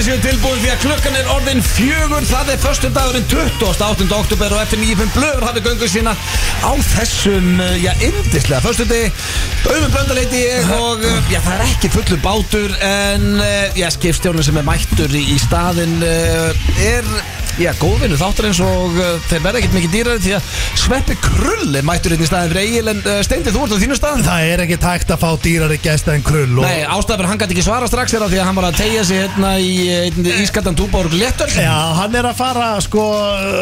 séu tilbúin því að klukkan er orðin fjögur Það er förstum dagurinn 28. oktober og eftir 9.5 blöður hafið göngu sína á þessum, uh, já, yndislega förstum degi Auðvun blöndaleiti ég og, uh, já, það er ekki fullur bátur en, uh, já, skipstjónin sem er mættur í, í staðin er, já, góðvinnu þáttarins og uh, þeir verða ekkert mikið dýrari því að Sveppi Krull er mættur inn í staðin fyrir Egil en uh, Steindi, þú ert á þínu stað Það er ekki tækt að fá dýrari gæsta en krull og... Nei, ástæður hann gæti ekki svara strax er að því að hann var að tegja sig hérna í hérna, ískaldan túborg léttöl Já, hann er að fara, sko,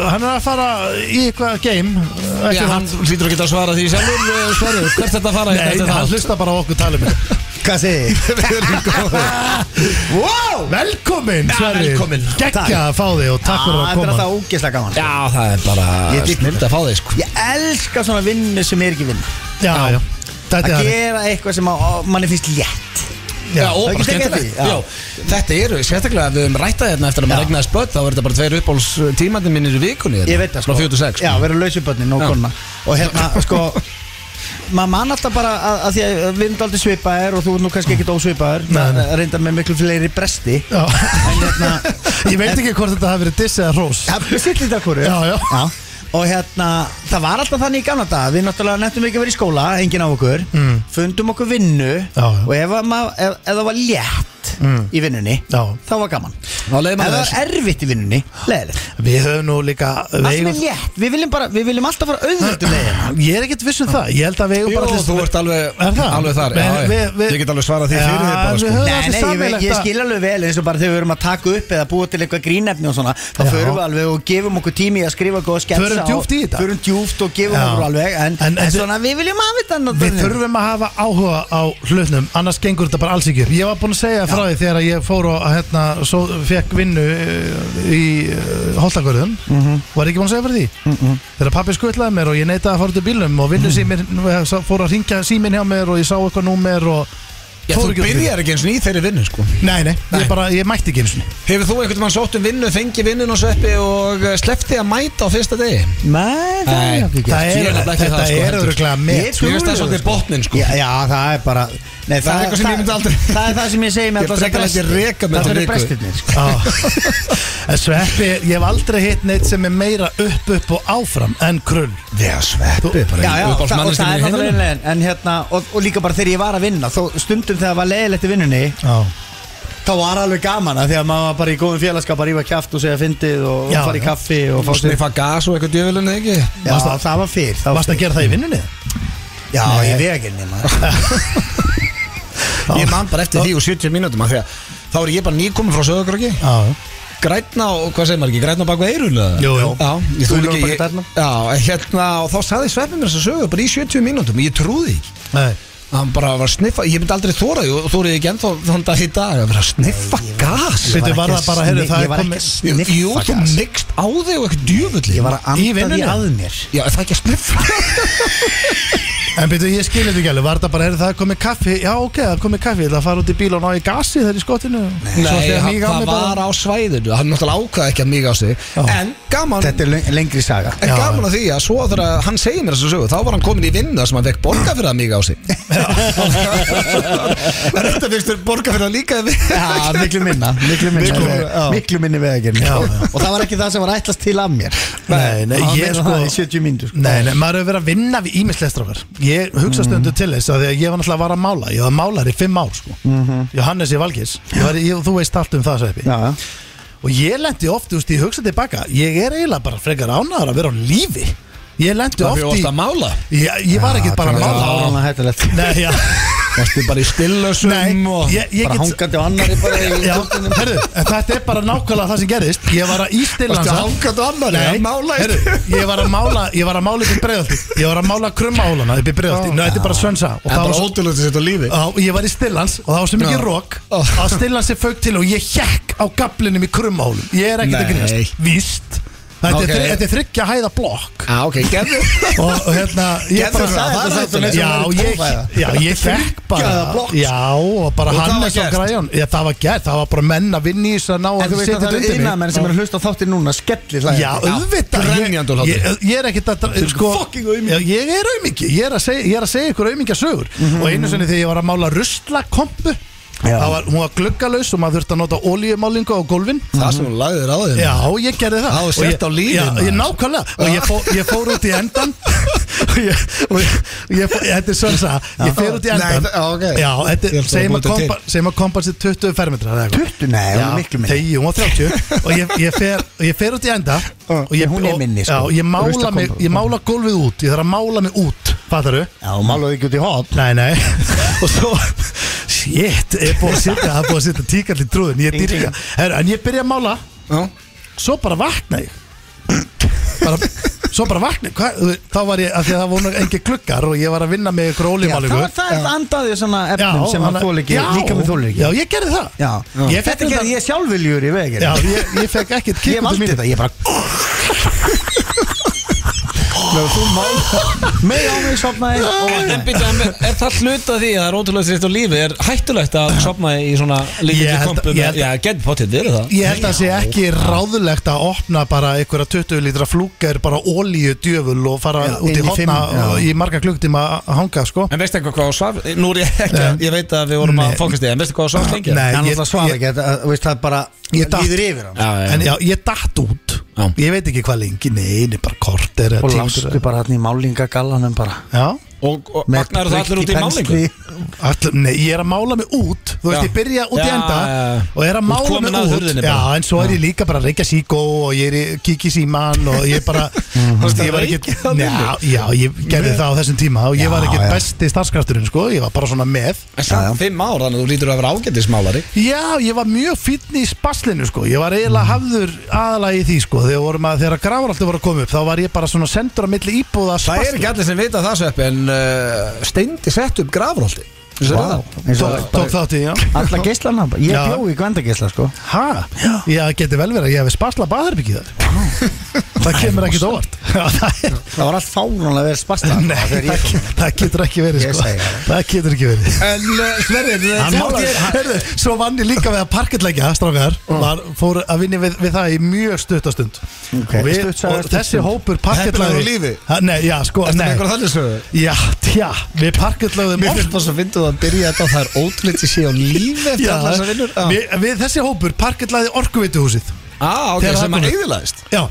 hann er að fara í eitthvað game Já, ekki hann hlýtur að geta að svara því sjálfur eh, Sverrir, hvert þetta fara hérna Nei, eftir hann það hlusta bara á okkur talum Hvað segir ég? Við erum góðir. Wow! Velkomin, Já, Sverri velkomin. Gekkja að fá þig og takk fyrir að Ah, Þetta er koma alltaf ógeðslega gaman Já, það er bara Ég fíkna. snild að fá þig sko Ég elska svona vinnu sem er ekki vinnu Já, já, þetta Að er hann gera eitthvað sem að, að manni finnst létt Já. Já, og Það bara getur tekið skemmtilegt því, já. Já, Þetta eru, sérstaklega ef við höfum rættað hérna eftir að maður Já. regnaði spött þá er þetta bara tveir uppbóls tímandi mínir í vikunni hérna, Ég veit það sko. sko. Frá 46 Já, vera lausubönnin og Já. konna Og hérna, sko Maður man alltaf bara að, að því að við erum aldrei svipaðir og þú er nú kannski ekkit ósvipaðir Nei, nei. Reynda með miklu fleiri bresti Já. En hérna Ég veit ekki hvort þetta hafi verið diss eða rós Það er sitt lítið að hverju Já, já. Og hérna, það var alltaf þannig í gamla dag Við náttúrulega nefntum ekki að vera í skóla, enginn af okkur Mm. Fundum okkur vinnu Já, já. Og ef, að maður, ef, ef það var létt Mm. í vinnunni Já. Þá var gaman Ef Þá leið maður það var þess. erfitt í vinnunni, leiðilegt Við höfum nú líka Allt við sem eigum- er létt, við viljum, bara, við viljum alltaf fara hérna. auðvöldum leiðina Ég er ekkert viss um það Ég held að við eigum Jú, bara allir- þú ert alveg, Er það? alveg þar já, Við- já. við- við- Ég get alveg svarað því Já, fyrir því bara við sko höfum- Nei, alveg nei, ég, sameiginlegt ve- ég að- skil alveg vel eins og bara þegar við erum að taka upp eða búa til eitthvað grínefni og svona þá Já. förum við alveg og gefum okkur tími í að skrifa góða sketsa Förum djúpt í þetta. og, Förum djúft og gefum Já. okkur alveg en, En- en, en- svona við viljum hafa þetta Við náttúrulega. þurfum að hafa áhuga á hlutnum annars gengur þetta bara alls ekki upp Ég var búinn að segja frá því þegar ég fór og hérna, svo, fekk vinnu eh, í Holtagörðum Mhm. Var ekki búinn að segja frá því Þegar pappi skutlaði mér og ég neitaði að fara út í bílum og Mhm. vinnu símir fór að ringja síminn hjá mér og ég sá eitthvað númer og Já, fór þú ekki út í bíl. byrjar ekki eins og ný þeirri vinnu sko Nei, nei, Nei. Ég, bara, ég mætti ekki eins og Hefur þú einhvern veginn sótt um vinnu, fengi vinnun og sveppi og sleppti að mæta á fyrsta degi? Nei, það Nei, er ekki það gert. Ég er nefnilega ekki Þetta það, sko, er heldur. öðruglega Ég með Mér finnst það trúi svolítið þessu, sko. botnin sko Já, já, það er bara nei, Það er eitthvað sem ég myndi aldrei- Það er það sem ég segi með Ég frekar ekki reka mig Það til eru viku. brestirnir sko. Á. Ah. En Sveppi, ég hef aldrei hitt neitt sem er meira upp, upp og áfram en krull Já, sveppi bara í Já, já, það, og það er uppáhaldsmanneskjunni í það heiminum. leiðin En hérna, og, og líka bara þegar ég var að vinna þó, Stundum þegar var leiðilegt í vinnunni Já Þá var alveg gaman að því að maður var bara í góðum félagskap að rífa kjaft og segja fyndið og Já, fara í já. kaffi og fá Og sér sniffa gas og eitthvað djöfulinn eða ekki Já, Varstu að- það var fyrr það var Varst að fyrr. gera það í vinnunni? Já, Nei. ég veg ekki nema Ég man bara eftir því og 70 mínútum af því að Þá er ég bara nýkomin frá sögurkröki Já Grætna og hvað segir maður ekki, grætna bak við eirun Jú, jú. Já, ég þúl Gulur á ekki bak við ég, tærnar. Já, en hérna og þá saði sveppi mér þess að sögur bara í 70 mínútum Ég trúði ekki Nei Hann bara var að sniffa, ég myndi aldrei þóra Þú þórið ekki ennþá þann dag í dag að vera að sniffa gas Bíddu, Ég var ekki það bara, að heyrðu, sni- það er Ég var ekki komið- að Jú, sniffa þú gas mikst á þig og eitthvað djöfulli Ég var að Í anda því vinnunni? að mér Já, er það ekki að sniffa En byrju, ég skilja þetta ekki alveg, var þetta bara, er það komið kaffi? Já, ok, það er komið kaffi, það fara út í bíl og ná í gasi þegar í skottinu Svo Nei, þegar hann, míg á það mig bara- var á svæðinu Hann náttúrulega ákvaði ekki að miga á sig Já. En gaman Þetta er löng- lengri saga En Já. gaman að því að svo þegar að hann segir mér þessu sögu þá var hann komin í vinnu sem hann fekk borga fyrir að miga á sig En þetta fyrst þér borga fyrir að líka við Já, miklu minna Miklu minna, Miklu miklu, minna, já. miklu minna veg ekki Já, já. Og það var ekki það sem var ætlast til að mér Nei, nei, Það var ég meira sko það í 70 mínútur, sko. Nei, nei, maður hefur verið að vinna við ímislestrákar Ég Mm. hugsa stundu til þess að því að ég var náttúrulega að vara að mála Ég var málar í fimm ár, sko Johannes í Valgis ég var, ég, Þú veist allt um það, Sveppi Mhm. Já, já. Og ég lendi oft, þú veist, ég hugsa tilbaka Ég er eiginlega bara frekar ánæður að vera á lífi Ég lendi Það oft fyrir í oft að mála Ég, ég var ekki bara að Það var mála alveg hættulegt Nei, já, Varstu bara í stillösum Nei, og ég, ég Bara get hangandi á annari bara í Já, herru, en þetta er bara nákvæmlega það sem gerðist Ég var að ístilla Varstu hangandi á annarri? Að mála í- herru, ég var að mála Ég var að mála upp í breiðaldi Ég var að mála krummahólana upp í breiðaldi Nú, þetta er bara svönsa Og En það var bara svo ótrúlega þessi þetta lífi Já, ég var í stillans og það var svo Já. mikið rók Ó. að stillans er fauk til og ég hjekk á gaflinum í krummahólum Ég er ekkert að Nei. grínast, víst Þetta Ok. er, þri- þetta er þryggja hæða blokk Já, ok, gerðu og, og hérna ég Gerðu bara, það, það er þetta eins og já, verið ég, tófæða. já, ég fekk Geðað bara blokk. já, og bara Og það hann var er svo gert. græjón já, það var gert, það var bara menn að vinna í þess að ná En að þú veit setja að það þetta eru undir innamenn sem eru að hlusta á þáttir núna Skellir hlæðið Já, um- auðvitað Grenjandi úr ég, hlátri. ég, ég er ekkert að sko, fucking aumingi. já, Ég er aumingi Ég er að segja, ég er að segja ykkur aumingja sögur Og einu sinni þegar ég var að mála ruslakompu Já. Það var, hún var gluggalaus og maður þurfti að nota olíumálingu á gólfin Það sem hún lagði þér á þig Já, ég gerði það Það var Og sett ég- á lífið, Já, ég maður. nákvæmlega Og ég, fó, ég fór út í endan Og ég, og ég, og ég fó, þetta er svona það Ég fer út í Nei, endan það- já, ok. Já, þetta Ég held er að það var Segjum að búið kompa- segjum að kompans er 20 fermetra eða eitthvað. 20? Nei, hún er miklu minni. þegi, hún var 30 Og ég, ég, fer, og ég fer út í enda Já, og ég, hún er minni, sko. Já, og ég mála, Ruslakompa- mig, ég mála gólfið út Ég þarf að mála mig út Fattaru? Já, málaðu ekki út í hot Nei, nei Og svo Shit, ég er búið að setja Það er búið að setja tíkall í trúðin Ég Hring, dýrka Herru, En ég byrja að mála Já. Svo bara vakna ég bara, Svo bara vakna ég Hva- þú veist, Þá var ég af Því að það voru engi gluggar Og ég var að vinna með ykkur Já, ólimálingu það, það er andaðið svona efnum sem hann þól ekki, líka með þól ekki Já, ég gerði það Já. Ég fekk Þetta gerði ég sjálfviljur í vegi Já, ég, ég fekk ekkert Ég kikk út í valdi mínu þetta, ég bara Með á mig sopnaði og En byrja, er það hluta því að það er ótrúlega þrýtt á lífi Er hættulegt að sopna í svona Ég líkandi held- kompu ég með- held- Já, gett potið, verið það Ég held að sé ekki ráðulegt að opna bara einhverja 20 lítra flúker bara ólíu djöful og fara Já, út í inn í hotna fimm, já. í marga klukktíma að hanga sko En veistu eitthvað hvað á svaf Nú er ég ekki, ég veit að við vorum Nei. að fókast í En veistu hvað á svaf lengi? Nei, Hann ég- alltaf svaf ég- ekki, þetta- þú veist það er bara Ég datt. Líður yfir hann Já, já, En já. já, ég datt út Já. Ég veit ekki hvað lengi, neini, bara kort er Og lastu bara hann í málingagallanum bara Já, Og, og vaknar það allir út í málingu all, nei, ég er að mála mig út Þú veist, Já. ég byrja út í Já, enda já, já. Og er Þú að ert mála komin mig að út hurðinni Já, bara. en svo er ég líka bara að reykja síkó Og ég er í kík í síman Og ég bara, þú veist, ég var ekki Reykja þarna Já, já, ég gerði það á þessum tíma Og ég var Já, ekki já. besti starfskrafturinn, sko Ég var bara svona með En samt fimm ár, þannig að þú lítur að vera ágættismálari Já, ég var mjög fínn í spaslinu sko Ég var eiginlega Mm. hafður aðalega í því sko Þegar, vorum að, þegar grafur alltaf voru að koma upp Þá var ég bara svona sendur á milli íbúða að Það er spasli ekki allir sem vita það sveppi En uh, steindi sett upp grafróldi Vá, eins og Tók, tók þátt í, já Alla geislana, bara. ég Já. bjó í gvendageisla sko Hæ? Já, geti vel verið að ég hefði spasla baðherbyggið þar Það kemur ekkit óvart Já, það er- Það var allt fánulega verið spasta Nei, það, ke- það getur ekki verið Ég sko segi það. Það getur ekki verið En uh, Sverrir Hann þú- málaði, ég- heyrðu, svo vann ég líka við að parketleggja strákar, var, fór að vinni við, við það í mjög stuttastund Ok, og, við, stutt saga, og stutt þessi stund. hópur Heppin parketlegði er á lífi. Ha, Nei, já, sko, Ertu með nei einhverja þannig sögu? Já, tja, við parketlöðum Mér finnst það svo fyndið að byrja þetta á Það er ótrúleitt að sé á lífi eftir allar þessar vinnur Já. við, við þessi hópur parketlaði orkuveituhúsið Á, Ah, ok, Þegar það sem að kom- eigðilaðist Já,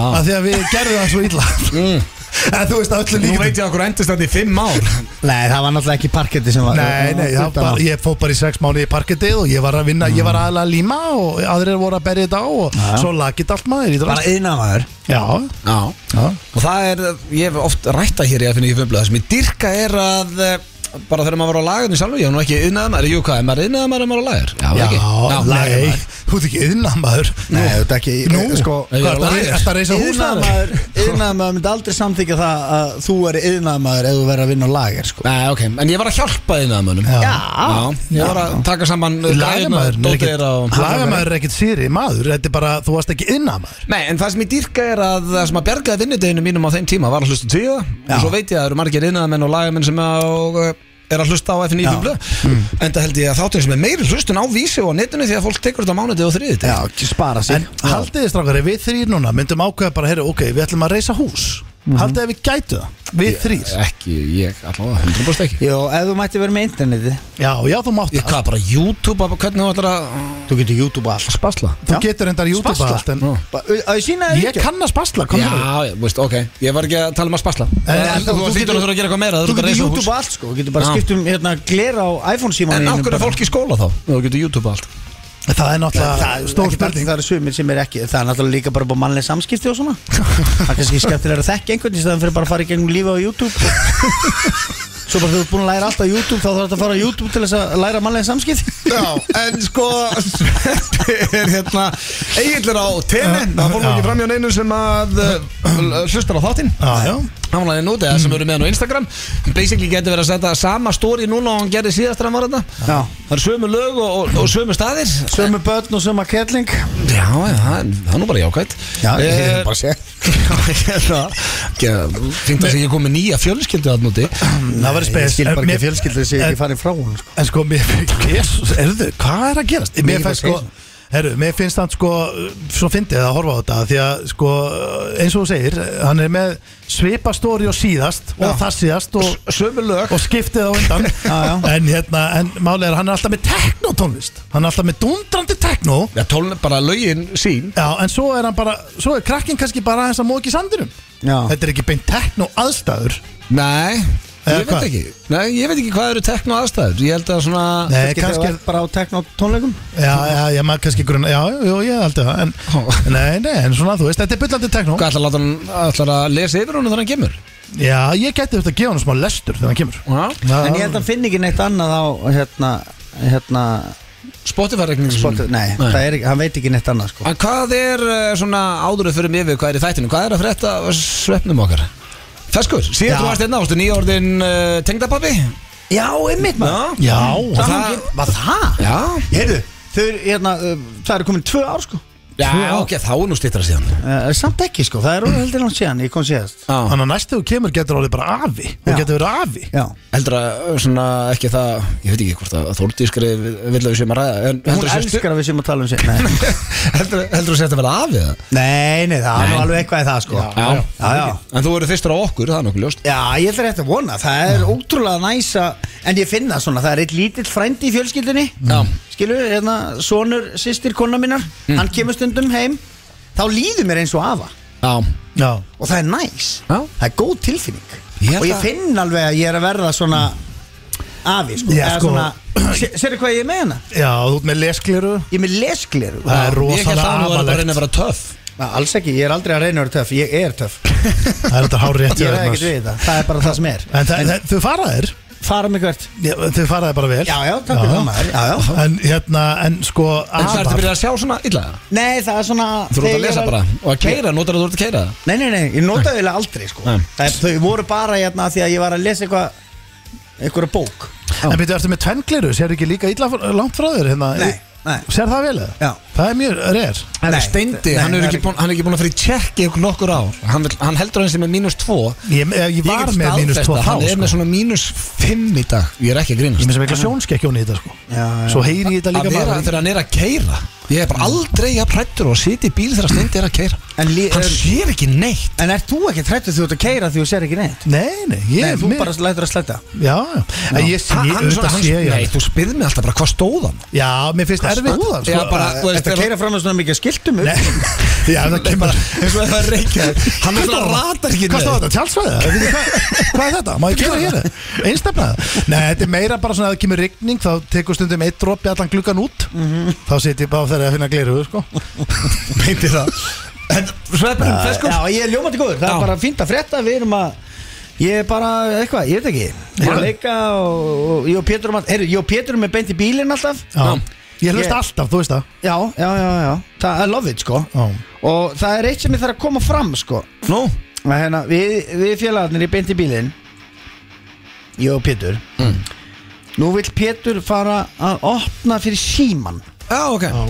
af því að við gerðum það svo illa En þú veist að öllu Nú líka veit ég að okkur endist þetta í fimm ár Nei, það var náttúrulega ekki parketti sem var Nei, nei, það var bara, ég fóð bara í sex mánu í parketið og ég var að vinna, ég var aðalega að líma og aðrir voru að berja þetta á og Já. svo lakið allt maður í drast Bara yðnaðar Já, Já já Og það er, ég hef oft rætta hér í að finna í fumblað Það sem ég dyrka er að eh, bara þegar maður var á lagarni sjálfur, ég var nú ekki yðnaðar maður, jú hvað, er maður yðnaðar maður en maður á lagar? Já, Já, ekki nei, þú ert ekki yðnað maður Nei, þetta ekki Nú, sko, sko, ég er hvað er Sko. lagður. þetta að reysa húsnaður? Yðnaðamaður Yðnaðamaður myndi aldrei samþykja það að þú er yðnaðamaður ef þú verður að vinna á lager sko. Nei, ok, en ég var að hjálpa yðnaðar mönnum Já. Já, ég var að taka saman Lagamæður er dótið ekkit, er á lagamæður er ekkit síri maður, þetta er bara, þú varst ekki yðnað maður Nei, en það sem ég dýrka er að það sem að bjargaði vinnudeginu mínum á þeim tíma var að hlusta tíða og svo veit ég að það eru margir innadamenn og lagamenn sem að, og, eh, er að hlusta á FNÍ fumlu en það held ég að þáttum sem er meiri hlustun á vísi og á netinu því að fólk tekur þetta á mánuði og þriðið Já, ekki spara sig En haldið þið strákar, ef við þrýr núna myndum ákveða bara, heyrðu, ok, við ætlum að reysa hús Haldið að við gætu það, við þrýr Ekki, ég allavega, 100% ekki Jó, ef þú mætti vera með interneti Já, já, þú mátt Ég það hvað, bara YouTube, bara hvernig þú ætlar að Þú getur YouTube allt spasla? Þú getur endar YouTube Spasla. allt en Það sína þér Ég kann að spasla, kom Já, hérna ég, veist, ok, ég var ekki að tala um að spasla En- Þú þú hlýtur getur- að þurfa að gera eitthvað meira þurfa Þú að getur reisa hús. YouTube allt sko Þú getur bara Já. skipt um hérna, glera á iPhone síma En af hverju er fólk í skóla þá? Þú getur YouTube allt Það er náttúrulega stór spurning Það eru sumir sem er ekki Það er náttúrulega líka bara búið mannlega samskipti og svona Það er kannski skemmtilega að þekka einhvern í staðan fyrir bara að fara í gegnum lífi á YouTube Svo bara þú ert búin að læra allt á YouTube þá þarf þetta að fara á YouTube til þess að læra mannlega samskipti Já, en sko Sveppi er hérna Egillir á tenni Það fór nú Já. ekki fram hjá neinu sem að uh, hlustar á þáttinn Já, já, Hamlaði nút eða Mm. sem eru með hann á Instagram Basically getur verið að setja sama story núna og hann gerði síðast þegar hann var þetta Já Það eru sömu lög og, og, og sömu staðir Sömu börn og söma kettling Eh, Já, já, það er- það er nú bara Eh, jákvæmt er bara að segja Fynda þess hérna. að ég kom með nýja fjölskyldu að núti það var Ég spes skil bara En ekki mér- að fjölskyldur sé en- ekki farin frá hún sko. En sko, mér, Jesus, erðu, hvað er að gerast? Mér Mikið fannst bara sko, Herru, mér finnst hann sko Svo fyndið að horfa á þetta Því að sko, eins og þú segir Hann er með svipastóri og síðast Og það síðast og, Sömu lög og skiptið á undan já. En hérna, en málið er að Hann er alltaf með teknotónlist Hann er alltaf með dundrandi tekno Já, tólun bara lögin sín Já, en svo er hann bara Svo er krakkin kannski bara aðeins að móki sandinum Já. Þetta er ekki beint tekno aðstæður Nei, ég Eða veit hvað? ekki Nei, ég veit ekki hvað eru tekno aðstæður Ég held að svona Nei, Kannski þegar kannski þú ert bara á teknotónleikum Já, já, já, maður kannski grunna Já, já, ég held það en, Nei, nei, en svona, þú veist, þetta er byllandi tekno Hvað ætlar að, láta hann- ætlar að lesa yfir honum þegar hann kemur? Já, ég geti þetta að gefa hann smá lestur þegar hann kemur Já Já, En ég held að hann finni ekki neitt annað á hérna, hérna Spotify-reikning spot, Mm. Nei, það er ekki, hann veit ekki neitt annað sko En hvað er eh, svona áðuruð fyrir mig við, hvað er í þættinu? Hvað er að frétta af svefnum okkar? Feskur, síðan Já. þú varst hérna, einn ástu nýjórðin uh, tengdapappi? Já, einmitt maður já Og það, það, Var það? já, Heyrðu, þau eru hérna, uh, það eru komin tvö ár sko já, ok, þá er nú stýttra síðan uh, Samt ekki sko, það eru heldur hann síðan, ég kom síðast Já, Þannig að næstu þú kemur getur alveg bara afi Þú Já. getur verið afi Já heldur að eh, svona ekki það, ég veit ekki hvort að Þórdískri vil að við séum að ræða en Hún heldur að sé- elskar að við séum að tala um sér Nei, heldur heldur að þetta verða af við það? nei, nei það er nú alveg eitthvað í það sko Já, já, já. En þú verður fyrstur á okkur, það er nokkuð ljóst Já, ég ætla rétt að vona, það er ótrúlega næsa En ég finna svona, það er eitt lítill frændi í fjölskyldinni Já. Mm. Skilur, hérna, sonur, systir, kona minnar Hann kemur stundum heim Þá líður mér eins og afa Já, Já, Og það er næs Já. Það er góð tilfinning Ég held Og ég að- finn alveg að ég er að verða svona Afi, sko, Já, Eða sko. svona, sé- Sérðu hvað ég er með hana? já þú ert með leskliru Ég er með leskleru Það er ég held að þú rosalega verður bara að amalegt reyna að vera töff Ná, Alls ekki, ég er aldrei að reyna að vera töff Ég er töff, Það er þetta hár rétt ég hjá þér, er ekkert Magnús. við þetta Það er bara það sem er En það- það- þau fara þér Fara mig hvert Já, Þau fara þér bara vel Já, já, takk fyrir það maður Já, já En hérna, en sko En það ertu afar- byrjað að sjá svona illa Nei, það er svona Þú verður að þegar- lesa bara Og að keira, notar að þú verður að keira Nei, nei, nei, ég notaði eiginlega aldrei sko. Nei. Það er, Þau voru bara hérna því að ég var að lesa eitthvað einhverja bók En byrju, ertu með tvenngleru, sér ekki líka illa langt frá þér hérna Nei, nei. Sér það vel eða? Já. Það er mjög rér Hann Nei, er steindi, nei, hann er það er ekki ekki- búinn- hann er ekki búin að fyrir tjekk í nokkur ár Hann, vill, hann heldur hans með mínus 2 Ég, ég Ég var get með mínus staðfest 2 að þá Hann er með sko. svona mínus 5 í dag Ég er ekki að Ég grínast með sem eitthvað sjónskekkjón í þetta sko Já, já. Svo heyri ég þetta Að líka vera bara þegar hann er að keira Ég er bara aldrei að prættur og sitja í bíl þegar steindi er að keira En, lí, Hann er, sér ekki neitt en er þú ekki trættu þú ert að keira því þú sér ekki neitt? Nei, nei, ég Nei, þú mér- bara lætur að slæta Já, já, en ég sé, Hann, hann, er svona, auðvitað hann, sé ég nei, hann þú spyrð mig alltaf bara hvað stóð hann Já, mér finnst erfitt stóð það, Já, sko. bara, þú veist, Þetta þegar- keira fram með svona mikið skiltum upp Nei, Já, það Nei, kemur bara, eins og það er reykjað Hann er svona ratar ekki Hvað stóð þetta? Tjálsvæða? Hvað er þetta? Má ég kemur hér? Einstafnaða? Nei, þetta er meira bara svona að það kemur rigning þá tekur stundum eitt dropi allan gluggan út Mhm. þá sit ég bara þegar að finna gleru sko. Meinti það En sveppurinn, feskur Já, ég er ljómandi góður, það Já. er bara fínt að frétta Við erum að, ég er bara eitthvað, ég veit ekki Ég er að leika og, og ég og Pétur um að, heyrðu, ég og Pétur um að beint í bílinn alltaf Já. Já. Ég hlust Ég- alltaf, þú veist það Já, já, já, já, það er love it sko Já. Og það er eitt sem ég þarf að koma fram sko Nú, Að hérna, við, við félagarnir í beint í bílinn Ég og Pétur Nú vill Pétur fara að opna fyrir síman já ok Já,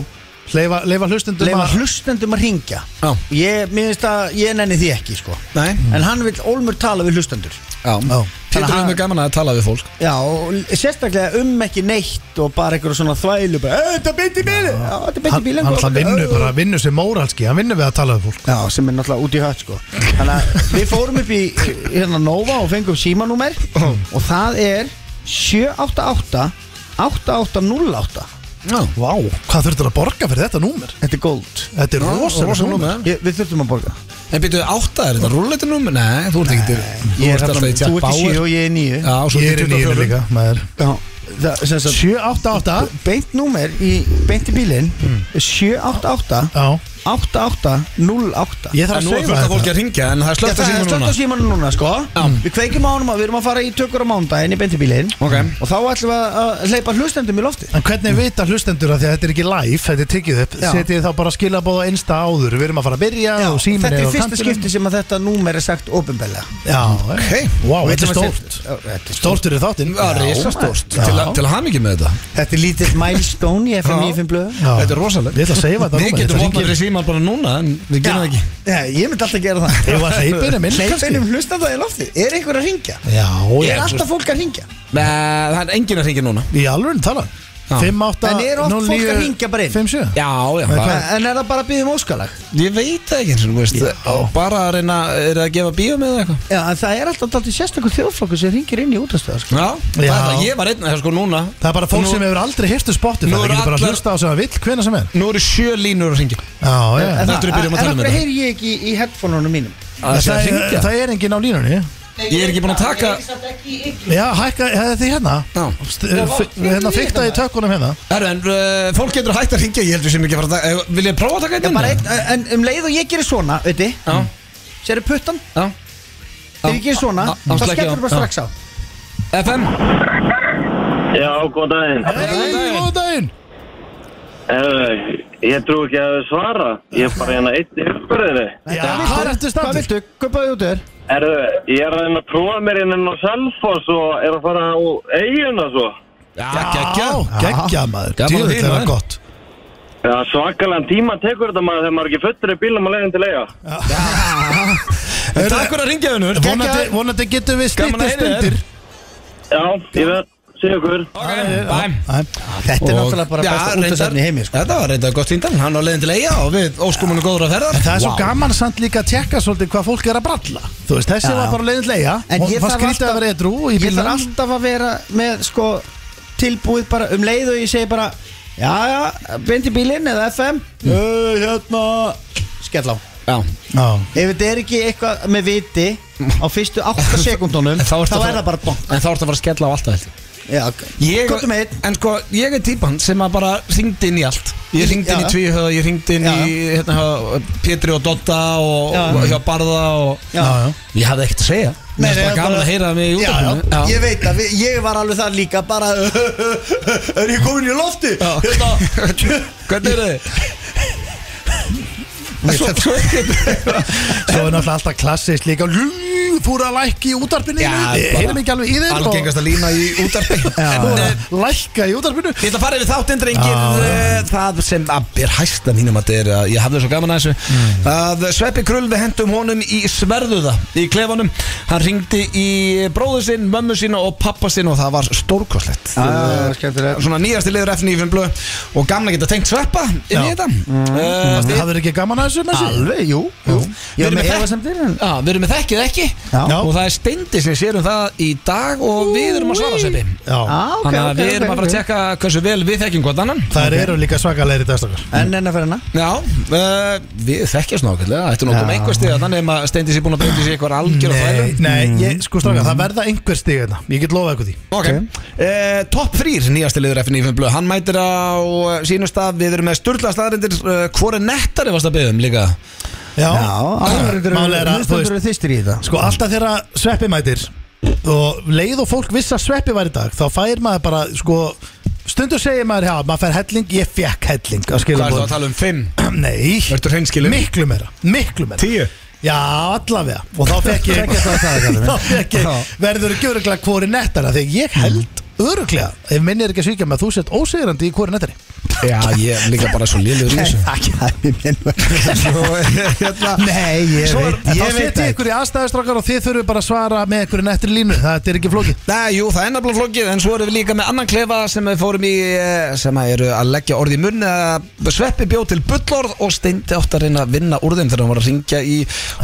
Leifa, leifa hlustundum Leifa að- hlustendum að ringja Já. Ég, mér finnst að ég nenni því ekki sko nei En hann vill ólmur tala við hlustendur Já Pétur er hann- mjög gaman að tala við fólk Já, og l- sérstaklega um ekki neitt Og bara einhverjum svona þvælu bara, "Eh, Þetta er beint í bílinn Já, þetta er beint Hann, í bílinn hann góð." alltaf vinnur Já, bara, vinnur sem móralski hann vinnur við að tala um fólk Já, sem er náttúrulega út í hött sko Þannig að við fórum upp í hérna Nova og fengum símanúmer Oh. og það er 788 8808 Já Vá, hvað þurftur að borga fyrir þetta númer? Þetta er gold Þetta er Já, rosalega rosa númer. númer ég, Við þurfum að borga En byrjuðu átta, er þetta rúlleitur númer? Nei, þú ert ekki til Þú Ég er ert alltaf hérna- í Þú tjátt ert í 7 og ég er í 9 Já, og svo Ég er í í nýjum 24. líka maður. Já, það, sem sagt, 788 Beint númer í beint í bílinn Hmm. 788 Já, 8808 ég þarf En að nú er segja fullt af fólki þetta að ringja En það er Já, slögt að síma það er slögt núna á símanum núna sko Já. Við kveikjum á honum að við erum að fara í tökur á mándaginn í beintirbílinn Ok. Og þá ætlum við að hleypa hlustendum í lofti En hvernig vita hlustendur að því að þetta er ekki live, þetta er tekið upp Já. Setið þá bara skilabóð á einsta áður, við erum að fara að byrja og síminn Þetta er á er fyrsta kantinum. skipti sem að þetta númer er sagt ofinbella Já, ok, wow, þetta er stórt Stórt eru þáttinn Já, risastórt Já. Til, að- til hamingi með þetta Þetta er lítill milestone í FM Já. 95 blöðu Já. Þetta er rosalegt Ég ætla að segja þetta Við númer, getum þetta opnað hringir- fyrir síman bara núna En við gerum það ekki Ég myndi alltaf gera það Ég var að hleypa inn um inn, kannski. Hleypinum hlustenda í lofti Er einhver að ringja? Já, Er ég alltaf fólk að ringja? Nei, það er enginn að ringja núna Í alveg tala Á, Já. 58 En er oft fólk að hringja bara inn? 57 Já, já, Nei, það- hvað? En er það bara að byggja um óskalag? ég veit það ekki eins og þú veist og bara að reyna, er það að gefa bíó með eitthvað Já, en það er alltaf alltaf sérstakur þjóðflokkur sem ringir inn í útastöða sko. Já, það Já. er það, ég var einn að það sko núna Það er bara fólk Nú- sem hefur aldrei um hirtu spottið Nú Það eru getur bara að allar- hlusta á sem það vill hvena sem er Nú eru sjö línur að ringja Já, já En Þetta er að byrja um að en tala um af hverju þetta. heyri ég ekki í, í headphone-unum mínum? Það sé að Það er- ringja það er engin á línunni Ég er ekki búin að taka Já, hækka, það er því hérna Já. St- f- Hérna fyrta í tökkunum hérna Herru, en uh, fólk getur hægt að ringja Ég heldur sem ekki að fara að taka eh, Vil ég prófa að taka Já, einn bara inn? einn, en um leið og ég gerir svona, veitir Já, Sérðu puttan? já Þegar ég gerir svona, Já, já, þá slekki á. skellur bara Já. strax á FM Já, góðan daginn. Hei, góðan daginn Uh, ég trú ekki að svara. Ég er bara hérna einn í uppverðinni. Já, hvað ertu Hvað standið? viltu? Gupaði út þér? Erðu, ég er að reyna að prófa mér inn á Selfoss og er að fara á eiguna svo. Já, geggja Geggja maður, Gaman að djúvill heyra er það það. gott Já, svakalega tíma tekur þetta maður þegar maður er ekki fullur í bílum að leiðin til eiga. En Takk fyrir að ringja hennur Vonandi, vonandi getum við Gaman að stýttið heyra þér. stundir Já, ég veit, segja ykkur. Bæm Þetta er náttúrulega bara besta útastöðin í heimi sko. Þetta var reyndar gott síndan Hann var leiðin til eiga og við óskum hann góður að ferðar En það er svo Vá. gaman samt líka að tjekka svolítið hvað fólk er að bralla Þú veist, þessi Já. var bara leiðin leiða En Og ég var þarf skrítið að alltaf- vera edru í Ég þarf bílunum alltaf að vera með sko tilbúið bara um leið og ég segi bara Já, já, beint í bílinn eða FM Mm. Hey, hérna Skell á Já. Já. Ef þetta er ekki eitthvað með viti á fyrstu 8 sekundunum En þá, ertu að er fara- það bara bong En þá ertu að fara að skella á alltaf held ég. Já, Ég, Komdu með einn en sko, ég er típan sem að bara ringdi inn í allt Ég ringdi inn í Já. tvíhöða, ég ringdi inn Já. í hérna, hjá Pétri og Dotta og, Já. og hjá Barða og Já. Já, já. Ég hafði ekkert að segja Mér finnst nei, bara gaman bara- að heyra mig í Já, útafinu já, ég veit að við, ég var alveg það líka bara Er ég komin í lofti? Hérna Hvernig eru þið? Svo- svo- Svo er náttúrulega alltaf klassist líka Ljú, Þú eru að lækka í útarpinu Já, bara- Heyrum ekki alveg í þér og- Algengasta lína í útarpi Þú En eru eh, að Lækka í útarpinu Ég ætla að fara yfir þáttinn drengir eh, Það sem að ber hæsta mínum að er að ég hafði svo gaman að þessu að Sveppi Krull við hendum honum í sverðuða í klefanum hann ringdi í bróðu sinn, mömmu sína og pappa sinn og það var stórkoslegt Já, svona nýjasti liður F9 blöð og gamla geta tengt Sveppa inn í Já. þetta mm. Það verður ekki gaman að þessu með þessu Alveg, jú, jú. Ég Við var erum með með efasemdir en Já, við erum með þekkið ekki Mm. Já. og það er steindi sem sér um það í dag og við erum að svara Sveppi Já, ah, þannig að við erum að fara að tjekka hversu vel við þekkjum hvort annan það eru líka svakalegri dagstakar En enn að fyrir hana Já, uh, við þekkjast nákvæmlega Þetta er nokkuð með einhver stiða Þannig að Steindi sé búin að breyta sér eitthvað algjör og Nei, þvælu nei ég, sko stráka, Mm. það verða einhver stig hérna Ég get lofað ykkur því Ok, uh, topp þrýr nýjasti liður FNF Blöð Hann mætir á eh, sínum stað Við erum með sturla staðarindir uh, Hvor er nettari varst að beðum líka Já, Málið er að, þú Hlustandur veist eru þýstir í þetta Sko alltaf þegar sveppi mætir og leið og fólk viss að sveppi var í dag þá fær maður bara sko stundu segir maður já, maður fær helling, ég fekk helling að Hvað skilja er það að tala um? Fimm? Nei, Ertu hreinskilinn? miklu meira, miklu meira Tíu? Já, allavega Og þá fekk ég Þá fekk ég Verður ekki öruglega hvori nettara Þegar ég held öruglega Ef minni er ekki að svíkja með þú sett ósegrandi í hvori nettari Já, ég er líka bara svo liður í þessu Takk, það er mér Svo, eh, hérna, Nei, ég Svo er, veit en þá Ég veit setjum ég það ykkur í aðstæðistrákar og þið þurfum bara að svara með ykkur nettri línu Það er ekki flókið Nei, jú, það er nefnilega flókið En svo erum við líka með annan klefa sem við fórum í eh, sem að eru að leggja orð í munn eða Sveppi bjóð til bullorð og steindi átt að reyna að vinna úr þeim þegar hann var að ringja í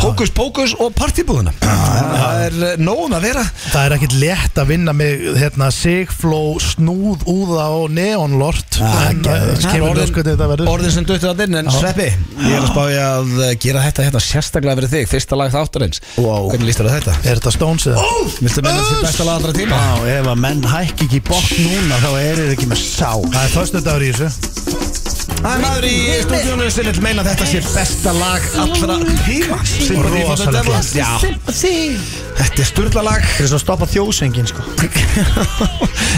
hókus pókus og partibúðuna Það er eh, nóg um að vera Það er ekkit létt að vinna með hérna, Sigfló, Snúð, Úða og Neonlort En það kemur ljós hvernig þetta verður orðin sem duttu að inn En Sveppi, ég er að spája að eh, gera þetta hérna sérstaklega fyrir þig Fyrsta lag þáttarins Wow. Hvernig líst þér að þetta? Er þetta Stones eða? Viltu meina þetta sé besta lag allra tíma? Já, ef að menn hækki ekki í bótt núna þá eru þið ekki með sá Það er förstu dagur í þessu Það er maður í stúdíónu sem vil meina að þetta sé besta lag allra tíma Symphony for the Rosalegt Devil lag. Já, Þetta er sturla lag Það er svo að stoppa þjósengin sko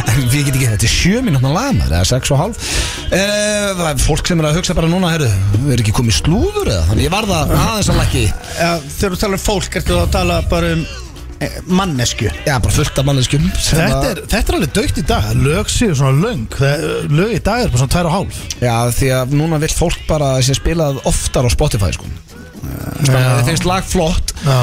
En við getum ekki, þetta er sjö mínútna lag maður, eða sex og hálf e, Það er fólk sem er að hugsa bara núna, herru Við erum ekki komið slúður eða Þannig ég varða aðeins að lakki Já, Þegar þú talar um fólk ertu þá að tala bara um eh, mannesku Já, bara fullt af manneskjum sem Þetta að- er, þetta er alveg dögt í dag Lög séu svona löng Það- Lög í dag er bara svona tvær og hálf Já, því að núna vill fólk bara að sé spilað oftar á Spotify sko Þannig að þið finnst lag flott Já,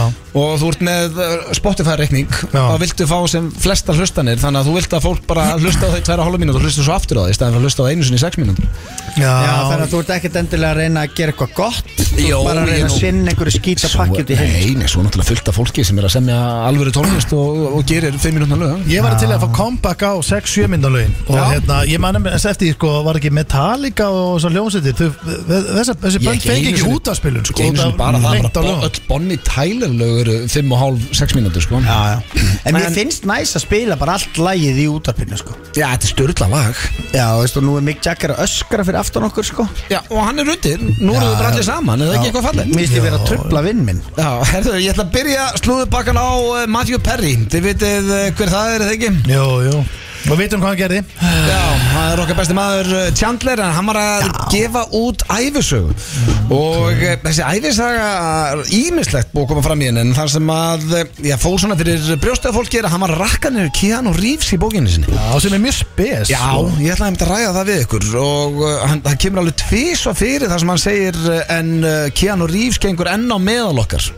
og þú ert með uh, Spotify-reikning Já. og viltu fá sem flesta hlustanir þannig að þú vilt að fólk bara hlusta á þau tværa hálfa mínútur og hlusta svo aftur á þau í staðan fyrir að hlusta á það einu sinni í sex mínútur já, Já, þannig að þú ert ekkert endilega að reyna að gera eitthvað gott Þú Jó, ert bara að ég reyna að nú- sinna einhverju skýta pakkjút í heim Nei, nei, svo náttúrulega fullt af fólki sem er að semja alvöru tónlist og, og gerir fimm mínútna lög Ég var til að fá comeback á 6-7 myndalögin og Já. hérna, ég man nefnilega eftir því, sko, var ekki Metallica og þessar hljómsveitir þau- þessar- þessi bönd fengi einu ekki sinni- útafspilun sko, Ekki einu út af sinni bara það, lengt á bara lögum. bo- öll Bonnie Tyler lög eru fimm og hálf, sex mínútur sko Já, já. En mér En- finnst næst að spila bara allt lagið í útarpinu sko. Já, þetta er styrla lag Já, veist þú, nú er Mick Jagger að öskra fyrir aftan okkur sko. Já, og hann er undir, nú eru Já, við bara allir já. saman, er það ekki eitthvað fallið? Mér finnst ég verið að trubla vinn minn Já, herðu, ég ætla að byrja slúðubakkan á eh, Matthew Perry Þið vitið eh, hver það er, er það ekki? Jú, jú, og vitum hvað hann gerði Já, það er okkar besti maður eh, Chandler en hann var að gefa út æfisög og okay. þessi æfisaga ímislegt búið að koma fram í henni en þar sem að, eh, já, fór svona fyrir brjóstaða fólki er að hann var að rakka niður Keanu Reeves í bókinni sinni Já, sem er mjög spes Já, sko. ég ætlaði einmitt að ræða það við ykkur og uh, hann, hann kemur alveg tvísa fyrir það sem hann segir uh, en uh, Keanu Reeves gengur enn á meðal okkar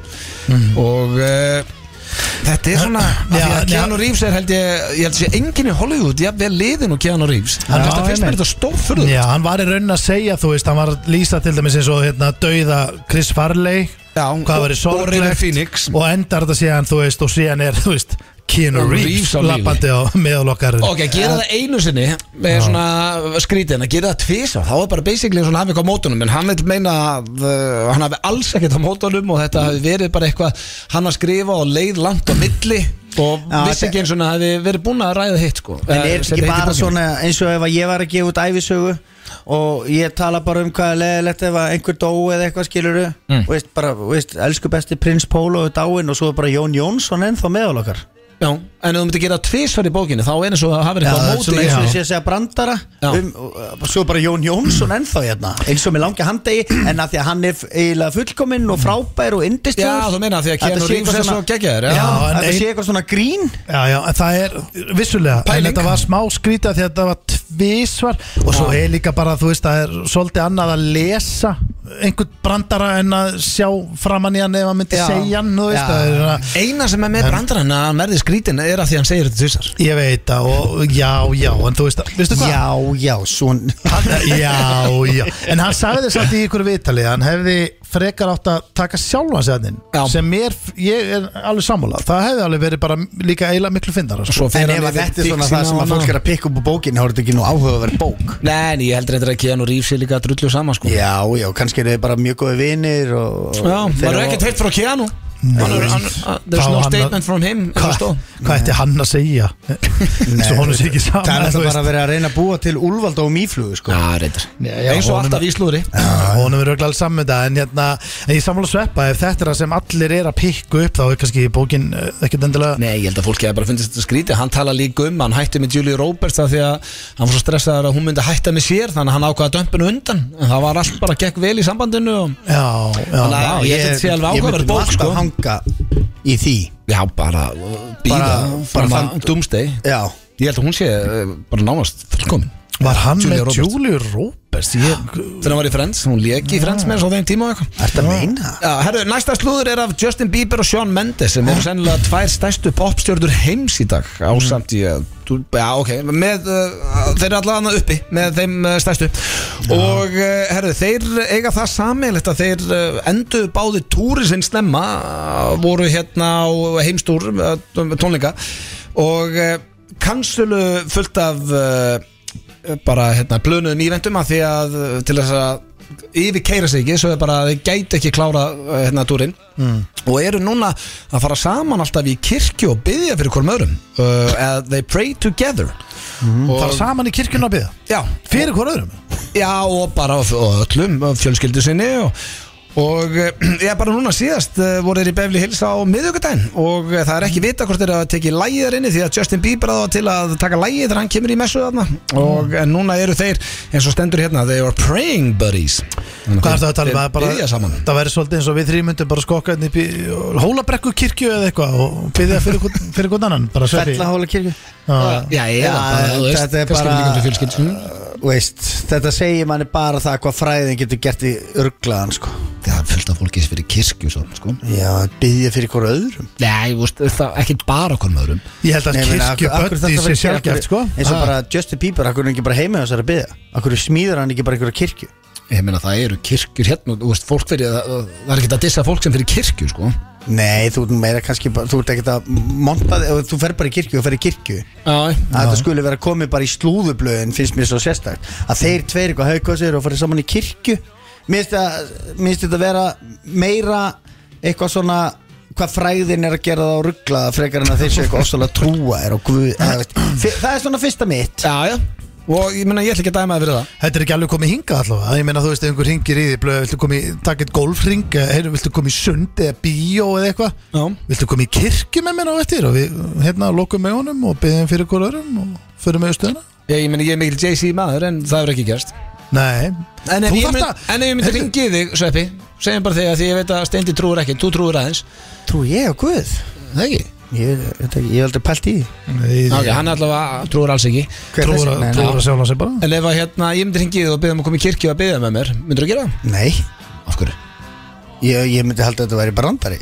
og uh, þetta er svona af því Mhm. Já, að já. Keanu Reeves er held ég, ég held sé enginn í Hollywood, jafnvel liðin og Keanu Reeves Já, hann finnst að finnst mér einmitt. þetta stór fyrir Já, hann var í raunin að segja, þú veist, hann var að lýsa til dæmis eins og hérna, dauða Chris Farley Já, og- hvað var í og River sorglegt Phoenix. og endar þetta síðan, þú veist, og síðan er, þú veist Keanu Og Reeves Reeves á lífi. lappandi á meðal okkar Ok, að gera það einu sinni með svona skrítin, að gera það tvisa þá er bara basically eins og hann hafi eitthvað á mótunum en hann vil meina að uh, hann hafi alls ekkert á mótunum og þetta hafi verið bara eitthvað hann að skrifa og leið langt á milli og Já, vissi þetta- ekki eins og hann hafi verið búin að ræða hitt sko En Eh, er setja ekki hitt í bara bókina. svona eins og ef að ég var að gefa út æfisögu og ég tala bara um hvað er leðilegt ef að einhver dó eða eitthvað skiluru mm. veist, bara, veist, elsku besti prins Pólo er dáinn og svo er bara Jón Jónsson ennþá meðal okkar Já, en ef þú myndir gera tvisvar í bókinu þá er eins og það hafi verið Já, eitthvað á svona móti eins og já. ég sé að segja brandara Já. um, og svo er bara Jón Jónsson ennþá hérna eins og með langi handegi en að því að hann er f- eiginlega fullkominn og frábær og Já, indistjóð þú meina því að Þetta Keanu sé Reeves eitthvað er svo svona- geggjaður Já, já. Já, en þetta ein- sé eitthvað svona grín Já, já, en það er vissulega Pæling. En þetta var smá skrítið af því að þetta var tvísvar Og svo er líka bara, þú veist, það er svolítið annað að lesa einhvern brandara en að sjá framan í hann ef hann myndi Já. segja hann, þú veist Já. það er svona, Eina sem er með brandarann að hann verði skrítin er að því að hann segir þetta tvisvar Ég veit það, og já, já, en þú veist það, veistu hvað? Já, já, svona Hann- Já, já, en hann sagði þess að í ykkur vitali að hann hefði frekar átt að taka sjálfan sérnin Já. sem mér, ég er alveg sammála það hefði alveg verið bara líka eiginlega miklu fyndara sko. Svo fer En hann ef að yfir þetta er svona fixina það sem og að annað. fólk er að pikka upp á bókin þá er þetta ekki nú áhugaverð bók Nei, en ég heldur eitthvað að Keanu Reeves er líka að drullu saman sko Já, já, kannski eru þið bara mjög góði vinir og, Já, maður er ekkert heilt frá Keanu Hann er- hann- uh, There's Þá no hann- statement from him eins og Hva- stóð. hvað ætti hann að segja svo honum sé ekki saman Það er þú alltaf veist. bara að vera að reyna að búa til úlvalda og mýflugu sko. Já, reyndar já, Eins og honum- alltaf í slúri Já, honum er auðvitað alls saman með það en, hérna, en ég sammála sveppa ef þetta er það sem allir er að pikku upp þá er kannski bókin eh, ekkert endilega Nei, ég held að fólki hefði bara fundist þetta skrítið Hann tala líka um, hann hætti með Julie Roberts af því að hann var svo stressaður að hún myndi hætta með sér þannig að hann ákvaða dömpinu undan en það var allt bara gekk vel í sambandinu og... Já, já, Þannig að- Já, ég held að þetta sé alveg ég áhugaverð myndi bók, nú alltaf sko. hanga í því Já, bara uh, býða Bara- bara fram þann- að doomsday Já, Ég held að hún sé uh, bara nánast fullkomin var hann Julia með Roberts. Julie Roberts ég, Þegar hann var í Friends, hún lék í Friends með þess á þeim tíma og eitthvað ert að meina það? Já, herru, næsta slúður er af Justin Bieber og Shawn Mendes sem eru sennilega tvær stærstu popstjörnur heims í dag ásamt í að þú- Já, ok, með, uh, þeir eru allavega annað uppi með þeim uh, stærstu og uh, herru, þeir eiga það sammeilegt að þeir uh, endu báði túri sinn snemma uh, voru hérna á heimstúr uh, tónleika og uh, kansulu fullt af uh, bara hérna plönuðum ívendum að því að uh, til þess að yfir keira sig ekki, svo er bara að þið gæti ekki klára uh, hérna túrin og eru núna að fara saman alltaf í kirkju og byggja fyrir hvorm öðrum uh, að they pray together og, fara saman í kirkjuna að byggja já, fyrir hvort öðrum já og bara og öllum og fjölskyldu sinni og Og ég bara núna síðast eh, voru þeir í Beverly Hills á miðugardaginn og eh, það er ekki vita hvort þeir hafa tekið lægið þar inni því að Justin Bieber aða til að taka lægið þegar hann kemur í messu þarna og en núna eru þeir eins og stendur hérna they are praying buddies Hvað er það að tala um? Það er Þeir biðja bara, saman það væri svolítið eins og við þrjum myndum bara skokka inn í bí- hólabrekku kirkju eða eitthvað og byggja fyrir, hvern- fyrir hvern annan bara sveppi Fellahóla kirkju Já. Já, já, Já, bara, þú veist, þetta er kannski bara- líka fyrir fjölskyldu sinni. veist, þetta segir manni bara það hvað fræðin getur gert í örglaðan sko. Það er fullt af fólki sem fyrir kirkju svo, sko. Já, byggja fyrir ykkur öðrum Nei, þú veist, það er ekki bara okkur með öðrum Ég held að Nei, ég meina, akkur- akkur kirkjuböndi þarf það sé að vera- sjálfgæft akkur- sko eins og Ha. bara Justin Bieber, akkur er hann ekki bara heima hjá þessari byggja akkur smíður hann ekki bara ykkur kirkju Ég meina, það eru kirkjur hérna og, Þú veist, fólk fyrir, það, það er ekki að dissa fólk sem fyrir kirkju, sko Nei, þú ert meira kannski bara, þú ert ekkert að monta þig, ef þú fer bara í kirkju og fer í kirkju Já, að þetta skulle vera komið bara í slúðublöðin finnst mér svo sérstakt að þeir tveir eitthvað haugkvæðsir og farið saman í kirkju minnst þetta vera meira eitthvað svona hvað fræðin er að gera það á rugglaða frekar en að þeir séu eitthvað ofsalega trúa er og guð eða, veist, fi- það er svona fyrsta mitt Já, já Og ég meina, ég ætla ekki að dæma þig fyrir það Þetta er ekki alveg komið hinga allavega Ég meina þú veist ef einhver hringir í því blöð Viltu komið, takk eitt golfring eða, heyrðu, Viltu komið í sund eða bíó eða eitthvað Já. Viltu komið í kirkju með mér á eftir Og við hérna lokum með honum og byggjum fyrir hver öðrum Og förum með stöðuna Ég, ég meina, ég er mikil Jay-Z maður en það hefur ekki gerst Nei En ef, Þú ég, þarft mynd, að- en ef ég myndi Heyrðu, ringið þig, Sveppi Segjum bara þig að því ég veit að Steindi trúir ekki Þú trúir aðeins trú ég og guð Það ekki? ég veit þetta ekki, ég hef aldrei pælt í því. Nei, Ok, hann allavega trúir alls ekki Hver er Trúar þessi? að- Nei, trúar að sjálfa sig bara En ef að hérna, ég myndi ringið þig og beðum að koma í kirkju að beða með mér Myndur þú gera það? nei, af hverju? ég, ég myndi halda að þetta væri brandari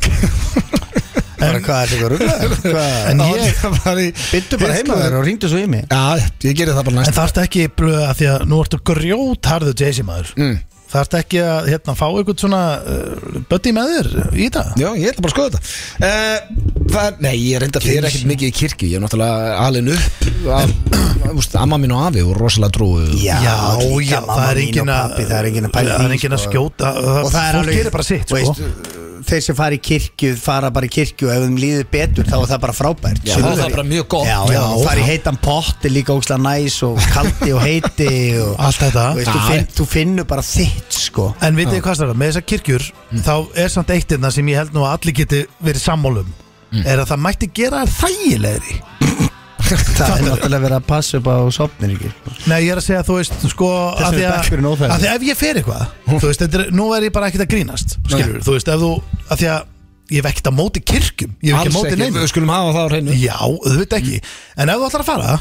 bara hvað er þetta rugglaða En ég byttu bara heima þér og ringdu svo í mig Já, ég gerir það bara En næst það ert ekki blöð að því að nú ertu grjótarðu Jay-Z maður mm. Það ert ekki að hérna, fá einhvern svona uh, buddy með þér í það Já, ég ætla bara að skoða þetta uh, það, er- Nei, ég reynda fyrir ekkert mikið í kirkju Ég er náttúrulega alin upp af, úst, Amma mín og afi og rosalega trúi líka mamma það er mín og engin að pabbi, það er engin að pæla í Það er því, engin að sko. skjóta og það er alveg Fólk gerir bara sitt þú sko. þeir sem fara í kirkju fara bara í kirkju og ef þeim líður betur þá er það bara frábært Já, Sumir- þá er það bara mjög gott. já, já, Já, og fara í já. heitan potti líka ógslag næs og kaldi og heiti og, Allt þetta. þú veist, þú, Já, finn, þú finnur bara þitt sko En vitið þið hvað strákar, með þessar kirkjur Mm. þá er samt eitt einna sem ég held nú að allir geti verið sammálum Mm. er að það mætti gera þær þægilegri það er náttúrulega verið að passa upp á sopnir ekki Nei, ég er að segja, þú veist, sko Þess að því vegna er bekkurinn að, óþægilegur. að því að ef ég fer eitthvað þú veist, þetta er, nú er ég bara ekkert að grínast skilur, þú veist, ef þú, að því að ég hef ekkert að móti kirkjum, ég hef ekki að móti neinu við skulum hafa það á hreinu Já, auðvitað ekki En ef þú ætlar að fara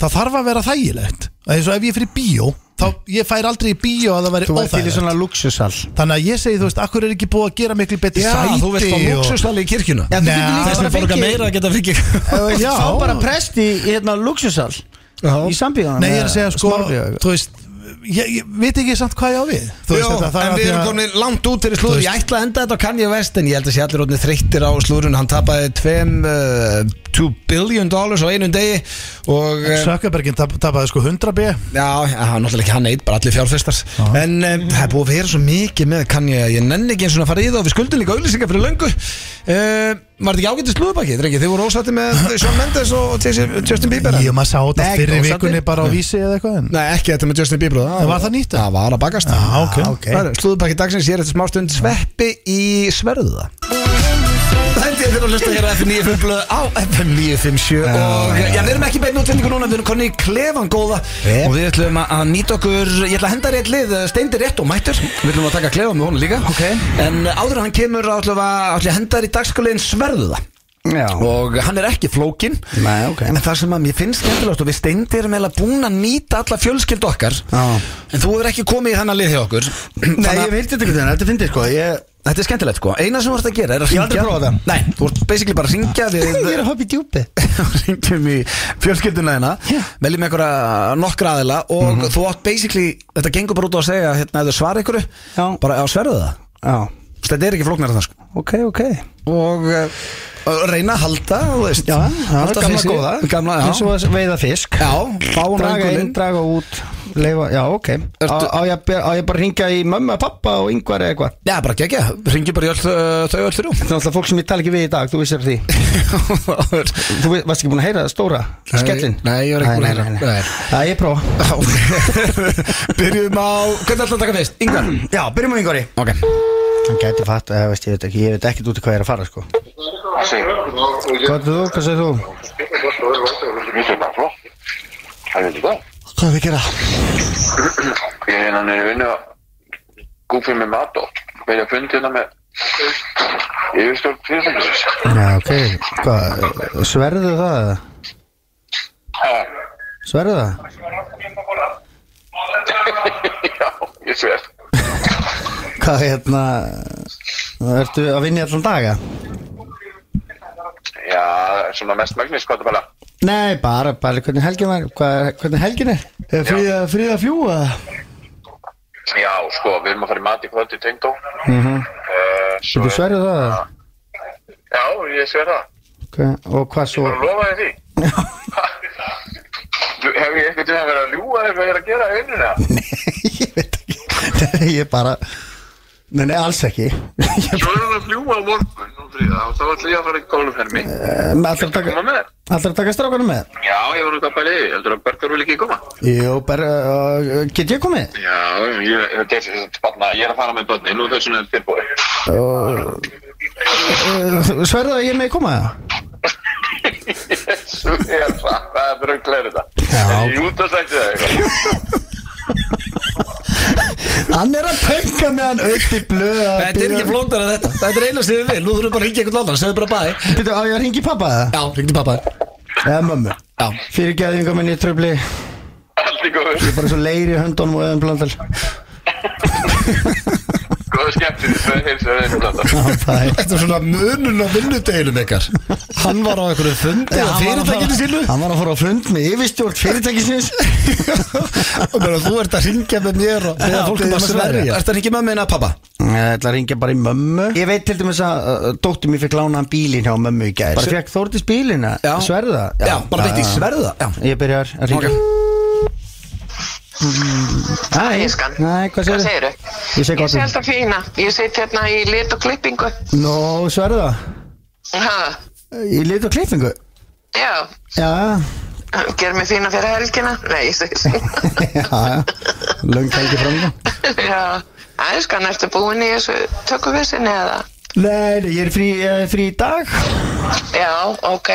Það þarf að vera þægilegt Eins og ef ég fyrir bíó Þá ég fær aldrei í bíó að það veri þú væri til í óþægilegt svona luxusall Þannig að ég segi, þú veist, akkur er ekki búið að gera miklu betri Já, sæti þú veist á og- lúksustalli í kirkjuna Já, þú Nei, getur líka Það bara sem borga fengið- meira að geta fríkir Þú veist, Já. fá bara prest í í hérna luxusall í sambíðan Nei, ég er að segja, sko, þú veist Ég, ég veit ekki samt hvað ég á við Þú Jó, veist, þetta, það er en við að því erum að- komin langt út fyrir slúður Þú veist- Ég ætla að enda þetta á Kanye West En ég held að sé allir orðnir þreyttir á slúðurinn Hann tapaði 2 billion dollars á einum degi Og eh, Sökkabergin tap, tapaði sko 100 b Já, já, það er náttúrulega ekki hann eitt, bara allir fjárfestar En um, það er búið að vera svo mikið með kann ég Ég nenni ekki eins og að fara í það og við skuldum líka auðlýsingar fyrir löngu uh, Var þetta ekki ágætið slúðbakki, drengi? Þið voru ósætti með Sean Mendes og Jesse- Justin Bieber en- Ég maður sá þetta Nei, fyrir ósætti. vikunni bara á vísi eða eitthvað en- Nei, ekki þetta með Justin Bieber En var það nýtt? Það var að bakast Ah, Já, ok. okay. Slúðbakki dagsins, ég er eftir smá stund sveppi í sverða Þetta er fyrir að hlusta hér á FM 95 blöð á FM 957 og já, við erum ekki beinn útlendingu núna, við erum konni í klefan góða Jep. og við ætlum að- að nýta okkur, ég ætla að henda rétt lið, eh, steindi rétt og mættur, við ætlum að taka klefa með honum líka Ok. en áður en hann kemur þá ætlum við að ætlum við að henda þér í dagskaliðin sverðuða já, og hann er ekki flókin Nei, ok. en það sem að mér finnst skemmtilegt og við steindi erum eiginlega búin að nýta alla fjölskyld okkar Já. en þú hefur ekki komið í þennan lið hjá okkur nei, Þannig að- ég veit þetta ekki þannig, þetta finnir sko ég, Þetta er skemmtilegt sko, eina sem þú ert að gera er að Ég hef ringja aldrei prófað það. Nei, þú ert basically bara að ringja ég er við að hoppa í djúpi Ringjum í fjölskylduna hérna Já. Mhm. Meljum einhverja nokkra aðila Og þú átt basically, þetta gengur bara út á að segja Hérna, ef þau svara ykkur Já. Bara á sverðu það já, Þú veist, Þetta er ekki flóknar það sko ok, ok Og uh, reyna að halda, þú veist Já, það Halda er gamla fissi. góða Gamla, eins og já að veiða fisk Já, fá hún Draga inn, draga út, leifa, já ok á, Ertu- á, ég, að be- á ég bara að ringja í mömmu og pappa og yngvar eða eitthvað Já, bara gegja, ringi bara í öll, uh, þau öll þrjú Það er alltaf fólk sem ég tala ekki við í dag, þú vissir því Þú vi- varst ekki búin að heyra það stóra, Nei, skellin nei, ég var ekki búin að Nei, heyra. nei, nei, Nei. nei. Það ég prófa Já. Byrjum á, hvernig ætlaðu að taka fyrst? Yngvar Já, byrjum á yngvari Ok Hann gæti fatt, ég veist, ég veit ekki, ég veit ekkert út í hvað ég er að fara sko Sí. Hvað er þú, hvað segir þú? Mér finnst bara flott. Það veitum það. Hvað er það að gera? Ég er hérna niður í vinnu að gúfið með mat og velja fundi hérna með yfirstjórn fyrirtækisins. Já, ok, hvað, sverðu það? eða? Ha, Sverðu það? ég sver Hvað hérna Ertu að vinna í allan daga? Já, svona mest magnis, hvað það bara Nei, bara, bara hvernig helgin var hvað, Hvernig helgin er? Er fríða, fríða fjúa? Já, sko, við erum að fara í mat í kvöld í tengdó mm -hmm. Svo Mhm. Þú sverður það? eða? Já, ég sver það Hva, og hvað svo? Bara lofaði því Nú, Hef ég eitthvað til að vera að ljúga þér hvað ég er að gera í vinnuna? ég veit ekki Nei, ég bara Nei, nei, alls ekki Ég- Svo er hann að fljúa á morgun og fríða og þá ætla ég að fara í golfhermi em, Ætlar Ehm, að taka, Koma með þér? ætlar að taka strákanum með? Já, ég var nú hvað bælið Ég heldur að Bergar vil ekki koma Jú, bara, uh, get ég komið? Já, ég, ég, ég, ég, barna, ég er að fara með börnin og þessum er tilbúið Uh, Sverðu að ég er með að koma? Jesú, ég er það Það er brugleir þetta Já. Er ég út að segja það eitthvað? Hann er að penka með hann aukt í blöð að Þetta er byrja- ekki flóknar að þetta Þetta er eina sem við vil Nú þurfum við bara að ringja einhvern annan Segðu bara bæ Býttu, á ég að ringi pappa það? Já, ringdi pappa Eða mömmu? Já. Fyrir geðingar minni í tröfli Allt í góðu Bara svo leir í höndunum og öðum blandal Góðu skemmtir Það er hilsa þeim blanda Það Þetta er svona munun á vinnudeginum ykkar Hann var á einhverju fundi á fyrirtækinu sínu Hann var að fara á fund með yfirstjórn fyrirtækisins og bara þú ert að ringja með mér og þegar fólk er bara að sverja Ert að ringja með minna pappa? Ég ætla að ringja bara í mömmu Ég veit til dæmis að uh, dóttir mér fekk lánaðan bílinn hjá mömmu í gæð Bara fekk Þórdís bílinna, Já. sverða Já, bara beint í sverða Já, Ég byrjar að ringja Hæ, Elskan. hæ, hvað Hvað segir segirðu? Ég segi Ég gott sé alltaf fína. Ég sit hérna í lit og klippingu. Nó, sverða, Ha, ég lit á klippingu já, Já, ger mig fína fyrir helgina. Nei, ég segi já, löng helgi fram Já, æskan, ertu búin í þessu tökuvissinni eða? Nei, nei, ég er frí, ég er frí í dag Já, ok.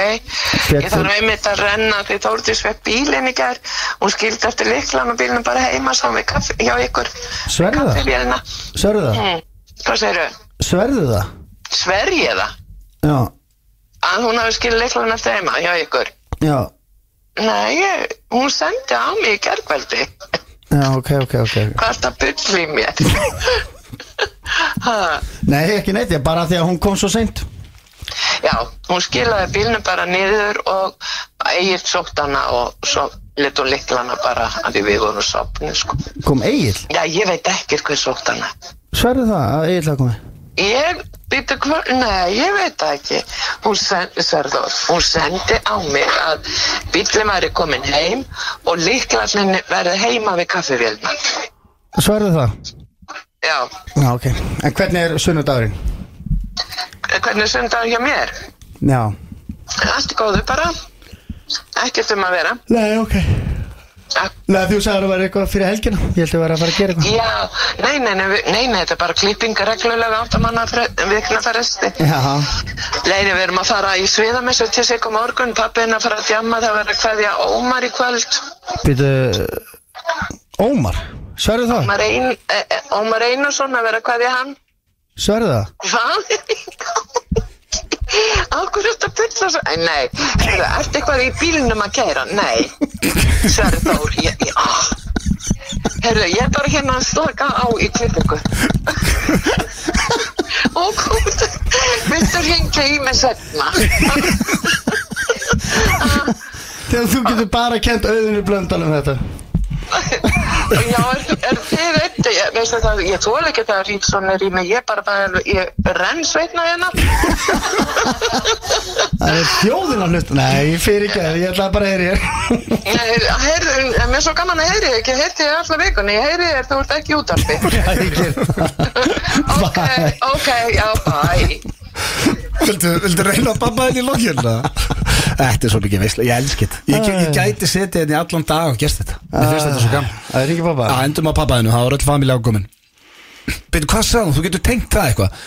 Fékk Ég þarf þú- einmitt að renna því Þórdís vepp bílinn í gær. Hún skildi eftir líklan og bílinn bara heima saman við kaffi hjá ykkur. Sverðu það, Kaffivélina. sverðu það, Mm. Hvað segirðu? sverðu það Sverjið það? Já, Að hún hafi skildi líklan eftir heima hjá ykkur? já, Nei, ég, hún sendi á mig í gerðkvældi. já, ok, ok, ok Hvað er þetta bull í mér? ha, Nei, ekki neitt, ég bara því að hún kom svo seint já, hún skilaði bílnum bara niður og eigir sótt hana og svo let hún liklana bara að við vorum sopni, sko. Kom Egil, Já, ég veit ekki hver sótt hana. sverðu það að Egil það komið Ég, býtu hvað, nei, ég veit það ekki. Hún, send, sverður, hún sendi á mig að bílnum væri komin heim og liklarnin verði heima við kaffivélna. Sverðu það Já, Já, ok En hvernig er sunnudagurinn? Eh, hvernig sundar hjá mér? Já Allt í góðu bara Ekkert um að vera Nei, ok Nei, þú sagður að vera eitthvað fyrir helgina Ég held að vera að fara að gera eitthvað Já, nei, nei, nei, við- nei, nei þetta er bara klippinga reglulega áttamanna vikna fresti Já, Leini, við erum að fara í sviðamessu til sig á morgun Pappin að fara að djamma það verður að kveðja Ómar í kvöld býtu Ómar, sverðu það? Ómar, ein, e, e, Ómar Einarsson að verður að kveðja hann Sverðu það? Hvað? Akkur þetta byrja svo Æ, Nei, heyrðu, ertu eitthvað í bílunum að kæra? Nei Sverri Þór ég, ég, ah. Heyrðu, ég er bara hérna að slaka á í klippingu Og kom Viltu hringja í mig setna? Þegar þú getur bara kent auðinu blöndal um þetta Já, er, er þið veit Ég, veistu það, ég þóla ekki það að Rífsson er í mig Ég bara, bara ég renn sveitna hérna Það er þjóðin að hlusta Nei, fyrir ekki, ég ætla bara að heyra ég Nei, heyrðu, en mér er svo gaman að heyri ekki, heyrti ég allar vikunni, ég heyri þér, þú ert ekki í útarpi. Já, ég gera það ok, ok, já, bæ. Vildu, vildu reyna að babba henni í lokkinna? Þetta er svo mikið veisla, ég elski þetta Ah. Ég, ég gæti setið henni allan dag og gert þetta Mér finnst þetta svo gaman Það Ah, er ekki pappa Já, endum á pappa hennu, það var öll familja ákomin Beidu, hvað sagði hún? Þú getur tengt það eitthvað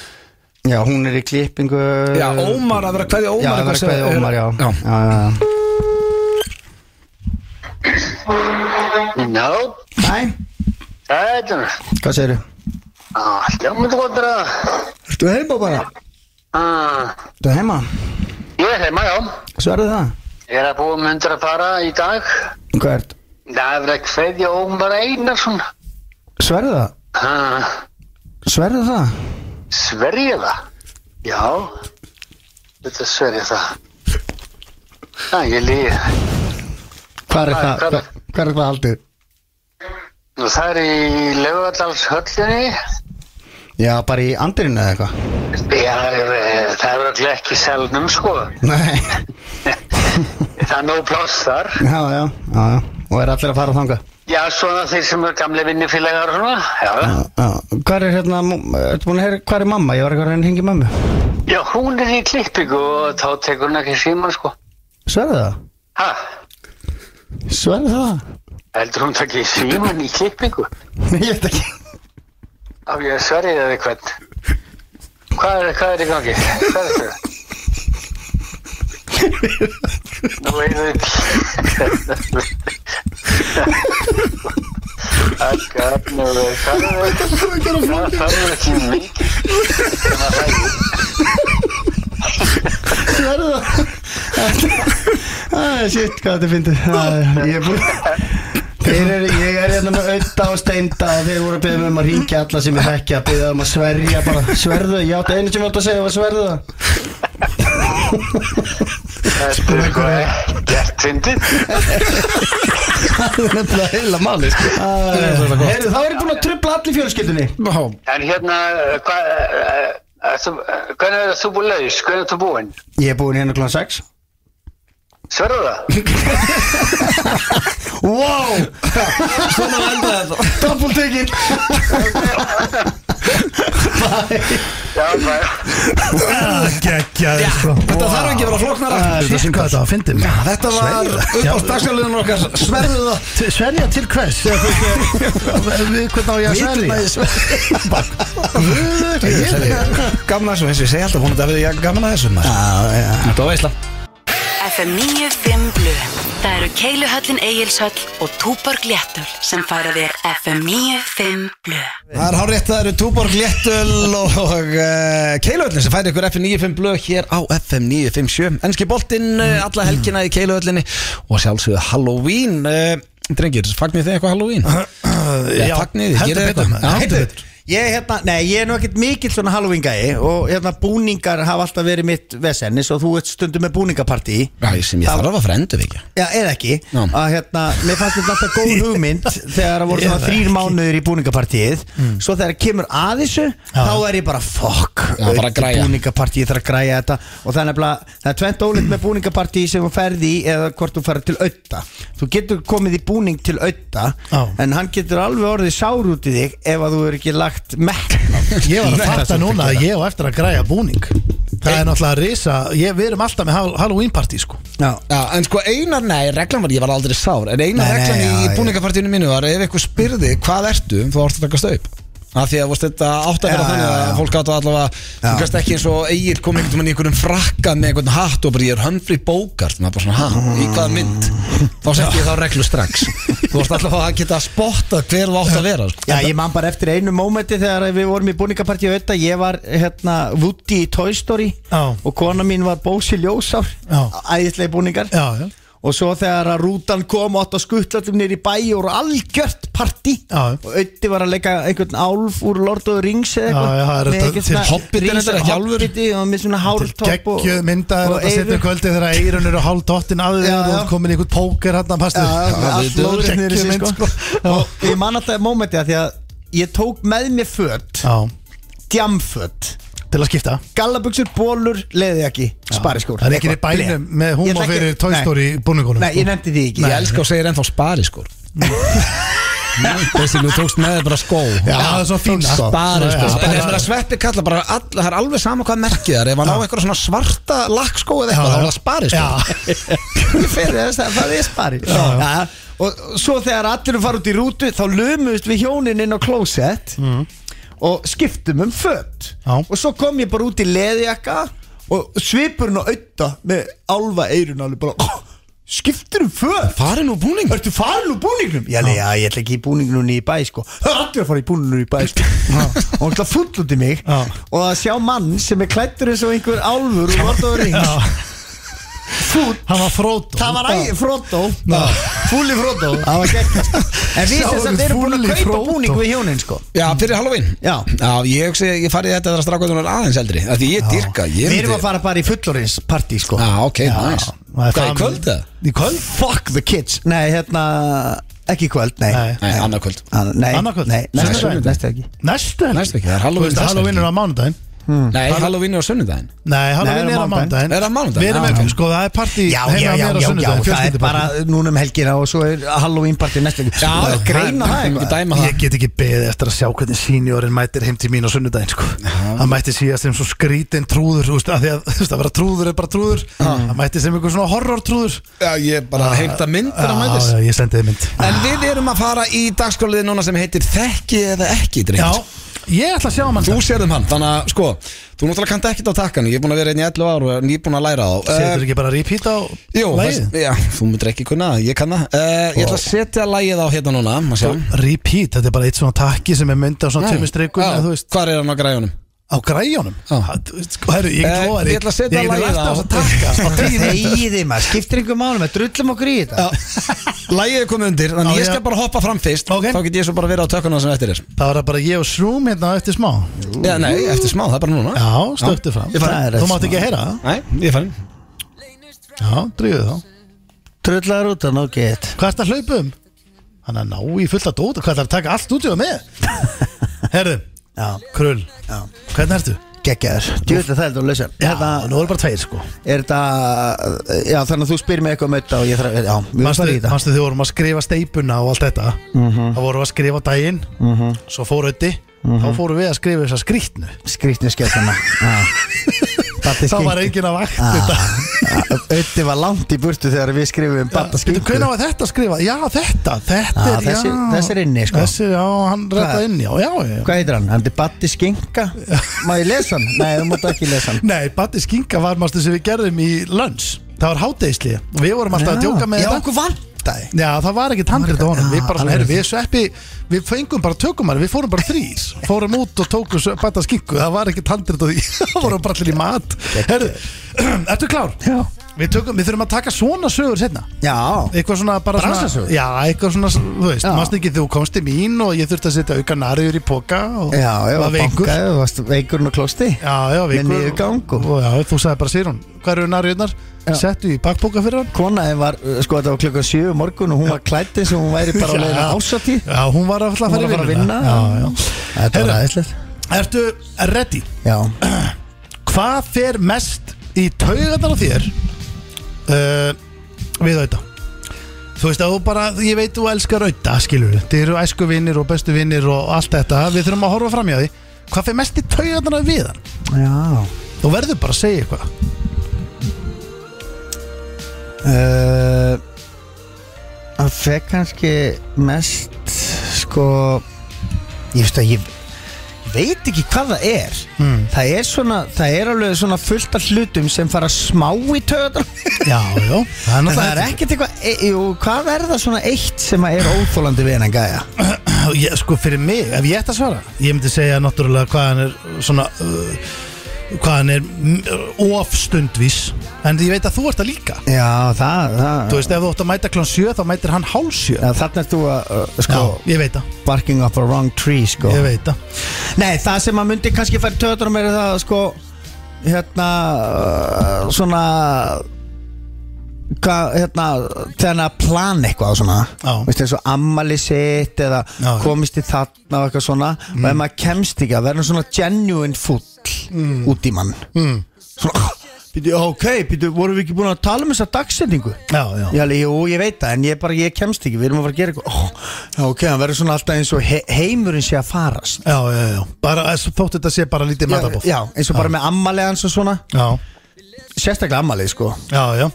Já, hún er í klippingu Já, Ómar, Uh, að vera hverja Ómar Já, það eitthvað var sem- kveðið Ómar, já já. já, já, já. Já, Hæ, það er það. hvað segirðu? Hljómið gott er það. Ertu heima bara? Ah, Ertu heima? Ég er heima, já. Sverðu það? Ég er að búa myndir að fara í dag. Hvað ert? Það er að kveðja Ómar Einarsson. Sverðu það? Ah, Sverðu það? Sverja það? Já, þetta er sverja það. Já, ég líði. Hvað er Hvað- það? hvað er- Hvað er það haldið? Nú það er í lögadalshöllinni. Já, bara í andirinu eða eitthvað Já, eh, það er örugglega ekki í selnum, sko. Nei, Það er nóg pláss þar. já, já, já, já Og er allir að fara þanga Já, svona þeir sem eru gamle vinnifélagar og svona. Já, já. Hvað er hérna, ertu búin að heyra, hvað er mamma? Ég var eitthvað að reyna að hengja mammu Já, hún er í klippingu og þá tekur hún ekki síman, sko. Sverðu það? Ha, Sverðu það? heldur hún takk í síman í klippingu? Nei, ég veit ekki Á ég að sverja það eitthvað. Hvað er, hvað er í gangi? Hvað er þetta? Nú einu Akkarnur, hvað er þetta? Það er ekki mikið. sem að það er. Sverðu það? Æ, Ah, shit, hvað þetta fyndið Æ, Ég er búin Þeir eru, ég er hérna með auðda og steinda og þeir voru að byggja mig um að ringja alla sem ég þekki að byggja um að sverja bara sverðu, það. ég átti einu sem ég átti að segja var sverðu það Þetta er sko ekkert fyndið. Það er nefnilega heila máli Ah, Heyrðu, þá er ég búin að trubla allir fjölskyldunni En hérna, hvað, eh, eh, þú- hvernig er þú búin laus? Hvernig er þú búin? Ég er búin hérna kl. 6 Sverðu það? Wow, Svona enda þetta double ticket Já, hvað? Gekkjaði sko Þetta þarf ekki að vera flóknar aftur Sýr hvað þetta var að fyndi mig Þetta var upp á stagsjálfliðun okkar Sverðu það Sverja til hvers? Þegar þú- eh, Við hvernig á ég að sverja? Gamla þessu, eins og ég segi alltaf vonandi að við ég gamla þessu maður Þetta var veisla FM 95 Blu Það eru Keiluhöllin Egilshöll og Túborg Léttul sem færa þér FM 95 Blu Það er hárétt, það eru Túborg Léttul og uh, Keiluhöllin sem færi ykkur FM 95 blöð hér á FM 957 Ennski boltinn uh, alla helgina í Keiluhöllinni og sjálfsögðu Halloween uh, Drengir, fagnir þið eitthvað Halloween? hérna. Já, fagnið þið, heldur gerið betur eitthvað. maður, Já, heldur heldur. betur Ég, hérna, nei, ég er nú ekkert mikill svona Halloween gæi og hérna búningar hafa alltaf verið mitt vesennis og þú ert stundum með búningapartí Já, sem ég þarf að fara endur ekki Já, eða ekki Já. að hérna, mér fannst þetta alltaf góð hugmynd þegar það voru svona þrýr mánuður í búningapartíið Mm. svo þegar kemur að þessu þá er ég bara fuck Já, bara að græja. búningapartíið þarf að græja þetta og það er nefnilega, það er tvent ólitt með búningapartíið sem þú ferði í eða hvort þú ferði til auða þú getur komið í búning til auða Já. en hann getur alveg orðið sár út í þig ef að þú er ekki lagt mekk Ég var að fatta núna að ég á eftir að græja búning Það er náttúrulega að risa ég, Við erum alltaf með hall- Halloween party sko Já, Já, en sko einar, nei, reglan var, ég var aldrei sár En einar Nei, nei, reglan já, í já. búningapartíinu mínu var Ef eitthvað spyrði, hvað ertu, þá orðið að taka staup Af því að vorst, þetta átt að vera Já, þannig já, að já. fólk átt að allavega Þú Já. gæst ekki eins og Egil kom einhvern veginn í einhvernum frakka með einhvern hatt og bara ég er Humphrey Bogart og maður bara svona, ha, í hvaða mynd Þá setti ég þá reglu strax Þú vorst allavega að geta að spotta hver þú átt að vera sko. Já, ég man bara eftir einu mómenti þegar við vorum í búningapartíu auðvitað, ég var hérna Woody í Toy Story Já. og kona mín var Bósi Ljósár Já. æðislega búningar Já, já, og svo þegar að rútan kom og átt að skuttlatum nýri bæ og voru algjört partí Já. og auði var að leika einhvern álf úr Lord of the Rings eða Já, já, það er Með þetta- eitthvað til svona Hobbitin risa- þetta er ekki alvöru. Hobbiti og með svona hártopp og- Gekkjuð myndaður og Þetta setja eyru. kvöldi þegar eirun eru hálf dottin að Já, þér og já. þú ert komin í einhvern póker hann að pastu Já, með allt blóðið niður í sig, mynd sko. sko og ég man alltaf mómenti að því að ég tók með mér föt Já, djamföt til að skipta gallabuxur, bólur, leðiðjaki, spariskór Það er ekki í Eitthvað. bænum með Ég ætla húma ekki- fyrir Toy Nei. Story sko. búningunum Nei, ég nefndi því ekki Ég elska og segir ennþá spari skor Þessi, þú tókst með þér bara skó Já, það er svo fín Spari, sko. En Spari ef maður að sveppi kalla bara all, Það er alveg sama hvað merkið það er Ef hann á eitthvað svona svarta lakkskó eða eitthvað Þá er það spari sko Ég fer þess að það er spari já, Og og svo þegar allir eru fara út í rútu þá lömuðust við hjónin inn á klósett og skiptum um fött Já. og svo kom ég bara út í leðiðjaka og svipurinn og auða með álfa eirun alveg bara oh, skiptur um fött Farin úr búning Ertu farin úr búningnum? Ég alveg, já, ég ætla ekki í búningnum í bæ, sko Það er allir að fara í búningnum í bæ, sko Og hún ætla full út í mig Já. Og að sjá mann sem er klættur eins og einhver álfur og vart á ring fúll Hann var Frodo Það var æ, Frodo Ná. Fúli Frodo Það var gegn En við Sjáum þess að við erum búin fúlli að kaupa Frodo. búning við hjónin sko Já, fyrir Halloween Já. ég hugsi, ég farið þetta þegar strákvæðunar aðeins eldri af Því ég dyrka, ég Við erum að fara bara í fullorins partí sko Já, ok, nice Hvað er kvöld það? Í kvöld? Fuck the kids Nei, hérna Ekki í kvöld, nei Nei. Nei, annað kvöld An- Nei, Annað kvöld? Nei, næstu Sunnudaginn? Næstu Næstu ekki helgi Næstu helgi, það er Halloween Þú veist næstu að Halloween helgi. er á mánudaginn Nei, Halloween er á sunnudaginn Nei, Halloween Nei, er á mánudaginn Er það á mánudaginn? Við erum Já. ekki, sko, það er partí Já, heima já, hjá mér á já, já, já, sunnudaginn, það er fjölskyldupartí. bara núna um helgina og svo er Halloween party næstu ekki Já, greina það eitthvað. Ekki dæma Ég það get ekki beðið eftir að sjá hvernig seniorinn mætir heim til mín á sunnudaginn sko. Hann mætti síðast sem svo skrítinn trúður þú veist, að því að þú veist, að vera trúður er bara trúður Hann mætti sem einhver svona horror trúður Já, ég bara heimta myndir að mætis Já, já, ég sendi þið mynd En við erum að fara í dagskóliði núna sem heitir Þekki eða ekki, Já, drengt ég ætla að sjá um hann Þú sérðum hann, þannig að sko Þú náttúrulega kannt ekkert á takkan, ég er búin að vera einn í 11 ár og er nýbúin að læra Eh, á Setur ekki bara repeat á Jú, lagið? það, já, þú myndir ekki kunna það, ég kann það uh, Ég ætla að setja lagið á hérna núna má sjá. Repeat, þetta er bara eitt svona takki sem er myndið á svona tömmu streikum Já, eða þú veist, Hvar er hann á græjunum? á græjónum Já. Hæru, sko, ég Eh, glóðar ég ætla að setja Ég lagið get lært á á. þess að takka á tíu mínútum. Þegiði maður, skiptir einhver málum Við drullum okkur í þetta Lagið er komið undir, þannig Já, ég skal já. bara hoppa fram fyrst Ok. Þá get ég svo bara verið á tökuna sem eftir er Það var bara ég og Shroom hérna á eftir smá Já, nei, eftir smá, það er bara núna Já, stöktu fram Ég Það fann er Þú mátt rétt smá. ekki að heyra það Nei, ég fann Já, dríðu þá Trullar út að nóg get Hvað ert að hlaupa um? Hann er að ná í fulla dóta Hvað ert að taka allt stúdíu með? Herðu, Já, krull Já. Hvernig ertu? geggjaður Djúvill það Hérna, er þetta að lausa Já, Þetta nú er bara tveir sko er þetta Já, þannig að þú spyrir mig eitthvað um þetta og ég þarf Já, við erum Manstu bara í þetta Mhm. manstu þið vorum að skrifa steipuna og allt þetta Það vorum við að skrifa daginn Svo fór ötti Þá fórum við að skrifa þessa skrýtnu Skrýtni skjöldana Það var enginn að Ah, vakt þetta Ötti ah, var langt í burtu þegar við skrifum Batta Veitu, skýttu Hvernig var þetta að skrifa? Já, þetta, þetta Já, er, Ah, þessi- já. þessi er inni, sko. Þessi, já, hann Hvað? rettaði inni, já, já, já Hvað heitir hann? Hann er Batti Skinka Má ég lesa hann? Nei, þú mátt ekki lesa hann Nei, Batti Skinka var mástu sem við gerðum í lunch Það var hátegisli og við vorum alltaf að djóka með Já, þetta okkur vantaði Já, það var ekki handrið á honum Við bara svona, alveg herri, rétt. við sveppi Við fengum bara tökumar, við fórum bara þrýr Fórum út og tókum svo- bata skinku Það var ekki handrið á því, það vorum bara allir í mat Herri, ertu klár? Já. Við, tökum, við þurfum að taka svona sögur setna Já, Eitthvað svona bara Bransasögur? svona, Já, eitthvað svona, þú veist, Já. mást ekki þú komst til mín og ég þurfti að setja auka nariður í poka og já, ég var var veikur bankaði og varst veikurinn og klósti Já, já, Með veikur niðurgang og- og Já, þú sagði bara, Sýrún, hvað eru nariðunar? Já. Settu í bakpoka fyrir hann Konaðin var, uh, sko þetta var klukkan 7 um morgun og hún var klætt eins og hún væri bara á leiðin Já. ásatí Já, hún var að Hún fara var að fara að í vinnuna. vinna Já, já Þetta var Heyrðu. aðeinslega Ertu ready? Já, Hvað fer mest í taugarnar á þér uh, við auðvitað? Þú veist að þú bara, ég veit þú elskar auðvitað, skilur við Þið eru æsku vinnir og bestu vinnir og allt þetta Við þurfum að horfa fram hjá því Hvað fer mest í taugarnar á við hann? já Þú verður bara að segja eitthvað Uh, Það fekk kannski mest sko ég veist að ég ég veit ekki hvað það er mm. það er svona, það er alveg svona fullt af hlutum sem fara smá í töðan Já, já, það er en það er náttúrulega ekkert eitthvað, e, jú, hvað er það svona eitt sem að er óþólandi við hennan gæja ég, Sko fyrir mig, ef ég ætti að svara Ég myndi segja náttúrulega hvað hann er svona uh, Hvað hann er mm, of stundvís En ég veit að þú ert það líka já, það, það Þú veist, ef þú ætti að mæta klón 7 þá mætir hann hálf 7 Já, þarna ert þú að, uh, Já, sko, ég veit það, barking up a wrong tree, sko ég veit það Nei, það sem að myndi kannski færi töðurum er það sko hérna uh, svona hvað, hérna þegar að plana eitthvað og svona Já. veist eins og ammali sitt eða Já, Mm. já. komist í þarna og eitthvað svona og ef maður kemst ekki að verður svona genuine full út í mann mm. svona Býtu, ok, býtu, vorum við ekki búin að tala um þessa dagsetningu? Já, já. Ég, alveg, jú, ég veit það, en ég bara, ég kemst ekki, við erum að fara að gera eitthvað oh, já, Ok, hann verður svona alltaf eins og he heimurinn sé að farast Já, já, já, bara, þótt þetta sé bara lítið matabóð Já, eins og bara með ammali hans og svona já, Sérstaklega ammali, sko já, já.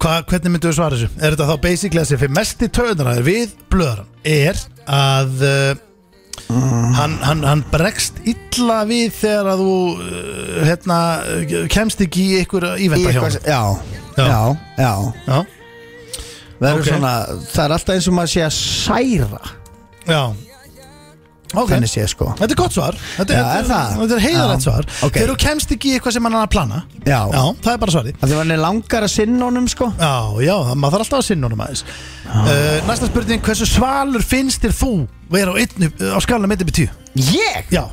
Hva, Hvernig myndu við svara þessu? Er þetta þá basically að sé fyrir mest í töðunar við blöðurann er að uh, hann, hann, hann bregst illa við þegar að þú uh, hérna, uh, kemst ekki í einhver Í ívenda hjá eitthvað- honum. Já. Já, já, já Já, Það, Ok. okay. svona, það er alltaf eins og maður sé að særa já Ok. Þannig sé sko Þetta er gott svar Þetta Já, þetta er það? Þetta er heiðarætt Já. svar Ok. Þegar þú kemst ekki í eitthvað sem hann er að plana Já. það er bara svarið Það var henni langar að sinna honum sko Já, já, það- maður þarf alltaf að sinna honum aðeins uh, Næsta spurning, hversu svalur finnst þér þú vera á, einni, eh, á skalunum 1 upp í 10? Ég? Já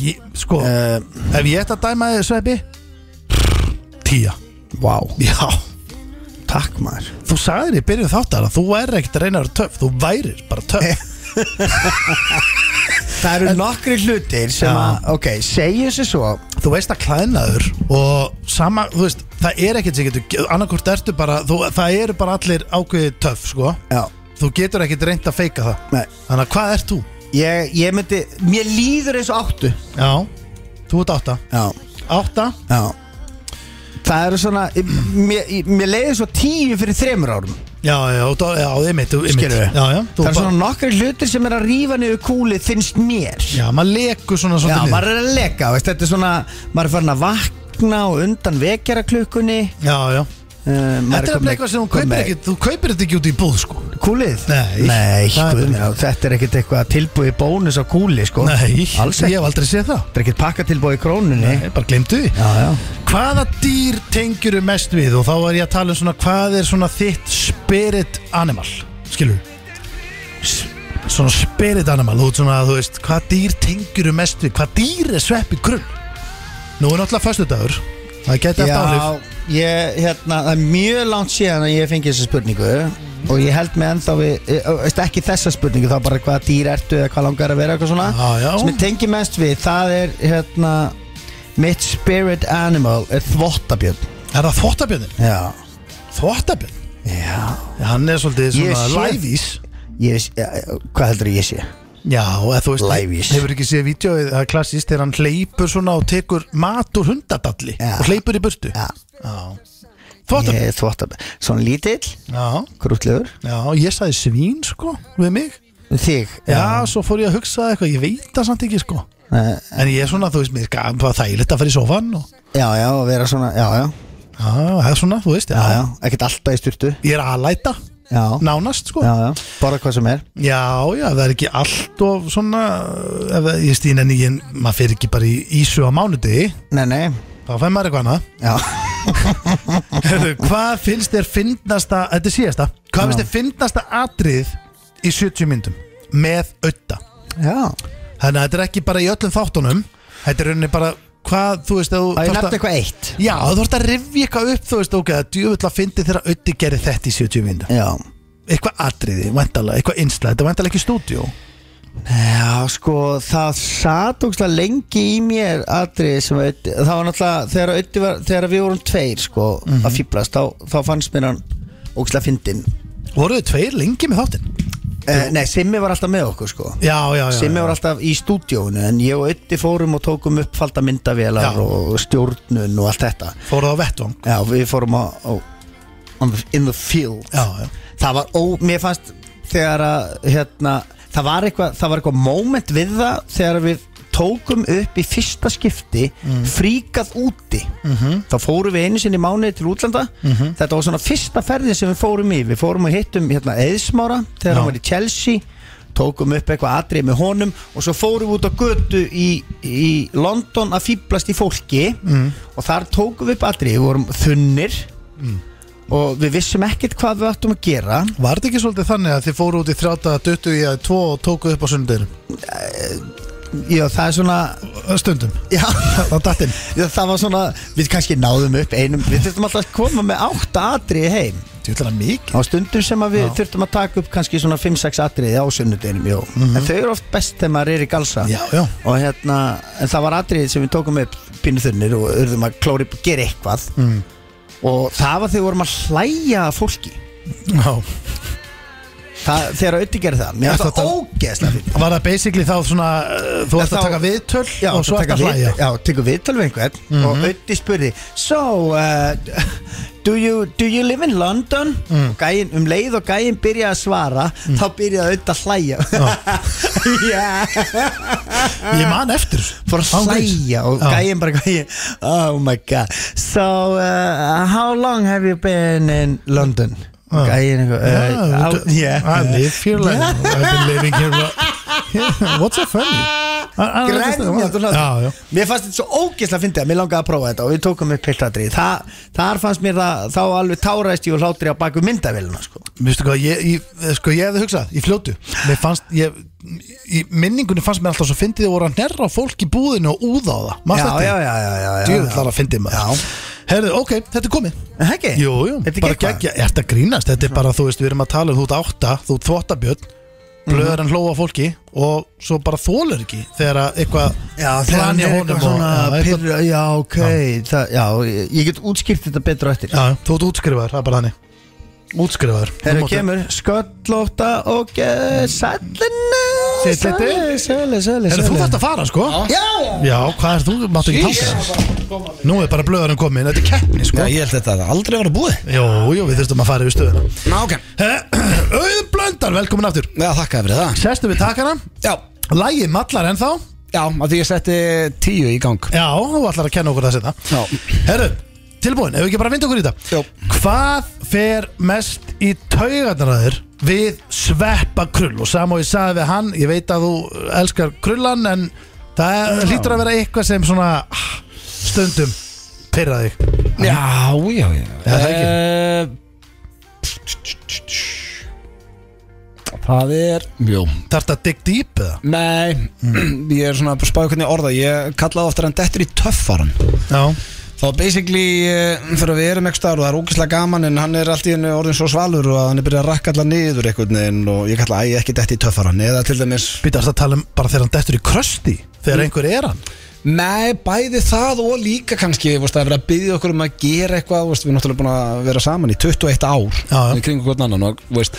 ég, Sko, Uh, ef ég ætti að dæma þið sveppi Tíja Vá, Já, takk maður þú sagðir í byrjun þáttar að þú er ekkert að reyna að vera töff Þú værir bara Eh. töff Það eru nokkri hlutir sem að Ok, segjum sér svo Þú veist að klæðnaður og sama, þú veist, það er ekkert sem getur annarkvort ertu bara, þú, það eru bara allir ákveðið töff, sko Já Þú getur ekkert reynd að feika það Nei. Þannig að hvað ert þú? Ég, ég myndi, mér líður eins og áttu Já, þú ert átta Já, Átta? já Það eru svona, mér, mér leiði svo tíu fyrir þremur árum Já, já, þú, já, einmitt, þú- einmitt Skilurðu? Já, já, þú Það eru bara- svona nokkri hlutir sem er að rífa niður kúlið finnst mér Já, maður leku svona Já, svolítið maður er að leka, veist, þetta er svona maður er farin að vakna og undan eh, vekjara klukkunni Já, já uh, Þetta er bara eitthvað sem þú kaupir ekki, þú kaupir þetta ekki út í búð, sko Kúlið? Nei. Það er Nei, guð, bara- minn, já, þetta er ekkert eitthvað tilbúið bónus á kúli, sko Nei, Alls ekki, ég hef aldrei séð það þetta er ekkert pakkatilbúið í krónunni Ég bara glemdu því Já, já Hvaða dýr tengjur er mest við og þá er ég að tala um svona hvað er svona þitt spirit animal skilur svona spirit animal þú, veist svona, þú veist, hvað dýr tengjur er mest við hvað dýr er sveppi krull nú er náttúrulega föstudagur það geti haft Já, áhrif ég, hérna, það er mjög langt síðan að ég fengi þessa spurningu og ég held með ennþá við, eh, eh, veist ekki þessa spurningu, þá bara hvaða dýr ertu eða hvað langar að vera eitthvað svona Já, já. sem ég tengi mest við, það er hérna, mitt spirit animal er þvottabjörn er það þvottabjörnin? Já, þvottabjörn? já hann er svolítið Ég svona sé- læfís ég, sé- eh, eh, Hvað heldur ég sé? já, eða þú veist Lævís. hefur ekki séð vídjóið það er klassist þegar hann hleypur svona og tekur mat úr hundadalli Já. og hleypur í burtu Já, þvottabjörn? ég er þvottabjörn Svona lítill, já krútlegur Já, ég sagði svín sko við mig Þig Já, svo fór ég að hugsa eitthvað, ég veit það samt ekki sko eh, En ég er svona, þú veist, mér gaf bara þægilegt að fara í sofan og já, já, og vera svona, já, já, Já, það er svona, þú veist, já, já, já Ekkert alltaf í styrtu Ég er aðlæta, Já, nánast sko já, Já, já, bara hvað sem er já, ef það er ekki allt of svona ef, það- Ég stýn en ég, maður fer ekki bara í ísu á mánudegi Nei, nei, Þá fæm maður eitthvað annað Já, Heyrðu, Hvað finnst þér fyndnasta, þetta er síðasta Hvað finnst þér fyndnasta atrið í 70 myndum með auðta? já Þannig að þetta er ekki bara í öllum þáttunum Þetta er rauninni bara hvað, þú veist ef þú Það er þarft að- nefnt eitthvað eitt Já, þú þarfst að rifja eitthvað upp, þú veist, ok, að djúvill að fyndi þegar Ötti gerir þetta í 70 vindu Já Eitthvað atriði, væntalega, eitthvað innslag, þetta er væntalega ekki stúdíó Já, sko, það satt ógstlega lengi í mér atrið sem Öddi, það var náttúrulega þegar, Öddi var, þegar við vorum tveir, sko, Mhm. að fýblast þá, þá fannst mér hann ógstlega fyndin Voruð þið tveir lengi með þáttinn? eh, Nei, Simmi var alltaf með okkur, sko Já, já, já Simmi var alltaf í stúdíónu en ég og Öddi fórum og tókum upp falda myndavélar Já. og stjórnun og allt þetta Fóruð á vettvang Já, við fórum á, á on the- in the field Já, já, það var ó, mér fannst þegar að hérna, það var eitthvað það var eitthvað moment við það þegar við tókum upp í fyrsta skipti fríkað úti þá fórum við einu sinni í mánuði til útlanda þetta var svona fyrsta ferðin sem við fórum í við fórum og hittum hérna Eðsmára þegar Já. hann var í Chelsea tókum upp eitthvað atrið með honum og svo fórum við út á götu í, í London að fýblast í fólki og þar tókum við upp atrið við vorum þunnir og við vissum ekkert hvað við ættum að gera var þetta ekki svolítið þannig að þið fóruð út í þrjáta döttu í að tvo og tókuð upp á sundeginum Já, það er svona Stundum, Já, það var dattinn já, það var svona Við kannski náðum upp einum Við þurftum alltaf að koma með átta atriði heim Þú ætlar að mikið Á stundum sem að við þurftum að taka upp kannski svona 5-6 atriði á sunnudinum mm -hmm. En þau eru oft best þegar maður er í galsa Mhm. Já, já. Og hérna, en það var atriði sem við tókum upp pínu þunnir og urðum að klóri upp og gera eitthvað mm. Og það var þegar við vorum að hlæja að fólki Já, það, Þegar að ötti gerði það Mér Já, er það þetta- ógeðslega fyrir var það basically þá svona uh, Þú ætti þá- að taka viðtöl Já, og svo ætti taka að við- hlæja Mhm. Já, tekur viðtal við einhvern og Ötti spurði So, uh, do, you, do you live in London? Mm. Gæin, um leið og gæinn byrjaði að svara Mm. þá byrjaði Ötti að hlæja Já Ég man eftir þessu. Eh, Fór að Án gríns. hlæja og Já. gæinn bara gæinn Oh my god So, uh, how long have you been in London? Já. Gæinn eitthvað Yeah, uh, I how- live here like I've been living here lo- What's so funny? Grænjandi og Já, já hlátur Mér fannst þetta svo ógeðslega fyndið að Mér langaði að prófa þetta og við tókum upp piltatri Þa, Þar fannst mér það, þá alveg táraðist ég og hlátri á baku myndavélina sko. Mér veistu hvað, ég, ég, sko, ég hefði hugsað í fljótu Mér fannst, ég, í minningunni fannst mér alltaf svo fyndið að voru að nerra á fólk í búðinu og úða á það já, Mást já, þetta? já, já, já, já, Djöfull þar að fyndið maður Já. Herðu, ok, þetta er komið En það ekki? Jú, jú, Eh, Þetta er bara geggjað. geggja, ert að grínast Þetta er bara, þú veist, við erum að tala um þú ert átta Þú ert þvottabjörn, Mhm. blöður en hlóa fólki Og svo bara þólur ekki Þegar að eitthvað Já, þegar hann plani er honum eitthvað og- svona já, eitthvað- pyrra, Já, ok Það, já, ég- ég get útskýrt þetta betur á eftir Já, þú ert útskrifaður, það er bara þannig Útskrifaður Nú Þegar máttu- kemur sköllóta og sællina Sitt, sitt, Sæli, sæli, sæli Herru, þú þarft að fara, sko Já, já Já, hvað er þú, máttu ekki tala Nú er bara blöðurinn komin, þetta er keppni, sko Já, ég held þetta að aldrei var að búið Jó, jó, við þurfum að fara yfir stöðuna Ná, ok Auðun Blöndal, velkomin aftur Já, þakkaði fyrir það Sestu við takana Já, Lægið mallar ennþá já, að því ég setti tíu í gang Já, þú ætlar að kenna okkur það setna Herru, tilbúin, ef við ekki bara vinda okkur í þetta Jó. Hvað fer mest í taugarnaræður við sveppa krull og sama og ég sagði við hann, ég veit að þú elskar krullan en það hlýtur að vera eitthvað sem svona ah, stundum pyrra þig Já, já, já Eh, Já, það ekki. Það er Jú Þarft að digg dýp eða? Nei, ég er svona að spáði hvernig ég orða Ég kallaði oftar hann dettur í töffaran Já, Þá basically eh, þegar við erum ekki staðar og það er ógeðslega gaman en hann er allt í hennu orðin svo svalur og hann er byrjað að rakka allar niður einhvern veginn og ég kalla æg ekki detti í töffaran eða til dæmis býtast að tala um bara þegar hann dettur í krösti þegar einhver er hann Nei, bæði það og líka kannski þú veist, það er verið að byggja okkur um að gera eitthvað þú veist, við erum náttúrulega búin að vera saman í 21 ár Já, já. í kringu hvort annan og þú veist,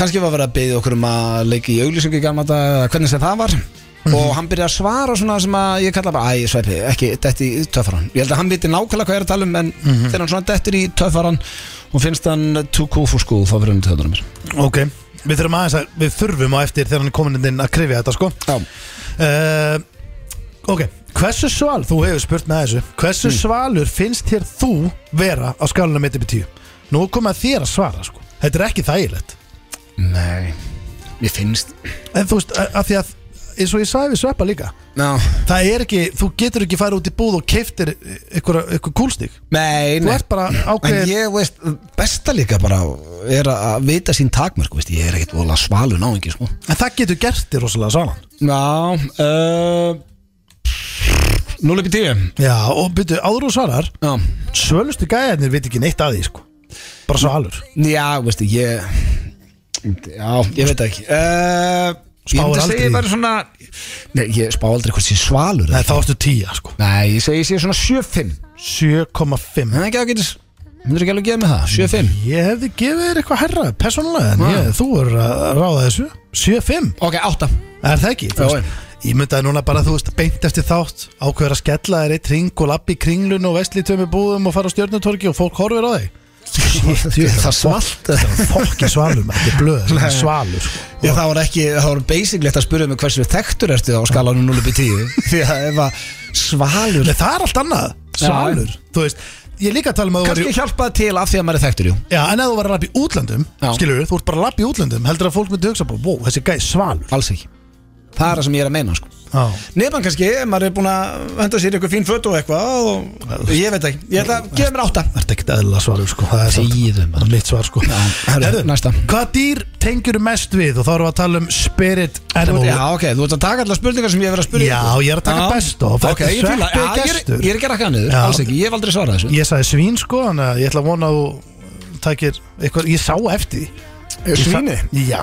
kannski var verið að byggja okkur um að leika í auglýsingu í gamla dag eða hvernig sem það var Mhm. og hann byrjaði að svara svona sem að ég kalla bara æ, sveipi, ekki, detti í töffaran ég held að hann viti nákvæmlega hvað ég er að tala um en Mhm. þegar hann svona dettir í töffaran og finnst hann too cool for school þá fyrir hann til töðunum mér Ok, við þurfum aðeins að við þurfum á eftir þegar hann er komin inn að krifja þetta sko Já, uh, Ok, hversu sval þú hefur spurt með þessu Hversu svalur finnst þér þú vera á skalunum 1-10 Nú komið að þér að svara sko Þetta er ekki þægilegt nei, ég finnst En þú veist, að, að því að eins og ég sagði við sveppa líka Já, Það er ekki, þú getur ekki fara út í búð og keiftir ykkur, ykkur kúlstík nei, Þú nei ert bara En ákveðin ég veist, besta líka bara er að vita sín takmörk, veist, ég er ekkert vola svalur náingi, sko. En það getur gert þér rosalega svalan Já, uh, 0 upp í 10. Já, og byrju, áður og svarar Já, Svölustu gæðarnir veit ekki neitt að því sko Bara svalur já, veist, ég, já, ég veit það ekki. Uh, Ég Spáir myndi aldrei segja í. bara svona, nei, ég spá aldrei hvort sé svalur. Nei, Nei, þá ertu 10 sko nei ég segi, ég segi svona 7-5. 7,5 Það er ekki ágætis, myndur ekki alveg gefa mig það, 7-5. Ég hefði gefið þér eitthvað herra, persónulega en ég, þú er að ráða þessu 7-5, Ok, 8. er það ekki? Þú Já, veist, Ég myndaði núna bara, þú veist, beint eftir þátt ákveður að skella þér eitt ring og lappi í kringlun og vesli tömur búðum og fara á stjörnutorki og fólk horfir á þig Það svalt. Fólki svalur, maður, þetta er blöð þetta er svalur, sko Já, það var ekki, það var basically eftir að spyrja mig hversu þekktur ertu á skalanum 0 upp í 10 því að ef að svalur Nei, það er allt annað, svalur Þú veist, ég er líka að tala um að þú var kannski í hjálpaði til af því að maður er þekktur, jú Já, en ef þú var að lappa í útlöndum, Já. skilur þú ert bara að lappa í útlöndum, heldur að fólk myndi hugsa bara, wow, þessi gæði svalur alls ekki, það er það sem ég er að meina sko. Já. nefnum kannski, ef maður er búin að henda sér í eitthvað fín föt og eitthvað og ég veit ekki, ég ætla að gefa mér átta Það ert ekkert eðla svaru sko Það er Þegiðu, maður. samt- það er mitt svar sko um herru, Herðu, næsta. Hvað dýr tengjur mest við og þá erum við að tala um spirit animal Já, ok, þú ert að taka allar spurningar sem ég hef verið að spyrja Já, ykkur. ég er að taka Já. best of. Ok, Þetta er ég fíla, sveppi já, ég er, gestur. ég er ekki að rakka hann niður, Já. alls ekki, ég hef aldrei svarað þessu Ég sagði svín sko Þannig að ég ætla að vona að þú takir eitthvað, Ég sá eftir því. Ég Svíni? sa- Já,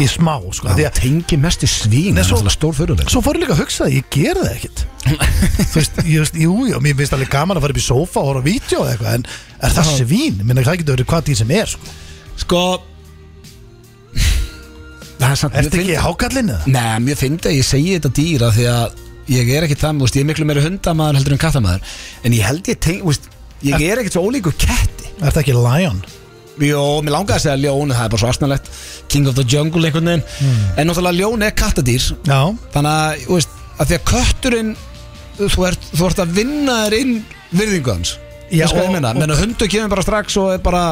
í smá sko Því að tengi mest í svín, það Nei, er svo- alltaf stór fyrirlega Svo fór ég líka að hugsa það, ég ger það ekkert Þú veist, ég veist, jú, jú, mér finnst alveg gaman að fara upp í sófa og horfa á vídeo eða eitthvað En er það svín? Minna það getur verið hvað dýr sem er sko Sko Það er samt mjög Ertu fyndið. ekki hákallin eða? Nei, mér finnst að ég segi þetta dýra því að ég er ekkert það, þú veist, ég er miklu meira hundamaður heldur en kattamæður, en ég held ég teng, þú veist, ég er ekkert svo ólíku ketti Ertu ekki lion? Jó, mér langaði að segja ljón, en það er bara svo asnalegt King of the Jungle einhvern veginn en náttúrulega ljón er kattadýr Já, þannig að, þú veist, að því að kötturinn þú ert, þú ert að vinna þér inn virðingu hans Já, Veistu hvað og- ég meina, og- menna hundu kemur bara strax og er bara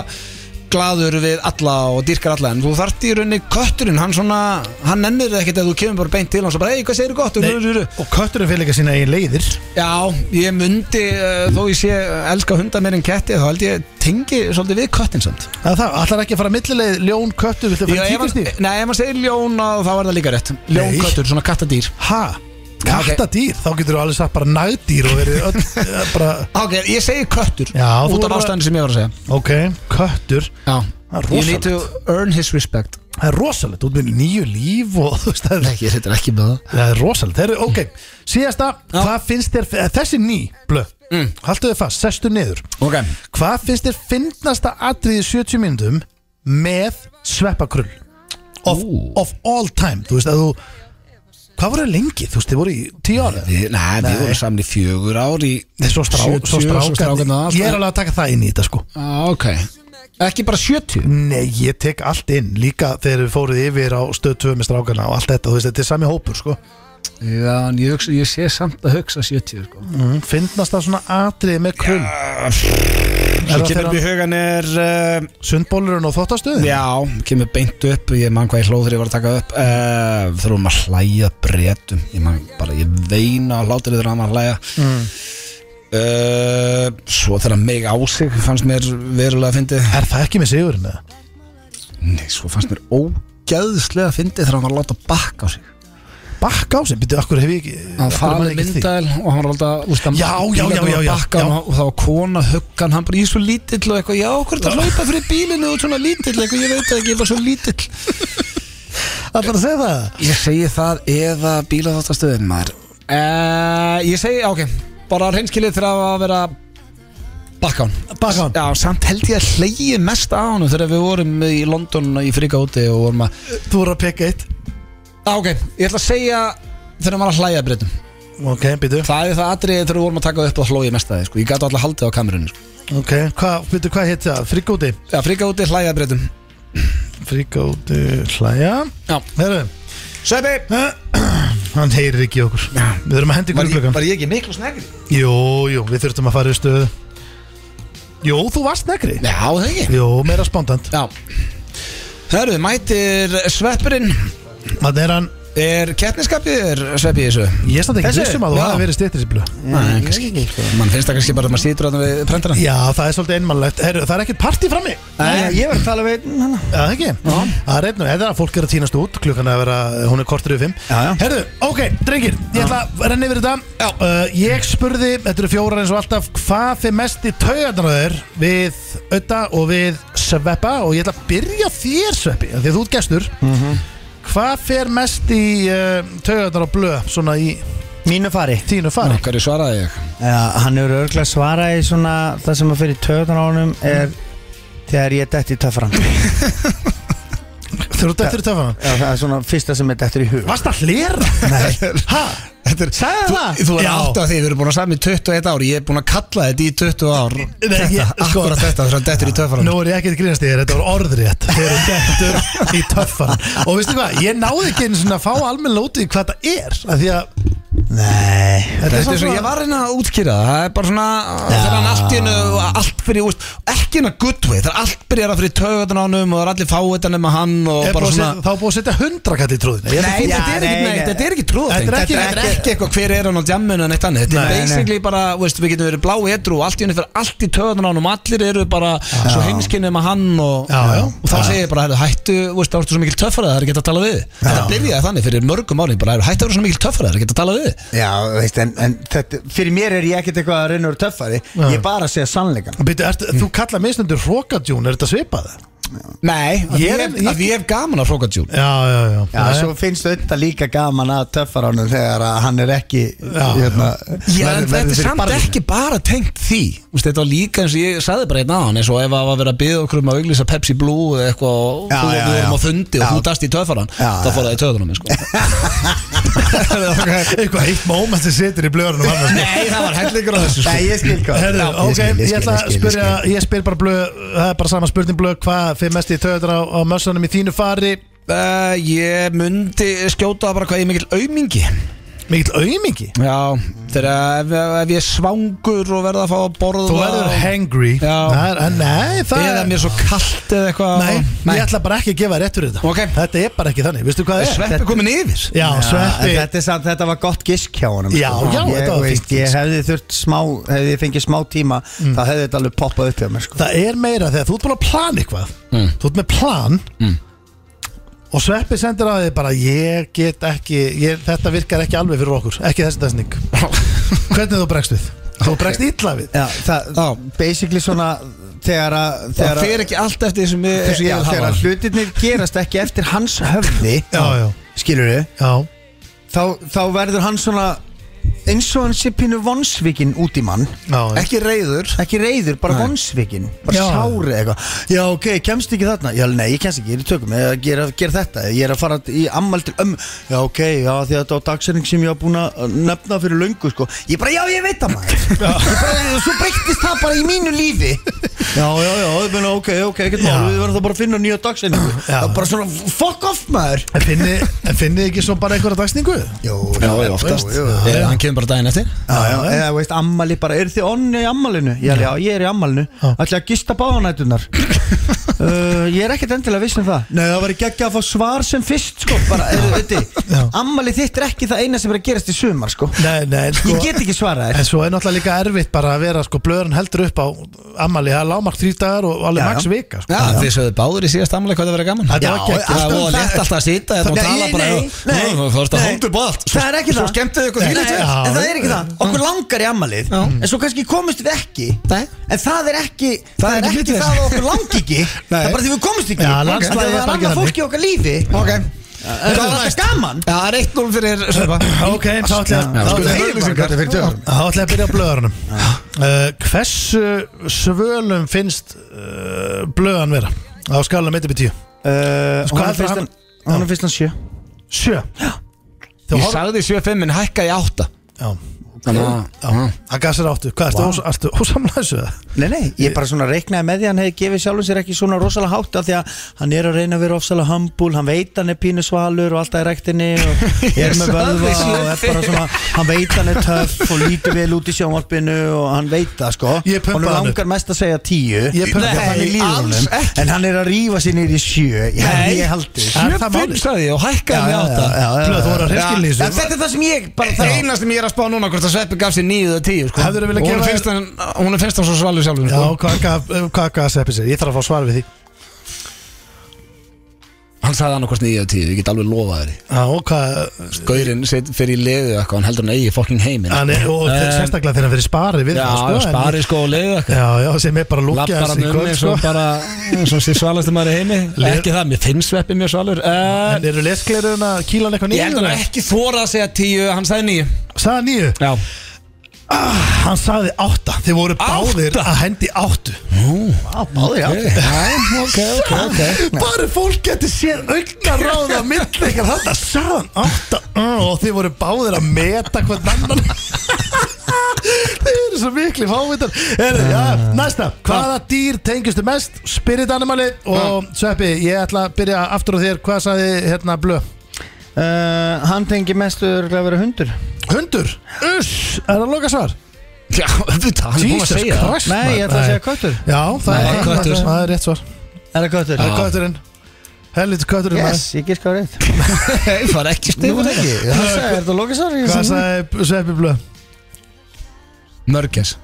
gladur við alla og dýrkar alla en þú þart í rauninni kötturinn hann svona, hann nennir það ekkert að þú kemur bara beint til hans og bara, ei, hvað segir þú gott Nei, og kötturinn fyrir líka sína eigin leiðir Já, ég myndi, uh, þó ég sé uh, elska hunda meir en ketti, þá held ég tengi svolítið við köttin samt Það er það, allar ekki að fara millileið ljón köttur Viltu Já, ef fara e- hann- tíkast í? Nei, ef maður segir ljón að þá er það líka rétt Ljón Nei. köttur, svona kattadýr Ha? Já, ok. Kattadýr, þá getur þú alveg sagt bara nagdýr og verið öll eh, bara, Ok, ég segi köttur Já, þú Út af voru- ástæðinu sem ég var að segja Ok, köttur Það er Já, you need to earn his respect Það er rosalegt, út með nýju líf og þú veist það er, Nei, ég hittir ekki með það það er rosalegt Þeir, Ok, síðasta, hvað finnst þér eh, þessi ný, blöð, mm. haltu þið fast sestu niður, Ok hvað finnst þér finnasta atriði í 70 minnum með sveppakrull of, of all time þú veist að þú hvað voru þau lengi, þú veist þið voru í 10 ára Nei, við vorum saman í fjögur ár í Nei, svo, strá, 70, svo svo strákarnir, strákan allt. ég er alveg að taka það inn í þetta sko ah, Ok Ekki bara 70 Nei, ég tek allt inn, líka þegar við fóruð yfir á stöð 2 með strákana og allt þetta, þú veist, þetta er sami hópur, sko Já, en ég, hugsa, ég sé samt að hugsa 70 sko. mm. Finnast það svona atriði með krull Er það þegar í hugan er uh, sundbólurinn og þóttastuðin? Já, kemur beint upp Ég man hvað ég hlóð þegar ég var að taka upp uh, Þurfum að hlæja breytum Ég man bara, ég veina hlátur þegar hann var að hlæja mm. Svo þegar hann meg á sig Fannst mér verulega að fyndi Er það ekki með sigurinn? eða? Nei, svo fannst mér ógæðslega að fyndi Þegar hann var að láta bakka á sig Bakk á sem, byrju, akkur hef ég ekki hann af hverju man farið ég ekki eftir því? myndal og hann var alltaf úst, Já, já, já, já, já, já. og það var kona huggan hann bara ég er svo lítill og eitthvað já, hvort að hlaupa fyrir bílinu og svona lítill eitthvað ég veit það ekki, ég var svo lítill Ætlarðu að segja það? ég segi það eða bíla þáttar stöðin maður uh, ég segi, ok, bara reynskilið þegar að vera bakkán Bakk á já, samt held ég að hlegi mest á hann þegar við vorum í London í fríka úti og vorum að Þú voru að peka eitt já, ok, ég ætla að segja þegar maður að hlæja breytum Ok, byrju það er það atriðið þegar við vorum að taka upp og hlói mest að þið sko. ég gæti alltaf haldið á kamerunni sko. Ok, hvað, byrju, hvað heit það? Frigóti Já, fríka úti, hlæja breytum Frigóti hlæja Já. Herru, eh, Sveppi! hann heyrir ekki í okkur Við erum að hendi grunnblökan ég ekki miklu snegri? Jú, jú, við þurftum að fara í stöðu Jú, þú varst negri Já, það ekki Jú, meira spondant Já Hörru, mætir sveppurinn Þannig er hann, Er kettniskapið er sveppi í þessu? ég stand ekki Þessi? vissum að þú Já. hafi verið stýttir í blöð Nei, kannski um ekki Man finnst það kannski bara að maður sýtur að það við prentara Já, það er svolítið einmannlegt Herru, það er ekkert partí frammi Nei, ég var að tala við einn hana Já, það ekki Það er einn og eða að fólk er að týnast út Klukkan er að vera, eh, hún er kortur yfir fimm Já, já. Herru, ok, drengir Ég ætla að renna yfir þetta uh, Ég spurði, þetta eru fjórar eins og alltaf Hvað þið mest í taugarnar Við Ötta og við Sveppa Og ég ætla að byrja á þér Sveppi af Því að þú ert gestur Hvað fer mest í uh, taugarnar á blöð Svona í Mínu fari tínu fari Hverju svaraði ég? Já, hann hefur örglega svarað í svona Það sem að fyrir töðan á honum Mm. er Þegar ég detti töfran Já, Þú ert eftir töfana Það er svona fyrsta sem er dettur í hug Varst að hlera? Nei Hæ? Þetta er Sagði Þú, það? þú er Já. átt af því, við erum búin að sami 21 ár Ég er búin að kalla þetta í 20 ár Þetta, ég- sko- akkurat þetta, þegar hann dettur í töffarann Nú er ég ekki að grínast í þér, þetta var orðrétt Þeir eru dettur í töffan Og veistu hvað, ég náði ekki einu svona að fá almenn lótið hvað það er af Því að Nei þetta Þetta er svo, ég var að reyna að útskýra það Það er bara svona, þegar hann allt í hennu Allt fyrir, úst, ekki hennar good way Þegar allt byrjar að fyrir taugatana á hennum Og það er allir fáið nema hann og er bara búið að svona setja- Þá er búið að setja hundra kall í Nei, trúðinu já, þetta er ekki, nei, nei, nei. þetta er ekki trúðatengt Þetta er ekki- Þetta er ekki eitthvað hver er hann á djamminu en eitt annað Þetta er Nei, nei. basically bara, veist, við getum verið blá edru og allt í henni fyrir allt í töðan á hann og allir eru bara svo heimskinn um að hann og, Já, já. og þá segir ég bara, heyrðu, hættu, veist, þá ertu svo mikil töffara það er ekki að tala við Þetta byrjaði þannig fyrir mörgum ári bara, heyrðu, hættu að vera svo mikil töffara það er ekki að tala við Já, veist, en, en þetta, fyrir mér er ég ekkert eitthvað að reyna úr töffari Ég er bara að segja sannleikan Beidu, ert, Þú kalla misnundur hrókadjún, er þetta svipað? Nei, að Ég ég, er- hef- ég- að ég hef gaman af hrókadjún Já, já, já, Já, svo finnst þetta líka gaman að töffaranum þegar að hann er ekki Já, hérna, Já, verður- en verður þetta er fyrir samt barðinu. ekki bara tengt því Úst, Þetta var líka eins og ég sagði bara einn aðan eins og ef það var að vera að byggja okkur um að auglýsa Pepsi Blue eða eitthvað og Já, þú já, og við erum já. á fundi Já. og þú dast í töðfaran Já, þá fór það í töðunum sko. Eitthvað eitt moment sem setur í blöðunum annars. Nei, það var hellingur á þessu Nei, sko. ég skil hvað Herðu, Já, ok, skil, ég skil, ætla að skil, spyrja skil. Ég spyr bara blöð, það er bara sama spurning blöð Hvað fyrir mest í töður á, á mössunum í þínu fari uh, Ég myndi skjóta bara hvað ég er mikill aumingi Mikill aumingi Já, þegar ef, ef ég er svangur og verða að fá að borða Þú verður og- hangry Já. Það er- en Nei, það Eða er mér er svo kallt eða eitthvað Nei, ég ætla bara ekki að gefa rétt fyrir þetta Ok. Þetta er bara ekki þannig, veistu hvað það er? Sveppi Þetta- komin yfir Já, sveppi en þetta, er samt, þetta var gott gisk hjá honum Já, sko. já, ég, þetta var veist, fínt Ég gisk. hefði þurft smá, hefði ég fengið smá tíma þá hefði þetta alveg poppað upp hjá mér sko. Það er meira þegar þú ert búin að plana eitthvað Mm. Þú ert með plan Og sveppi sendir að þig bara Ég get ekki, ég, þetta virkar ekki alveg fyrir okkur Ekki þessi dansning Hvernig þú bregst við? Þú bregst illa við Já, það, Já. basically svona þegar að Það þegar að- fer ekki allt eftir því sem ég, eins og Já, ég vil þegar hafa að hlutirnir gerast ekki eftir hans höfði Já, já, skilur við já þá, þá verður hann svona eins og hann sé pínu vonsvikinn út í mann Já, já. Ekki reyður ekki reyður, bara vonsvikinn bara Já. sárið eitthvað já ok, kemst ekki þarna, já nei, ég kemst ekki, ég er í tökum ég er að gera, gera þetta, ég er að fara í ammæl til ömmu, já ok, já því að þetta var dagsending sem ég var búin að nefna fyrir löngu sko, ég bara já ég veit það maður Ég bara, og svo breyttist það bara í mínu lífi já já já, ég meina ok, ok, ekkert mál Já. við verðum það bara að finna nýja dagsendingu Já. það er bara svona fuck off maður En finni, en finni ekki svo bara einhverja dagsningu? Jó, já, oftast. Jó, Já, jó, já. Hann kemur bara daginn eftir Já, já, eh. eða veist, ammali bara, er þið onni í ammalinu? Já, já, ég er í ammalinu Já. Ætli að gista báðanætunar uh, Ég er ekkert endilega viss um það Nei, það var ekki að fá svar sem fyrst, sko Bara, er, veitir, Já. ammali þitt er ekki það eina sem er að gerast í sumar, sko Nei, nei, en sko Ég get ekki svarað En þér svo er náttúrulega líka erfitt bara að vera sko blöðurinn heldur upp á ammali, það er lámark þrý dagar og alveg Já, max já. vika sko. Já, þið sögðu báður í síðast amlega hvað það verið gaman Þetta var Já, geggjað. Það Alltaf var það- létt alltaf að sýta þetta og Nei, tala bara nei, nei, Þú fórst að nei. hóndu bótt Það er ekki sko. Svo það. skemmtið ykkur Nei, þvílíkt vel. Já. en það er ekki það, okkur langar í ammalið Já. En svo kannski komumst við ekki Nei. En það er ekki er Það, er ekki ekki hlutleysi. það að okkur langi ekki Það er bara því við komumst ekki Já, Af því að landslagið Það er er bara ekki annað þannig. fólk í okkar lífi Ok Það er alltaf gaman Já, það er 1-0 fyrir Sveppa Ok, þá ætla ég að- þá ætla ég Auglýsingar. Þá ætla ég að byrja á blöðarunum uh, Hversu svölum finnst uh, blöðan vera? Á skalanum 1 upp í 10 Uh, Sko, honum hvað er finnst hann- hann Honum finnst hann sjö 7 Þú Ég horf sagði 7-5 en hækka í 8 Já, já Hann gaf sér áttu Hvað, ertu wow. ertu ósamlæsu? Nei, nei, ég bara svona reiknaði með því að hann hefði gefið sjálfum sér ekki svona rosalega hátt af því að hann er að reyna að vera ofsalega humble hann veit hann er pínu svalur og alltaf í rektinni og er með vöðva og er bara svona, hann veit hann er töff og lítur vel út í sjónvarpinu og hann veit það sko Ég pumpaði Honum hann upp. langar mest að segja tíu Ég pumpaði hann upp. Nei, þannig líður Alls honum. En hann er að rífa sér nýri sjö Ég hefði ég haldið Er það 7-5 málið? sagði ég og Já, hækkaði já, í já, 8 já, já. Blöð, þú voru að hreinskilni í Já, þessu Þetta er það sem ég bara sko. Það eina sem ég er að spá núna hvort að Sveppi gaf sér 9 eða 10 sko. Hefðirðu viljað Og honum gefa- finnst hann- Honum finnst hann svo svalur sjálfur Já, sko. hvað gaf- hvað gaf Seppi sér? Ég þarf að fá svar við því Hann sagði hann okkur 9 eða 10 Ég get alveg lofað þér Já, og hvað Gaurinn set- fer í leiðu eitthvað Hann heldur hann eigi fólkin heimin hann er- Og Em, sérstaklega þegar hann fyrir spari við Já, það, sko, en- spari sko og leiðu eitthvað Já, já, sem er bara lúkja Lappar hann um eins sko. og bara eins og sér svalasti maður í heimi Leir- Ekki það, mér finnst Sveppi mjög svalur Eh, En eru leskleirun að kýla hann eitthvað Ég heldur hann nýjum? ekki þóra að segja 10 Hann sagði 9 Saða nýju? Já Hann sagði átta Þeir voru báðir Átta? að hendi áttu Báði, já Ok, ok, ok Bara fólk getur séð augna ráða Millir ekkert þetta Saðan átta mm, Og þeir voru báðir að meta hvern annan Þeir eru svo mikli fávitar er, ja, Næsta Hvaða dýr tengistu mest? Spirit animali Og Sveppi, ég ætla að byrja aftur á þér Hvað sagði hérna blö? Uh, hann tengi mest öðruglega að vera hundur Hundur? Uss, er það loka svar? Já, auðvitað, hann er búin að Jesus segja það Christ Nei, maður. ég ætla að segja köttur. Já, það Nei, er, köttur. það er rétt svar Er það köttur? Það er kötturinn Helviti kötturinn Yes, ég gíska á rétt Ég far ekki Nú stifur er ekki Það sagði, er það lokasar? maður. Hvað sagði Sveppi Blöð? Mörgess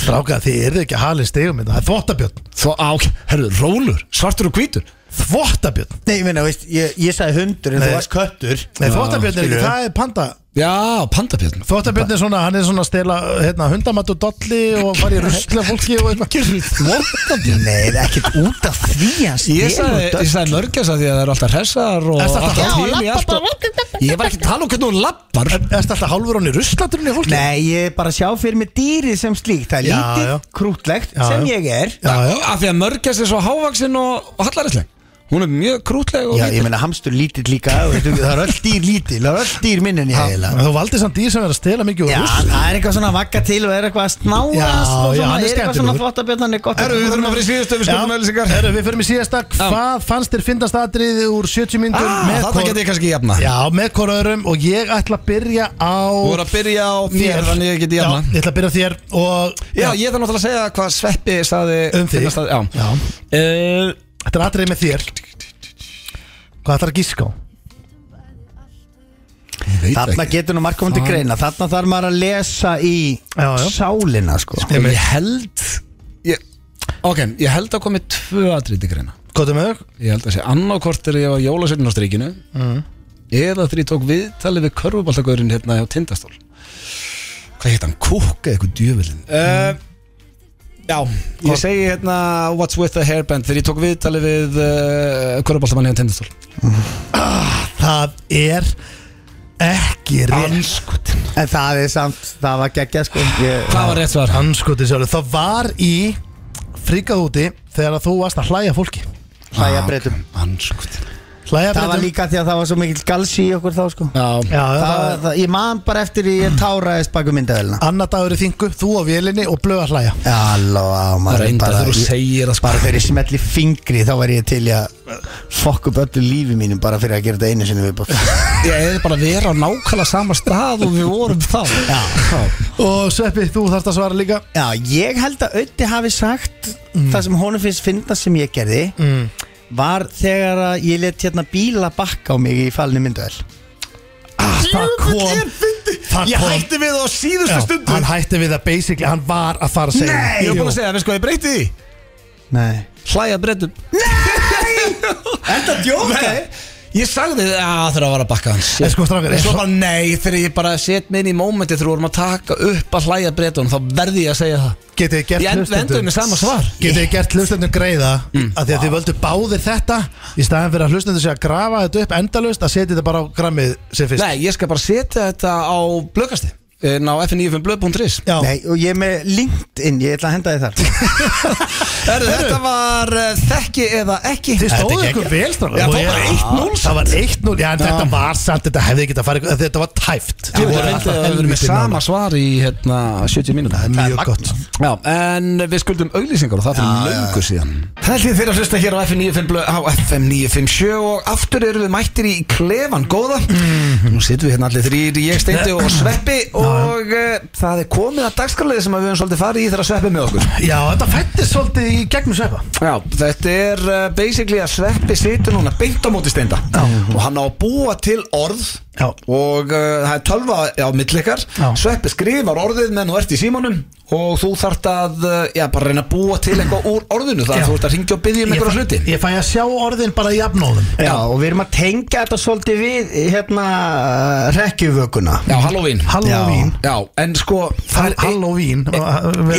Stráka, þið eru ekki að halið stegum þetta. Það er þvottabjörn Þó, á, ok, herru, rólur, svartur og hvítur Þvottabjörn Nei, ég meina, veist, ég, ég sagði hundur en Nei. þú varst köttur Nei, þvottabjörn er ekki, skilurðu. það er panda Já, pandapjörn Þvottabjörn er svona, hann er svona að stela hérna, hundamat og dolli og fara í rusla fólki og eitthvað Þvottabjörn? Nei, það er ekkert út af því að Ég stela sagði, ég út af- sagði mörgess að því að það eru alltaf hressar og Ertu alltaf- alltaf Já, til í allt og Ég var ekki að tala um hvernig hún lappar Er þetta alltaf hálfur hann í ruslaturinn í fólki? Nei, ég er bara að sjá fyrir mig dýrið sem slíkt Það er Já, lítið, já. krútlegt Já, sem já. ég er Já, já. Af því að mörgess er svo hávaksinn og, og hallarisleg Hún er mjög krútleg og Já, lítil. ég meina hamstur lítill líka veitum, við, Það er öll dýr lítill, það er öll dýr minn en ég eiginlega En þú valdi samt dýr sem er að stela mikið úr Já, rusli. það er eitthvað svona að vagga til og er eitthvað að snáast Já, og já, svona, hann er er eitthvað skemmtilegur. svona þvottabjörn, er gott Herru, við þurfum að fara í síðustu við skoðum auðlýsingar Herru, við förum í síðasta Hvað fannst þér fyndast atriði úr 70 myndum með Þetta hvor- Ah, get ég kannski jafna Já, með hvora öðrum og ég ætla að byrja á Þú voru að byrja á þér þér Þannig ég get ég Já, jafna ég ætla að byrja á þér og Já, ég þarf náttúrulega að segja hvað Sveppi saði Um þig. Stað, já. Já. Uh, Þetta er atriði með þér Hvað ætlar að gíska á? Þarna getur nú margum til greina Þarna þarf maður að lesa í Já, já. sálina sko. ég, held ég, Ok, ég held að komið tvö aðriti greina Hvað er með þau? Ég held að sé annarkvort er ég á jólasveitin á strikinu Eða þegar ég tók viðtalið við körfubaltagurinn hérna á tindastól Hvað hétt hann? Kúk eða eitthvað djöfilin mm. Já, ég segi hérna What's with the hairband Þegar ég tók viðtalið við uh, körfubaltamanni á tindastól Það er ekki rétt Anskutin En það er samt, það var geggja sko. ég, Hvað var rétt svar? Anskoti sjálfur Það var í fríkað úti þegar að þú varst að hlæja fólki Hlæja breytum Ah, Anskutin Hlæja Það var breytum líka því að það var svo mikill galsi í okkur þá sko. Já, Já, það, það það, Ég man bara eftir því ég táraðist baku myndavelina Anna dagur í þingu, þú á vélinni og blöð að hlæja Halló, á, maður er reyndar bara þegar þú ég- segir það sko Bara fyrir smelli fingri þá væri ég til í að fokk upp öllu lífi mínum bara fyrir að gera þetta einu sinni viðbótt Ég hefði bara verið á nákvæmlega sama stað og við vorum þá Já, Og Sveppi, þú þarft að svara líka Já, ég held að Ötti hafi sagt það sem honum finnst finna sem ég gerði var þegar að ég let hérna bíla bakka á mig í falni myndavel Það Ah, kom Það Ég kom hætti við á síðustu Já, stundu Hann hætti við það basically, hann var að fara að segja Ég Jú. var búin að segja, veist hvað ég breyti því? Nei Hlæja breytum Þetta djók Nei, ég sagði þið að það þurfa að vara að bakka hans En sko, strákar, En eins svo og- bara nei, þegar ég bara set mig inn í mómenti þegar við vorum að taka upp að hlæja breytun þá verði ég að segja það Getið þið Ég gert end- endaði með sama svar. Getið þið gert hlustendum greiða að því að þið völdu báðir þetta í staðan fyrir að hlustendum sé að grafa þetta upp endalaust að setja þetta bara á grammið sem fyrst Nei, ég skal bara setja þetta á blökasti inn á fn95blöð.is Já, Nei, og ég er með LinkedIn, ég ætla að henda þið þar Herru, Þetta var uh, þekki eða ekki þið Þetta stóðu gekk. ykkur vel strákar. Já, Og það ég- var 1-0 Það var 1-0, já en þetta var samt, þetta hefði ekki að fara ykkur- Þetta var tæft Ég reyndi að vera með sama svar í hérna, 70 mínúta Það er mjög gott Já, en við skuldum auglýsingar og það fyrir löngu síðan Það er því þeirra hlusta hér á FM 95 blöð- á FM 957 og aftur erum við mættir í klefan góða Nú sittum við hérna allir þrýr, ég, Steindi og Sveppi og uh, það er komið að dagskarlega sem að við höfum svolítið farið í þegar að Sveppi er með okkur Já, þetta fættist svolítið í gegnum svepa Já, þetta er uh, basically að Sveppi situr núna beint á móti Steinda og hann á að búa til orð Já. og uh, það er tölva á millikar Já. Sveppi skrifar orðið menn og ert í símanum og þú þart að uh, já, bara reyna að búa til eitthvað úr orðinu það Já. er þú ert að ringja og byggja um Ég einhverja fæ- hluti Ég fæ að sjá orðin bara í afnóðum Já, og við erum að tengja þetta svolítið við hérna rekkjuvökuna Já, Halloween Halloween Já, en sko það Hall- er ein- Halloween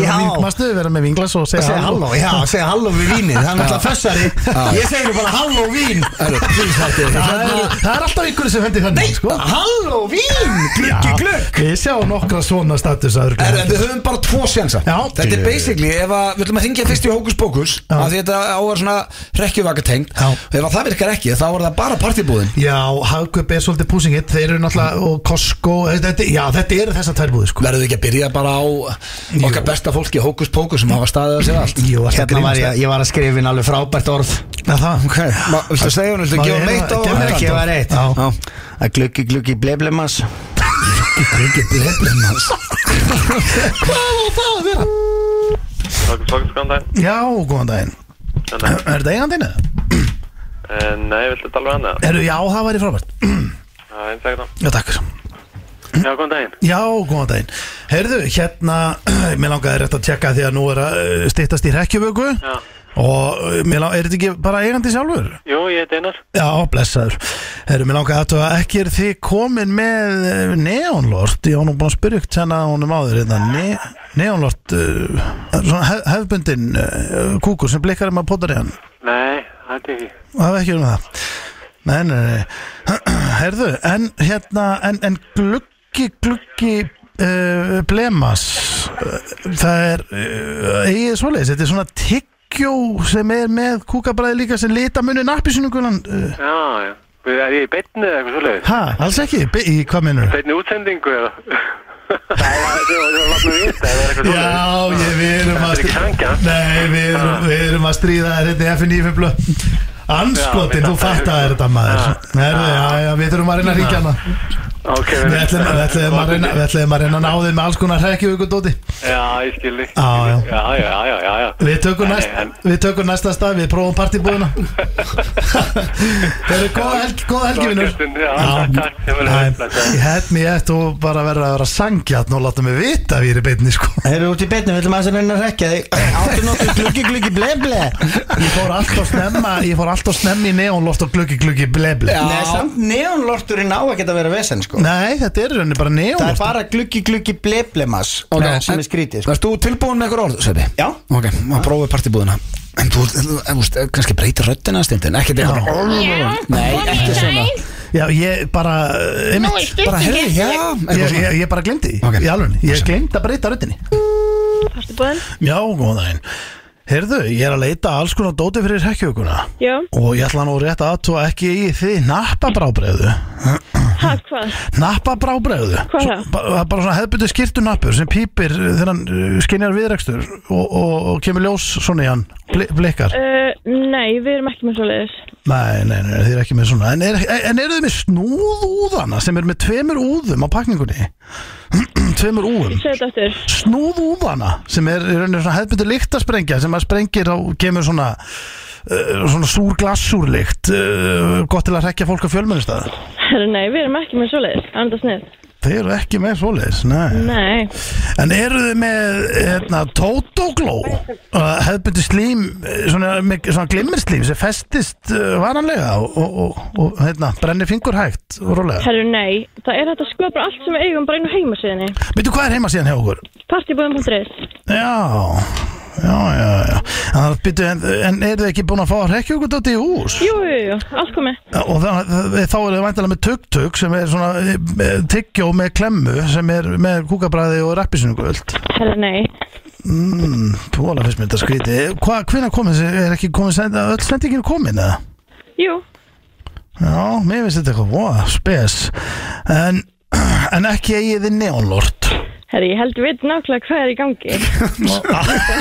Já. Mastu vera með vinglas og Og segja segja halló, já, og segja halló við vínið Það er náttúrulega fessari Ég segi nú bara halló vín Herru, please, þetta er- Það er, það er alltaf ykkur sem hendir þannig sko. Halló vín Já, Gluggi glugg Við sjáum nokkra svona status að Herru, en örgla Við höfum bara tvo sjansa Já. Þetta er basically, ef að, við ætlum að hringja fyrst í Hókus Pókus Já. af því þetta á að vera svona rekkjuvaka tengt Já. ef að það virkar ekki, þá er það bara partybúðin Já, Hagkaup er svolítið púsingitt Þeir eru náttúrulega og Costco þetta, Já, þetta eru þessar tvær búði sko. Verðu ekki að byrja bara á okkar besta fólki Hókus Pókus sem hafa staðið að segja allt Jú, alltaf Hérna var grínast ég, ég var að skrifa inn alveg frábært orð Já, það Ok, Ma- viltu segja hún, viltu Má gefa ég hún heyra- eitt á gefa mér Það eitt ekki á- var eitt Já. Að gluggi gluggi bleblemas Ekki bleflum hans Takk fyrir skoðan daginn. Já, góðan daginn Góðan daginn. Er þetta eigandinn eða? Hérna. Eh, Nei, viltu tala við hann eða? Eru- Já, það væri frábært Já, eins hérna. ekkert það. Já, takk Já, góðan daginn. Já, góðan daginn Herðu, hérna, mér langaði rétt að tjekka því að nú er að uh, styttast í rekkjuvöku Já. Og uh, mér langaði, er þetta ekki bara eigandi sjálfur? Jú, ég heiti Einar. Já, blessaður Herru, mér langaði aðtöða, ekki er þið komin með eh, neonlort Ég var nú búin að spyrja ykkur hérna honum áður hérna. ne Neonlort, uh, svona hef, hefbundin uh, kúkur sem blikkar um að potar í hann Nei, það er ekki. Það hef ekki um það Nei, nei, nei Herðu, en hérna, en, en gluggi, gluggi eh, uh, blemas uh, Það er, uh, eigið eh, svoleiðis, þetta er svona tygg tyggjó sem er með kúkabræði líka sem lita munni nappisunungulan uh, Já, já. Er ég í beinni eða eitthvað svoleiðis? ha, alls ekki, Be í hvað minnur Beinni útsendingu eða? Það var það var látnum vita, það var eitthvað Já, svoleiðis. ég, við erum að Þetta er ekki sanngjarnt. Nei, við erum, við erum að stríða þér hérna í FNF blöð Anskotin, Já, þú mér datt fattar það í þér hug. þetta maður Já. Herðu, já, já, við þurfum að reyna að ríkja hana Ok, Við ætlum við ætlum að reyna Við ætlum að reyna að ná þig með alls konar hrekkjúku dóti Já, ég skilji. Já, já. Já, já, já, já, já. Við tökum, Nei, næst, en- við tökum næsta stað, við prófum partibúðina Það eru góða helgi, góða helgi vinnur Þorgestin, já, takk, takk, ég verður að blessa. Ég hef mér eitt og bara verður að vera sangjarn og láta mig vita að ég er í beinni sko Erum við út í beinni, við ætlum aðeins að reyna að rekja þig Áttu nokkuð gluggi gluggi ble ble Ég fór alltaf snemma, ég fór alltaf snemma í neónloft og gluggi gluggi ble ble Nei, samt neonlorturinn á ekki að vera vesen sko Nei, þetta er í rauninni bara Það er neónloft bara gluggi gluggi ble ble mass sem er skrítið sko Erst þú tilbúin með einhver orð, Sveppi? Já. Ok, maður prófið partibúðuna En þú, þú, eh, þú, þú kannski breytir röddina stundin Ekkert eitthvað Nei, ekki svona Já, ég bara, eh, einmitt Bara herri, já Ég, eitthvað svona. ég, ég bara glemdi, Ok. okay. í alveg Ég glemdi að breyta röddinni Ertu búinn? Já, góðan daginn Heyrðu, ég er að leita alls konar dóti fyrir hrekkjókuna Já. Og ég ætla nú rétt að aðtúa ekki í því nappabrábreiðu Ha, hvað? Nappabrábreiðu Hvað er það? Ba- Það er bara svona hefðbundu skýrtunappur sem pípir uh, þegar hann uh, skynjar viðrekstur og, og, og kemur ljós svona í hann bli- blikkar Uh, nei, við erum ekki með svo leiðis. Nei, nei, nei, þið er ekki með svona En, er, en eru þið með snúðúðana sem er með tveimur úðum á pakningunni? tveimur úðum Segðu þetta aftur. snúðúðana sem er í rauninni svona hefðbundu lyktasprengja sem að sprengir og kemur svona uh, svona súr glassúrlykt uh, gott til að rekja fólk á fjölmennistæð Herru, Nei, við erum ekki með svo leiðis. Andast niður. Þeir eru ekki með svoleiðis, nei. Nei. En eru þið með hérna, Totogló hefðbundu slím, eh, svona, með- svona glimmerslím sem festist uh, varanlega og, og, og, og hérna, brennir fingur hægt og rólega. Herru, nei. Það er hægt að skoða bara allt sem við eigum bara inn á heimasíðinni. Veitu hvað er heima síðan hjá okkur? Partybúðum.is Já, já, já, já. En, byrju, en, en eru þið ekki búin að fá rekkjókudóti í hús? Jú, jú, jú. Allt komið. Og það, þá er það væntalega með tugg-tugg sem er svona eh, tyggjó með klemmu sem er með kúkabræði og rappisunugöld. Herru, nei. Mm, Póla fyrst mér þetta skríti. Hvað, hvenær kom þessi, er ekki komið, send, öll sendingin komin eða? Jú. Já, mér finnst þetta eitthvað, wow, spes. En, en ekki eigið þið neonlort. Herru, ég held við nákvæmlega hvað er í gangi.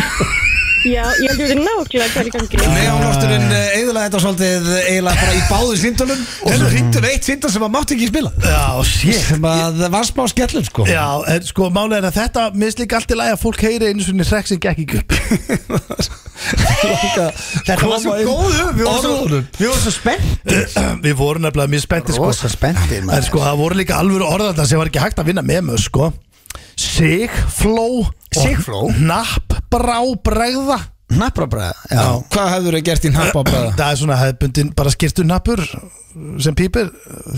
Já, ég held við nákvæmlega hvað er í gangi. Neonlofturinn eiginlega þetta svolítið eh, eiginlega bara í báðum síndalum og þú ringdur eitt síndal sem að mátt ekki spila Já, shit. sem að var smá skellur sko Já, en sko, málega er að þetta, mér slík allt í lagi að fólk heyri einu svona hrekk sem gekk í gupp. Þetta var svo Koma inn góð Við vorum svo, orðunum. við vorum svo spennt Við vorum nefnilega mjög spennti, sko. Rosa spenntir En sko, það voru líka alvöru orðarna sem var ekki hægt að vinna með mig, sko Sigfló Sigfló? Nappbrá bregða Naprabræða Já Hvað hefur þau gert í nappa bræða? Það er svona hefbundin bara skýrtu nappur sem pípir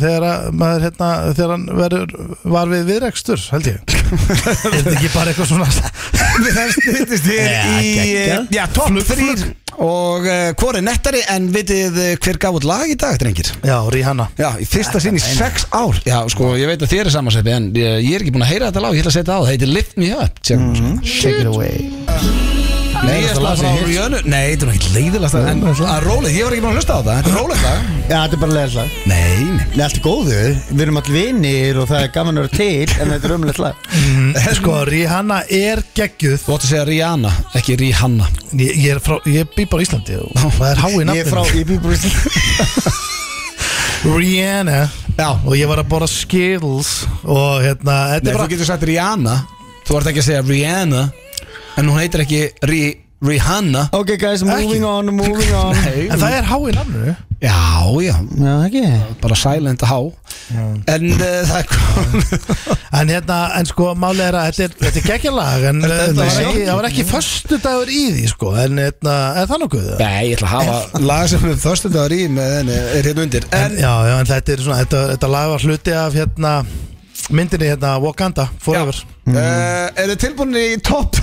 þegar að maður hérna, þegar hann verður var við viðrekstur, held ég Er þetta ekki bara eitthvað svona Það stundist hér Já, í eh, geggjað. já, topp þrýr og uh, hvor er nettari en vitið eh, hver gaf út lag í dag, drengir? Já, Rihanna Já, í fyrsta sinn í sex ár Já, sko, ég veit að þér er samanseppi en ég, ég er ekki búin að heyra þetta lag, ég ætla að setja á það það heitir Lift Me Up tjá, mm. Take it away Neiðast lag lag sem frá ég heyrt. Rihanna Nei, þetta er ekki sko. leiðilast en að rólið, ég var ekki búin að hlusta á það Þetta er rólið lag Já, þetta er bara leðislega Nei, nei Nei, allt er góðu Við erum all vinnir og það er gaman að vera til En þetta er umlega slag Sko, Rihanna er geggjuð Þú átt að segja Rihanna, ekki Rihanna Ég, ég, er frá, ég býr bara á Íslandi og það er hái Ég er frá, nafninu ég býr bara í- Rihanna Já, og ég var að bora Skittles og hérna, þetta Nei, er þú bara getur sagt Rihanna Þú ert ekki að segja Rihanna En hún heitir ekki Ri, Rihanna Ok guys, moving on, moving on En það er hái nafninu Já, já, Já, ekki bara silent há En uh, það kom En hérna, en sko, málið er að þetta er, þetta er geggjalag En uh, það var, sjá. ekki, það var ekki förstu dagur í því, sko En hérna, er það nokkuð? það? Nei, ég ætla að hafa lag sem við þörstundar í með henni er hérna undir En Já, já, en þetta er svona, þetta, þetta lag var hluti af hérna Myndinni hérna, Wakanda, já, Forever uh, er þið tilbúinni í topp?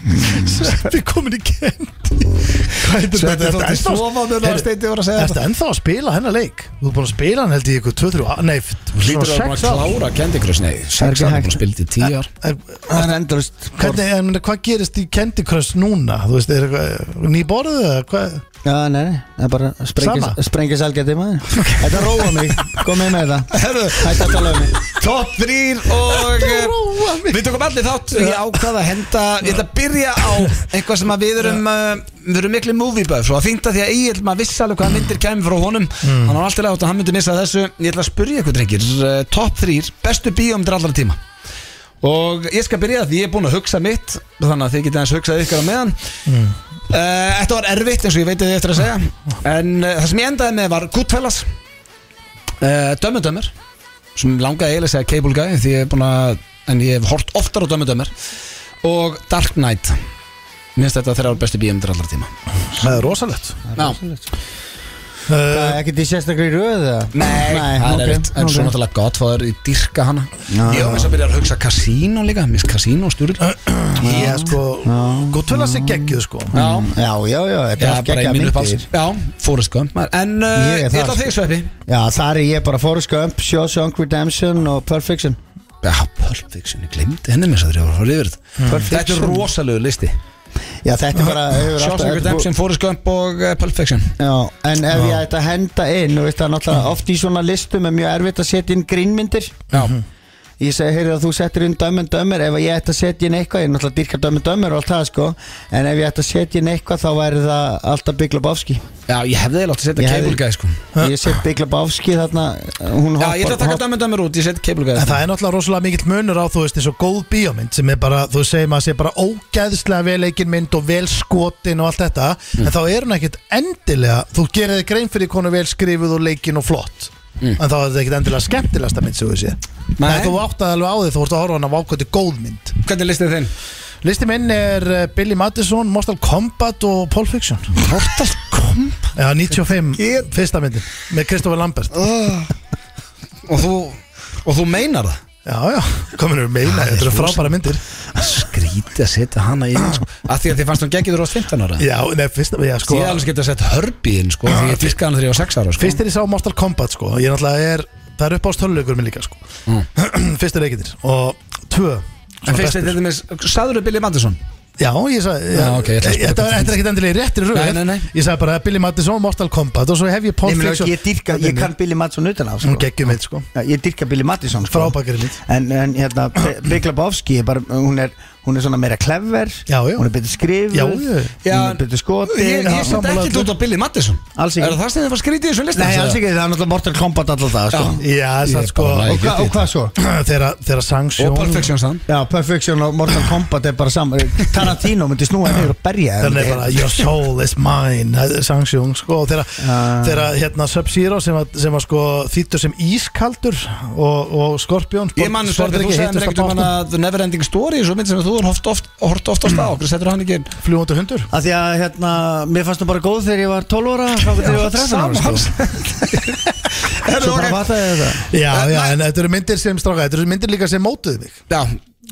Sveppi komin í kendi Hvað heitir Sveppi þetta? þótti Ertu ennþá- sofa meðan Heyrðu, Steindi var að segja Ertu ennþá að spila hennar leik? Þú er búin að spila hann held ég ykkur 2-3 á- Nei, f- svona Lítur að vera búin 6 að ára klára Candy Crush, nei, er ekki sex ára, hægt. búin að spila til tíu ár Er- Það er endurist Hvernig, en hvað gerist í Candy Crush núna? Þú veist, er eitthvað nýborðið eða hvað? Já, nei, nei, það er bara Sama. sprengis algjörði maður Þetta róa mig, komið með það Herru, Hætti að tala um Uh. mig top 3 og eh, við tökum allir þátt ég ákvað að henda, ég ætla að byrja á eitthvað sem að við erum uh, við erum miklu movie buffs og að fínt að því að Egil maður vissi alveg hvað myndir kæmi frá honum hann var alltaf látt og hann myndi missa þessu ég ætla að spyrja ykkur drengir, eh, top 3 bestu bíómyndir allra tíma og ég skal byrja því ég er búin að hugsa mitt þannig að þið getið aðeins hugsað ykkur á meðan Eh, Þetta var erfitt eins og ég veit að þið eftir að segja En uh, það sem ég endaði með var Goodfellas uh, Dömmudömmur Sem langaði eiginlega að segja Cable Guy Því ég hef búin að En ég hef hort oftar á Dömmudömmur Og Dark Knight Minnst þetta þeirra var bestu bíumindir allra tíma Það er rosalegt Já, Það er ekkert í sérstaklega í röð eða? Nei, það er ok, erfitt En ok. svo náttúrulega gott Það er í dyrka hana Ég hef þess að byrja að hugsa Casino líka Minnst Casino stúril Ég sko, gott vel að segja geggjuð sko Já Já, já, já, þetta er Já, bara allt í geggjað mínu uppáhalds myndir Já, Forrest Gump maður. En uh, Ég er ég þar, ætla sko. þig sveppi Já, þar er ég bara Forrest Gump, Shawshank Redemption og Perfection Já, Pulp Fiction, ég glemdi henni með þess að þér var yfir þetta Þetta er rosalegu listi Já, þetta er bara hefur alltaf- Sjálfsögur þetta er bú- Redemption, Forrest Gump og eh, Pulp Fiction Já, en ef ég ætti að henda inn og veist það er náttúrulega oft í svona listum er mjög erfitt að setja inn grínmyndir Já, Ég segi, heyrðu að þú settir inn dömmen dömmer ef ég ætti að setja inn eitthvað, ég er náttúrulega dyrka dömmen dömmer og allt það sko, en ef ég ætti að setja inn eitthvað þá væri það alltaf Big Lebowski já ég hefði eiginlega átt að setja Ég hefði- Cable Guy sko Ég set Big Lebowski þarna hún Já, hoppar, ég ætla að taka hopp- dæmið dæmið út, ég hérna. setja Cable Guy En það er náttúrulega rosalega mikill munur á þú veist eins og góð bíómynd sem er bara, þú segir maður sé bara ógæðslega vel eikin mynd og vel skotin og allt þetta Mm. en þá er hún ekkit endilega þú gerir þig grein fyrir konu vel skrifuð og leikin og flott en þá er þetta ekkit endilega skemmtilegasta mynd sem þú sé Mm. Nei. en þú áttaði alveg á því þú vorst að horfa á hana á ákvæmdi góð mynd Hvernig listið þinn? Listi minn er eh, Billy Madison, Mortal Kombat og Pulp Fiction Mortal Kombat Já, 95, fyrsta myndin með Kristoffer Lambert Og þú, og þú meinar það? Já, já, kominu meina, þetta eru frábæra myndir Skrítið að setja hana í sko. Af því að þið fannst hún geggjur ást 15 ára Já, nei, fyrsta, já, sko Ég alveg geta sett Herbie inn sko Því ég dyrkaði hann þegar ég var 6 ára sko Fyrst er ég sá Mortal Kombat sko Ég náttúrulega er, það er upp á stölugur minn líka sko Fyrst er leikindir Og tvö svona Mm. En fyrst er bestir. þetta með, sagður Billy Madison? Já, ég sagði Já, ok, ég ætla að spyrja Þetta hvað var þú þetta er ekkert endilega í réttri röð Nei, nei, nei. Ég sagði bara Billy Madison, Mortal Kombat Og svo hef ég Pulp Nei, mér Fiction finnst ég dyrka, ég kann Billy Madison utan á sko. Hún geggjum eitt sko Já, Ég dyrka Billy Madison sko. Frábækari mynd. En, en hérna, Be- Big Lebowski er bara, hún, er, hún er svona meira klefver Já, já. Hún er betur skrifuð Já, já. Hún er betur skotin Ég, ég sko, Já. set ekki út á Billy Madison Alls ekki. Er það sem þið var skrítið í þessu listan? Nei, alls ekki, það er náttúrulega Mortal Kombat alltaf það sko. Já, Ég er það sko bara og, ekki hva, og hvað svo? Þeirra, þeirra sangsjón Og Pulp Fiction sann Já, Perfection og Mortal Kombat er bara saman Tarantino myndi snúa neyður og berja Þannig bara, your soul is mine það er Sangsjón, sko og þeirra, þeirra hérna Sub-Zero sem var, sem var sko þýttur sem ískaldur og, og Skorpjón Ég mann svo að þú segði mér ekkert um hana The Neverending Story Svo mynd sem þú er hort oft, hort oft á stað Okkur setur hann ekki inn Fljúandi hundur Af því að hérna, mér fannst hún bara góð þegar ég var 12 ára frá þegar ég var 13 ára sko. Svo bara fattaði ég þetta Já, já, en þetta eru myndir sem stráka Þetta eru myndir líka sem mótuðu mig Já,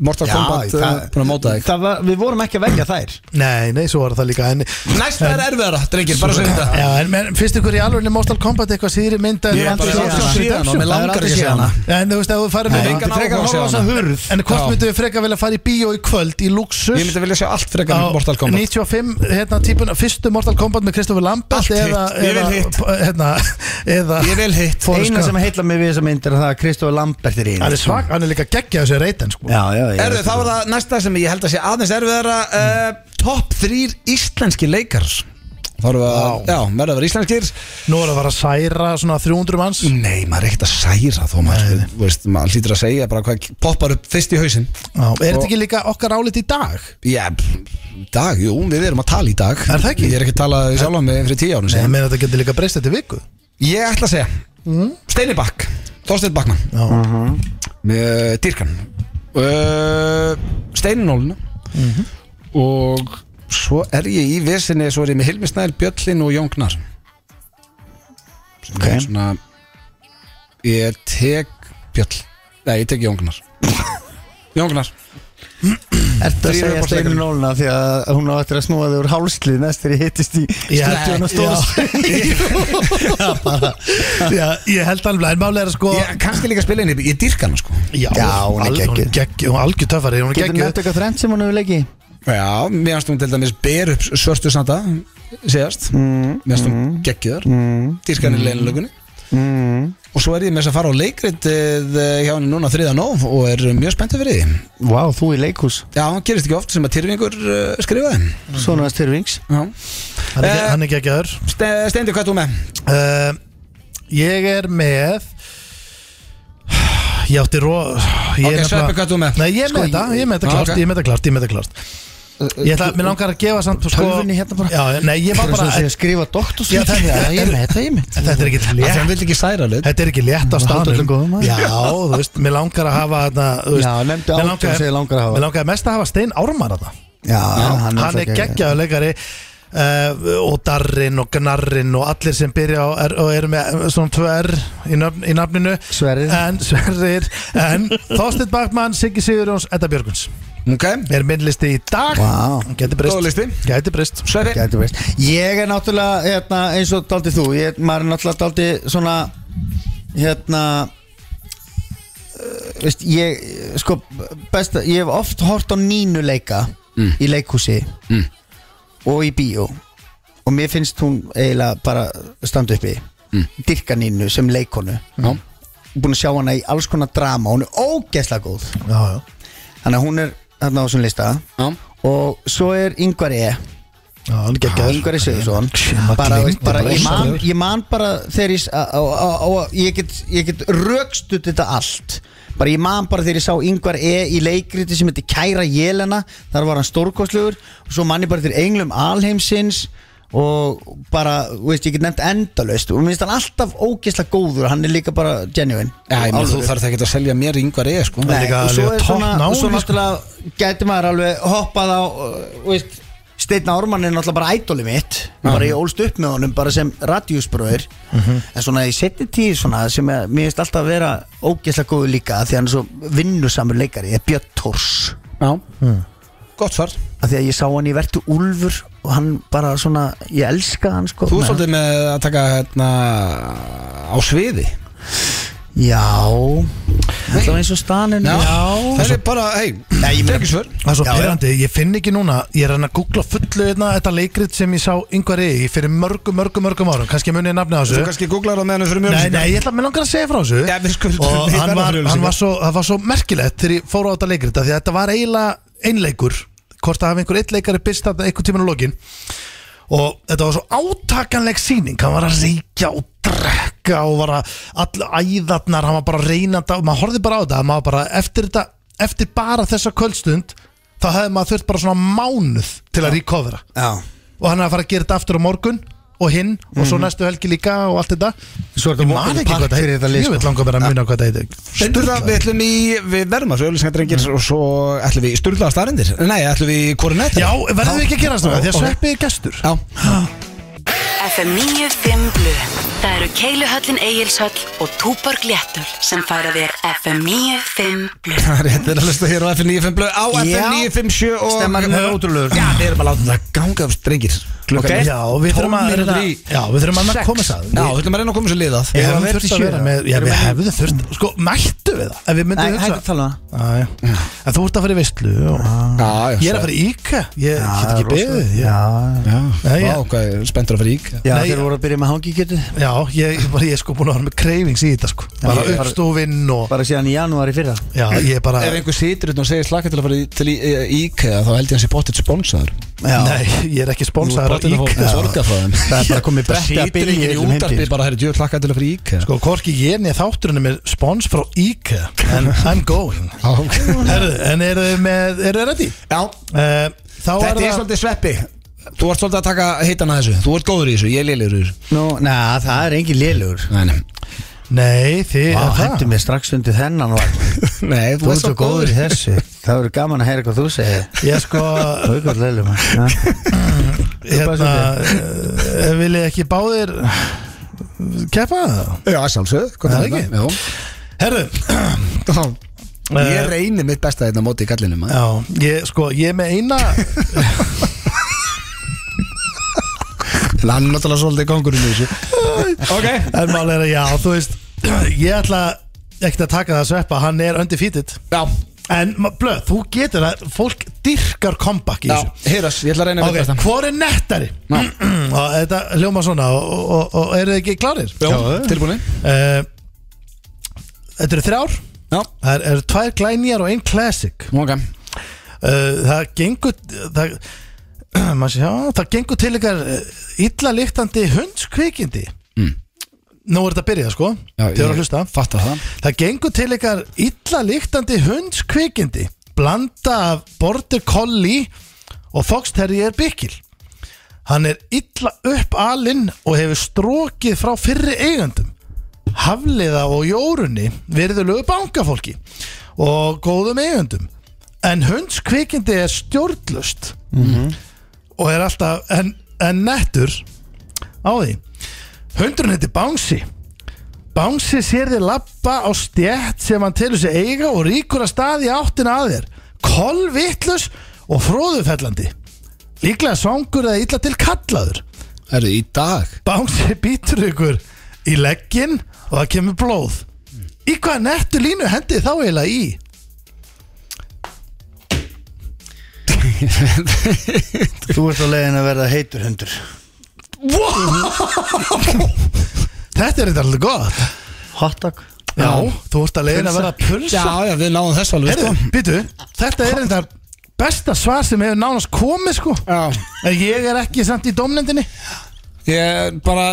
Mortal Kombat uh, Búin að móta þig það var, Við vorum ekki að velja þær Nei, nei, svo var það líka En, Næsta er erfiðara, drengir, bara segja þetta já, en, en finnst ykkur í alveg Mortal Kombat eitthvað síðri mynd en- Ég er bara aldrei að séð hana. sjá síðan og mér Það er langar aldrei ekki að séð sjá hana hana. En þú veist, ef þú farir Nei, með engan áhuga á að sjá hana. En hvort Já. myndu við freka vilja fara í bíó í kvöld í Luxus Ég myndi vilja sjá allt frekar á en Mortal Kombat 95, hérna típun, fyrstu Mortal Kombat með Kristoffer Lambert Allt eða, hitt, ég vil eða- hitt. p- hérna, eða Ég vil hitt Forrest Eina Gump. sem heitla mig við þessa mynd er að það að Kristóf Lambert er í henni, hann er sko. svag, hann er líka geggja þessu reytan sko. Já, já, já Erðu, þá er það næsta sem ég held að sé aðeins erfiðara uh, Top 3 íslenski leikar Þá erum við að, já, verða að vera íslenskir nú er það bara að særa svona 300 manns Nei, maður er ekkert að særa þó maður, þú veist, maður hlýtur að segja bara hvað poppar upp fyrst í hausinn Já, er þetta ekki líka okkar álit í dag? Já, í dag, jú, við erum að tala í dag Er það ekki? Ég er ekki að tala sjálf með fyrir tíu árun Nei, ég síðan meina þetta getur líka breyst eftir viku Ég ætla að segja mm. Steini Bakk, Þorsteinn Bakkmann Já, með Dýrkan uh, Steininólinu og svo er ég í vesinni svo er ég með Hilmi Snæl, Bjöllin og Jóngnar sem er svona ég tek Bjöll nei, ég tek Jóngnar Jóngnar Ertu að Þrír segja upp á Steinu slagnum. Nólna því að hún á eftir að snúa þig úr hálslið næst þegar ég hittist í stúdíun og stóra Já, ég held alveg, en málega er að sko Ég kannski líka spila inn í, ég dyrka hana sko Já, hún er al- geggjuð. Hún er geggjuð, hún er algjör töffari, hún er Getur geggjuð nefnt eitthvað þrennt sem hún hefur leikið í? Já, mér finnst hún til dæmis ber upp svörstu sanda síðast mm, Mér finnst hún mm, geggjör mm, Dýrkan í leilinlökunni mm. Og svo er ég með þess að fara á leikritið eh, hjá henni núna 3. nóf og er mjög spenntið fyrir því Vá, þú í leikhús Já, hann gerist ekki oft sem að Tyrfingur uh, skrifaði Svona að styrfings Já. Hann er Eh, ge- hann er geggjaður Ste Steindi, hvað er þú með? Uh, ég er með Ég átti ró ég Ok, er nefnilega- Sveppi, hvað ert þú með? Nei, ég er Sko, með þetta, ég er með þetta Ah, klart ok. Ég er með þetta klart, ég er með þetta klart Ég ætla, mér langar að gefa samt sko, tölvunni hérna bara? já, Nei, ég var Það bara er svona að skrifa doktor Já, það- ég er með þetta, ég er með þetta. Þetta er ekki Af því hann létt vill ekki særa lit Þetta er ekki létt á halda öllum góðum, staðnum maður. Já, þú veist, mér langar að hafa þarna, þú veist, Já, nefndu mig átján sem ég langar að hafa. Mér langar mest að hafa Stein Ármann þarna. Já, hann Hann er náttúrulega geggjaður. geggjaður leikari uh, og Darrin og Gnarrin og allir sem byrja á R og eru með eh, svona tvö R í, nöfn, í nafninu Sverrir. En Sverrir En Þorsteinn Bakmann, Siggi Sigurjóns, Edda Björguns Ok, Er minn listi í dag Vá. Gæti breyst Góður listi. Gæti breyst Sveppi Gæti verið. Ég er náttúrulega hérna, eins og daldi þú ég, maður er náttúrulega daldi svona hérna eh, veist, ég sko besta, ég hef oft hort á Nínu leika í leikhúsi og í bíó og mér finnst hún eiginlega bara standa uppi mm. dyrka Nínu sem leikonu Já. búin að sjá hana í alls konar drama hún er ógeðslega góð Já, já þannig að hún er hérna á þessum lista Já. og svo er Yngvar E Já, hann er geggjaður Yngvar E. Sigurðsson maður bara, gleymdi veist, bara, bara ég, man, Sigurður. ég man bara þegar ég, s- á- á- á- á- ég get, ég get rökstuð þetta allt bara ég man bara þegar ég sá Yngvar E í leikriti sem heitir Kæra Jelena þar var hann stórkostlegur og svo man ég bara þegar Englum Alheimsins og bara, þú veist, ég get nefnt endalaust og mér finnst hann alltaf ógeðslega góður hann er líka bara genuine Já, ég menn þú Alvöru. þarf ekki að selja mér yngvar eða sko Nei, líka- og svo líka er svona, toppnámi, og svo sko. náttúrulega gæti maður alveg hoppað á uh, veist, Steinn Ármann er náttúrulega bara ædoli mitt bara ég ólst upp með honum bara sem radíusbröður en svona ég seti tíð svona sem ég, mér finnst alltaf að vera ógeðslega góður líka því hann er svo vinnusamur leikari er Björn Tórs Já, gott svar af því að ég sá hann í vertu Úlfur og hann bara svona, ég elska hann sko Þú er Með- svolítið með að taka hérna á sviði Já, það var eins og stanin Það er bara, hei, Nei, ég meina- tekið svör Það er svo Já, já. perandi, ég finn ekki núna Ég er hann að googla fullu hérna, þetta leikrit sem ég sá Yngvar E í fyrir mörgum, mörgum, mörgum árum Kannski munið nafni á þessu Þú kannski googlar á meðanum fyrir mjög Nei, nei, ég ætla að mér langar að segja frá þessu Já, við skuldum Og því verða hann var, fyrir hann auglýsingar. var, svo, hann var svo merkilegt þegar ég fór á þetta leikrita Því að þetta var eiginlega einleikur Hvort að hafa einhver eitt leikari byrst þarna einhvern tímann á lokin Og þetta var svo átakanleg sýning Hann var að reykja og drekka Og var að allu æðarnar Hann var bara að reyna þetta Og maður horfði bara á þetta maður bara, eftir, þetta, eftir bara þessa kvöldstund Þá hefði maður þurft bara svona mánuð Til að recovera Já. og hann er að fara að gera þetta aftur á morgun og hinn og svo næstu helgi líka og allt þetta Svo er þetta ég walk in man the ekki park hvað þetta fyrir þetta heitir lið, ég vil sko. langa bara að muna hvað þetta heitir Sturla, við ætlum í, við verðum að sjölu drengir og svo ætlum við í sturlaða starindir Nei, ætlum við í korinett já, verðum við ekki að gera þetta því að Já. sveppi er gestur Já, FM 95 Blu Það eru Keiluhöllin Egilshöll og Túborg Léttul sem færa þér FM 95 Blu það er hérna að hlusta hér á FN95 blöð á Já. FN957 og Stemmarinn er ótrúlegur. Já, við erum að láta það ganga af drengir Klukkan er- já, við þurfum að Tólf reyna- mínútur í- já, við þurfum að koma þess að Já, við ætlum að reyna að koma sér liðað Við Eigum hefðum þurft við að 47 vera með, já við hefðum þurft, sko mættu við það Ef við myndum Nei, hættu að hugsa tala um Á, það já. En þú ert að fara í veistlu og... Já, já, Ég er að fara í Íka, ég get ekki beðið ég- Já, Nei, Vá, ég- hvað er spenntur að fara í ík já Nei, þeir voru að byrja með hangikjötu Já, ég bara- ég er sko búin að vera með cravings í þetta sko Bara ég- uppstofinn og bara síðan í janúar í fyrra Já, ég er bara Ef einhver situr utan og segir slaka til að fara í- til í- í- IKEA þá held ég að sé bóttið sponsaður Já. Nei, ég er ekki Þú sponsaður ert bóttið að fá Íka sorga frá þeim það er bara komið Það bretti að situr byrja ekki í sko. útarpi bara herri, djöð slaka til að fara í IKEA Sko, hvorki ég niður þátturinn er með spons frá Íka En I'm going Já, ok. Herðu, en eru þið með, eru þið ready? Já, Uh, þá þetta er er það svolítið sveppi Þú ert svolítið að taka hittan að þessu Þú ert góður í þessu, ég er lélegur í þessu Nú, neða, það er engin lélugur Nei, nei. Nei, þið er Vá, það hendur mér strax undir þennan var. Nei, Þú ert svo góður í þessu Það verður gaman að heyra hvað þú segir Ég sko, Það er góð leilum hérna eh, Viljið ekki báðir keppa það? Já, sjálfsög, Er hvað það er það ekki? Herðu, Já. Eh, Ég reyni mitt besta þetta móti í kallinum maður. Já, ég, sko, ég er með eina En hann er náttúrulega svolítið kongurinn í þessu Ok En mál er að já, þú veist Ég ætla ekkert að taka það að sveppa Hann er undefeated Já, En ma- blöð, þú getur það Fólk dyrkar comeback í já, þessu heyras, ég ætla að reyna Ok, mitt besta hvor er nettari? og þetta hljóma svona og, og, og eru þið ekki klarir? Já, tilbúinni Eh, Þetta eru þrjár Já, Það eru tvær glænýjar og ein classic ok Uh, það gengur það, maður sé, já, það gengur til ykkar eh, illa lyktandi hundskvikindi mm. nú er þetta að byrja sko þið eru að hlusta Fattar það það gengur til ykkar illa lyktandi hundskvikindi blanda af border collie og foxterri er bykil hann er illa upp alinn og hefur strókið frá fyrri eigandum hafliða og jórunni virðulegu bankafólki og góðum eigundum en hundskvikindi er stjórnlust og er alltaf en, en nettur á því hundurinn heitir Bánsi Bánsi sér þið lappa á stjætt sem hann telur sér eiga og ríkur að staði áttina að þér kolvittlus og fróðufellandi líklega svangur eða illa til kallaður Erðu í dag Bánsi býtur ykkur í legginn og það kemur blóð Í hvaða nettu línu hendið þá eiginlega í? Þú ert á leiðin að verða heitur hundur Þetta er þetta alveg gott Hotdog Já, þú ert að leiðin að vera pulsa Já, já, við náðum þess alveg sko Herðu, býtu, þetta er þetta besta svar sem hefur nánast komið sko Já En ég er ekki samt í domnendinni Ég bara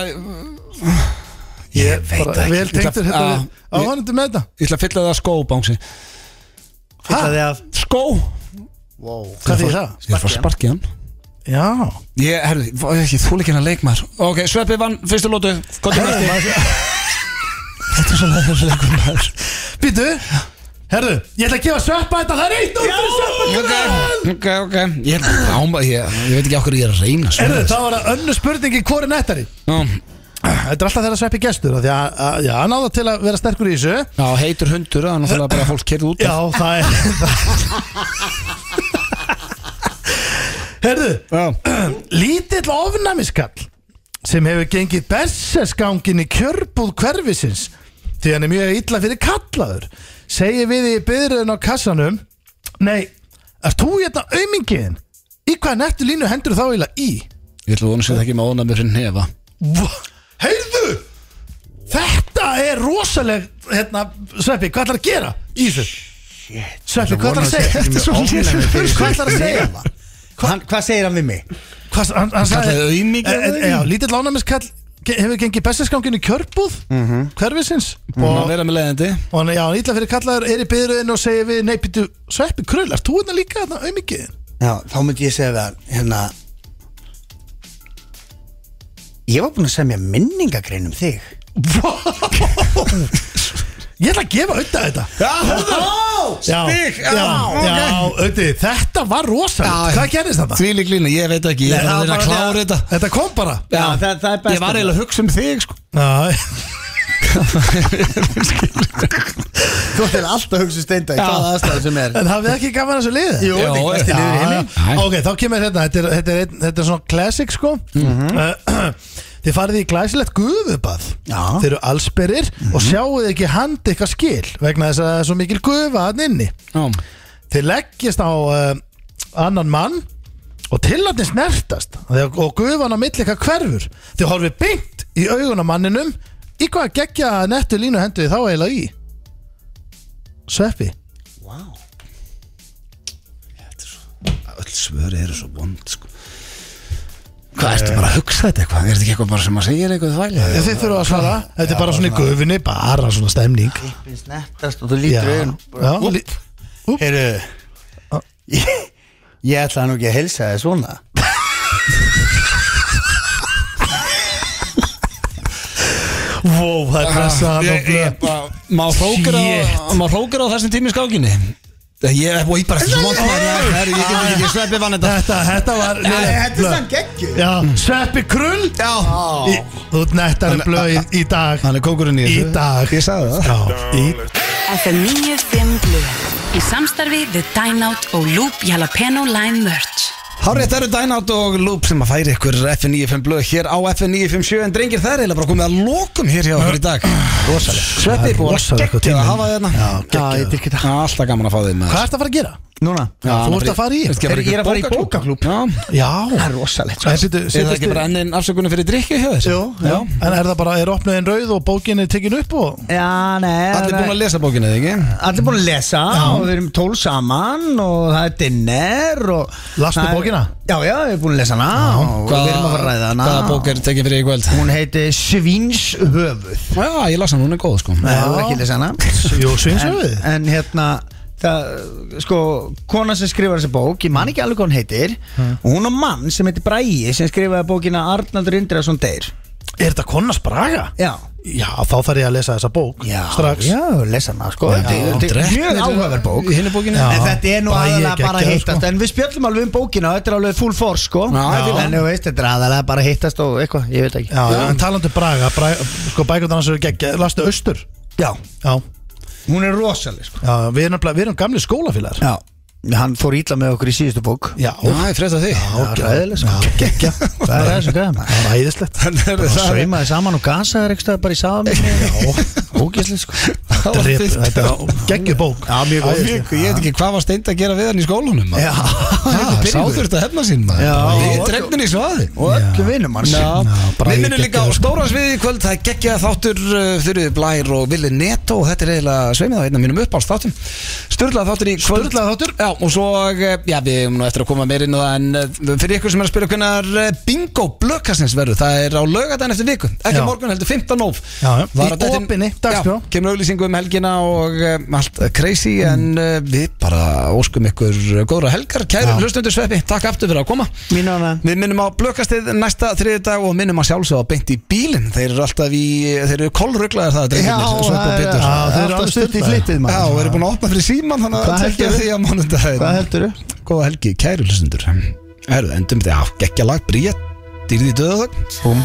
Ég veit ekki. Vel tengdur Ég þetta ætla- við- á hann með þetta Ég ætla að fylla það skó, Bánsi Fyllaði af Skó? Hvað því það? Ég er að fara að sparki hann Já Ég, herðu, ég ekki þúl ekki hennar leikmaður Ok, Sveppi vann fyrstu lótu Kottu nætti Þetta er svo leiðinleikur maður Býtu, herðu, ég ætla að gefa sveppa þetta Það er eitt út fyrir sveppa Ok, ok, ok Ég, áma, ég, ég veit ekki okkur ég er að reyna sko. Herðu, þá var það önnu spurningi hvori nettari Já, Þetta er alltaf þegar að sveppi gestur af Því að, að já, hann áða til að vera sterkur í þessu já heitur hundur Það er náttúrulega bara fólk kerði út Já, það er Herðu, já. lítill ofnæmiskall sem hefur gengið berserskangin í kjörbúð hverfisins því hann er mjög illa fyrir kallaður segir við í byrðurinn á kassanum Nei, er þú hérna aumingiðin? Í hvaða nettu línu hendur þá eiginlega í? Ég ætla að vona sér það ekki með ónæmi fyrir nefa Vá, Heyrðu Þetta er rosaleg hérna, Sveppi, hvað ætlar að gera í þessu? Sveppi, hvað ætlar að segja? Þetta er svo lýsir Hvað ætlar að segja? Hann, Hvað segir hann við mig? Hvað, hann, hann kallaði aumingja Eh, eh, þig? Já, lítill ánæmiskall ge- hefur gengið bestaskangin í kjörbúð mm Mhm. -hmm. hverfisins Búin og, að vera með leiðandi og hann, já, hann ítla fyrir kallaður er í byðruðin og segir við nei, býtu, sveppi, krull, ert þú hérna líka þarna auðmikið? Já, þá myndi ég segja við hann hérna Ég var búin að semja minningagrein um þig Ég ætla að gefa auðvitað þetta Já, hörðu Já, Stig, já, já, ok. já, auðvitað, þetta var rosalegt Hvað gerist þetta? Því lík lína, ég veit ekki Ég er það að reyna var að bara- klára þetta Þetta kom bara Já, það, það er best Ég var eiginlega að hugsa um þig sko. Já, Þú ætlir alltaf að hugsa um steinda í hvaða aðstæðu sem er en hafið þið ekki gaman að þessu liði? Jú, þetta er besti Já, liður í heimi já. Nei. Ok, þá kemur hérna, þetta er, þetta er, einn- þetta er svona classic sko uh, Þið farið í glæsilegt gufubað Já. Þið eru allsperir og sjáuð ekki hand ykkar skil vegna þess að það er svo mikil gufa hann inni Já. Þið leggjast á uh, annan mann og tillatni snertast Þegar- og gufan á milli ykkar hverfur Þið horfið beint í augun á manninum í hvað geggja nettu línu hendur þið þá eiginlega í Sveppi öll svöri eru svo vond sko. hvað ertu bara að hugsa þetta eitthvað er þetta ekki eitthvað bara sem að segja eitthvað þvæli Þið þurfa að svara, þetta er bara svona í gufinni bara svona stemning Finnst nettast og þú lítur auðin já, lí- Úp. Heyrðu Ég, ég ætla nú ekki að helsa þér svona Vó, það er pressa ég, ég bara- maður hrókir á Shit. maður hrókir á þessum tími í skákinni ég er bara ekki svo vond ég get ekki ekki sveppi vann þetta Þetta, þetta var Þetta er sann geggju Já, Sveppi Krull Já Þú ert nettari blöð í, í dag hann er kókurinn í Í þessu dag ég sagði það Já, í FM 95 Blu Í samstarfi við Dine Out og Loop Jalapeno Lime Merch Hárið þetta eru Dynout og Loop sem að færi ykkur FN95 blöð hér á FN957 en drengir það er eiginlega bara komið að lokum hér hjá okkur í dag Rosalega Sveppi búið að Rosalega geggja tími. að hafa þérna Já, Já, ég dyrki þetta. Alltaf gaman að fá þig með Hvað ertu að fara að gera? Núna Já, þú ert að fara í- Ég er að fara í bókaklúb Já Já Það er rosalegt En byrju, Er það ekki bara enn einn afsökunum fyrir drikki hjá þér? Jó, já. En er það bara, er opnaðin rauð og bókin er tekin upp og Já, nei Allir búin að lesa bókinu, eða ekki? Allir búin að lesa og við erum tól saman og það er dinner og Lastu það er- bókina? Já, já, við erum búin að lesa hana og við erum að fara að ræða hana Hvaða bók er tekið fyrir í kvöld? Hún heiti Svinshöfuð Já, ég las hann, hún er góð sko Nei, þú er ekki að lesa hana Jú, svinshöfuð. en, en hérna Það, sko, kona sem skrifar þessa bók ég man ekki alveg hvað hún heitir og hún og mann sem heitir Bræi sem skrifaði bókina Arnaldur Indriðarsson Deyr Er þetta konnars braga? Já, Já, þá þarf ég að lesa þessa bók já, Strax já, lesa hana sko Þetta er- þetta er Drekknir- mjög áhugaverð bók Í hinni bókinu Já. En þetta er nú Bragi aðalega geggjaður, bara að hittast sko. En við spjöllum alveg um bókina og Þetta er alveg full force sko Já, þetta er En þú veist, þetta er aðalega bara að hittast og eitthvað Ég veit ekki Já, já, en talandi um Braga, Braga sko bækundar hans eru geggja, lastu austur Já, Já, hún er rosaleg sko já við, erum, nefnilega- við erum gamli skólafélagar Já, hann fór ítla með okkur í síðustu bók Já, Já, ég frétta því græðileg sko geggja Það er þessu gæða maður Það er æðislegt Það Það er- saumaði saman og gasaði eitthvað bara í saman Ógæsli sko það var Drep- fyrst. Þetta er geggju bók Já, mjög góð. Æðislegt. Ég veit ekki hvað var steind að gera við hann í skólunum maður. Já, Já, sá þurft að hefna sín maður. Já. Við drefnum í svaði Og öllum vinnum hans Já, Bragi við minnum líka á geggjaður, sko. stóra sviði í kvöld Það er geggja þáttur uh, Þurrið Blær og Vili Neto og Þetta er eiginlega sveimið á einna mínum uppáls þáttum Sturlað þáttur í kvöld Sturlað þáttur. Já, og svo, uh, já, við erum nú eftir að koma meir inn á það En uh, fyrir ykkur sem er að spyrja hvernar uh, bingo blökkastins verður Það er á lögadaginn eftir viku Ekki Já. morgun heldur 15. nóf Já, já. Var Í að dettin- opinni dagskrá. Já, kemur auðlýsingu um helgina og um, allt uh, crazy Mm. En uh, við bara óskum ykkur uh, góðra helgar Kæri hlustundur sveppi, takk aftur fyrir að koma Mín á hana Við minnum á blökastið næsta þriði dag og minnum að sjálfsögða beint í bílinn Þeir eru alltaf í, þeir eru kolruglaðir það Já, drengirnir, Sveppi og það er Pétur. Já, þeir eru alltaf alveg stutt í sturlaðir. flippið Já, og maður eru búin að opna fyrir síman þannig Hvað að tekja heldurðu? því að mánundaginn Hvað heldur þú? Góða helgi, kæri hlustundur Herðu, endum við á geggja lag, bríja, dýrði döðadag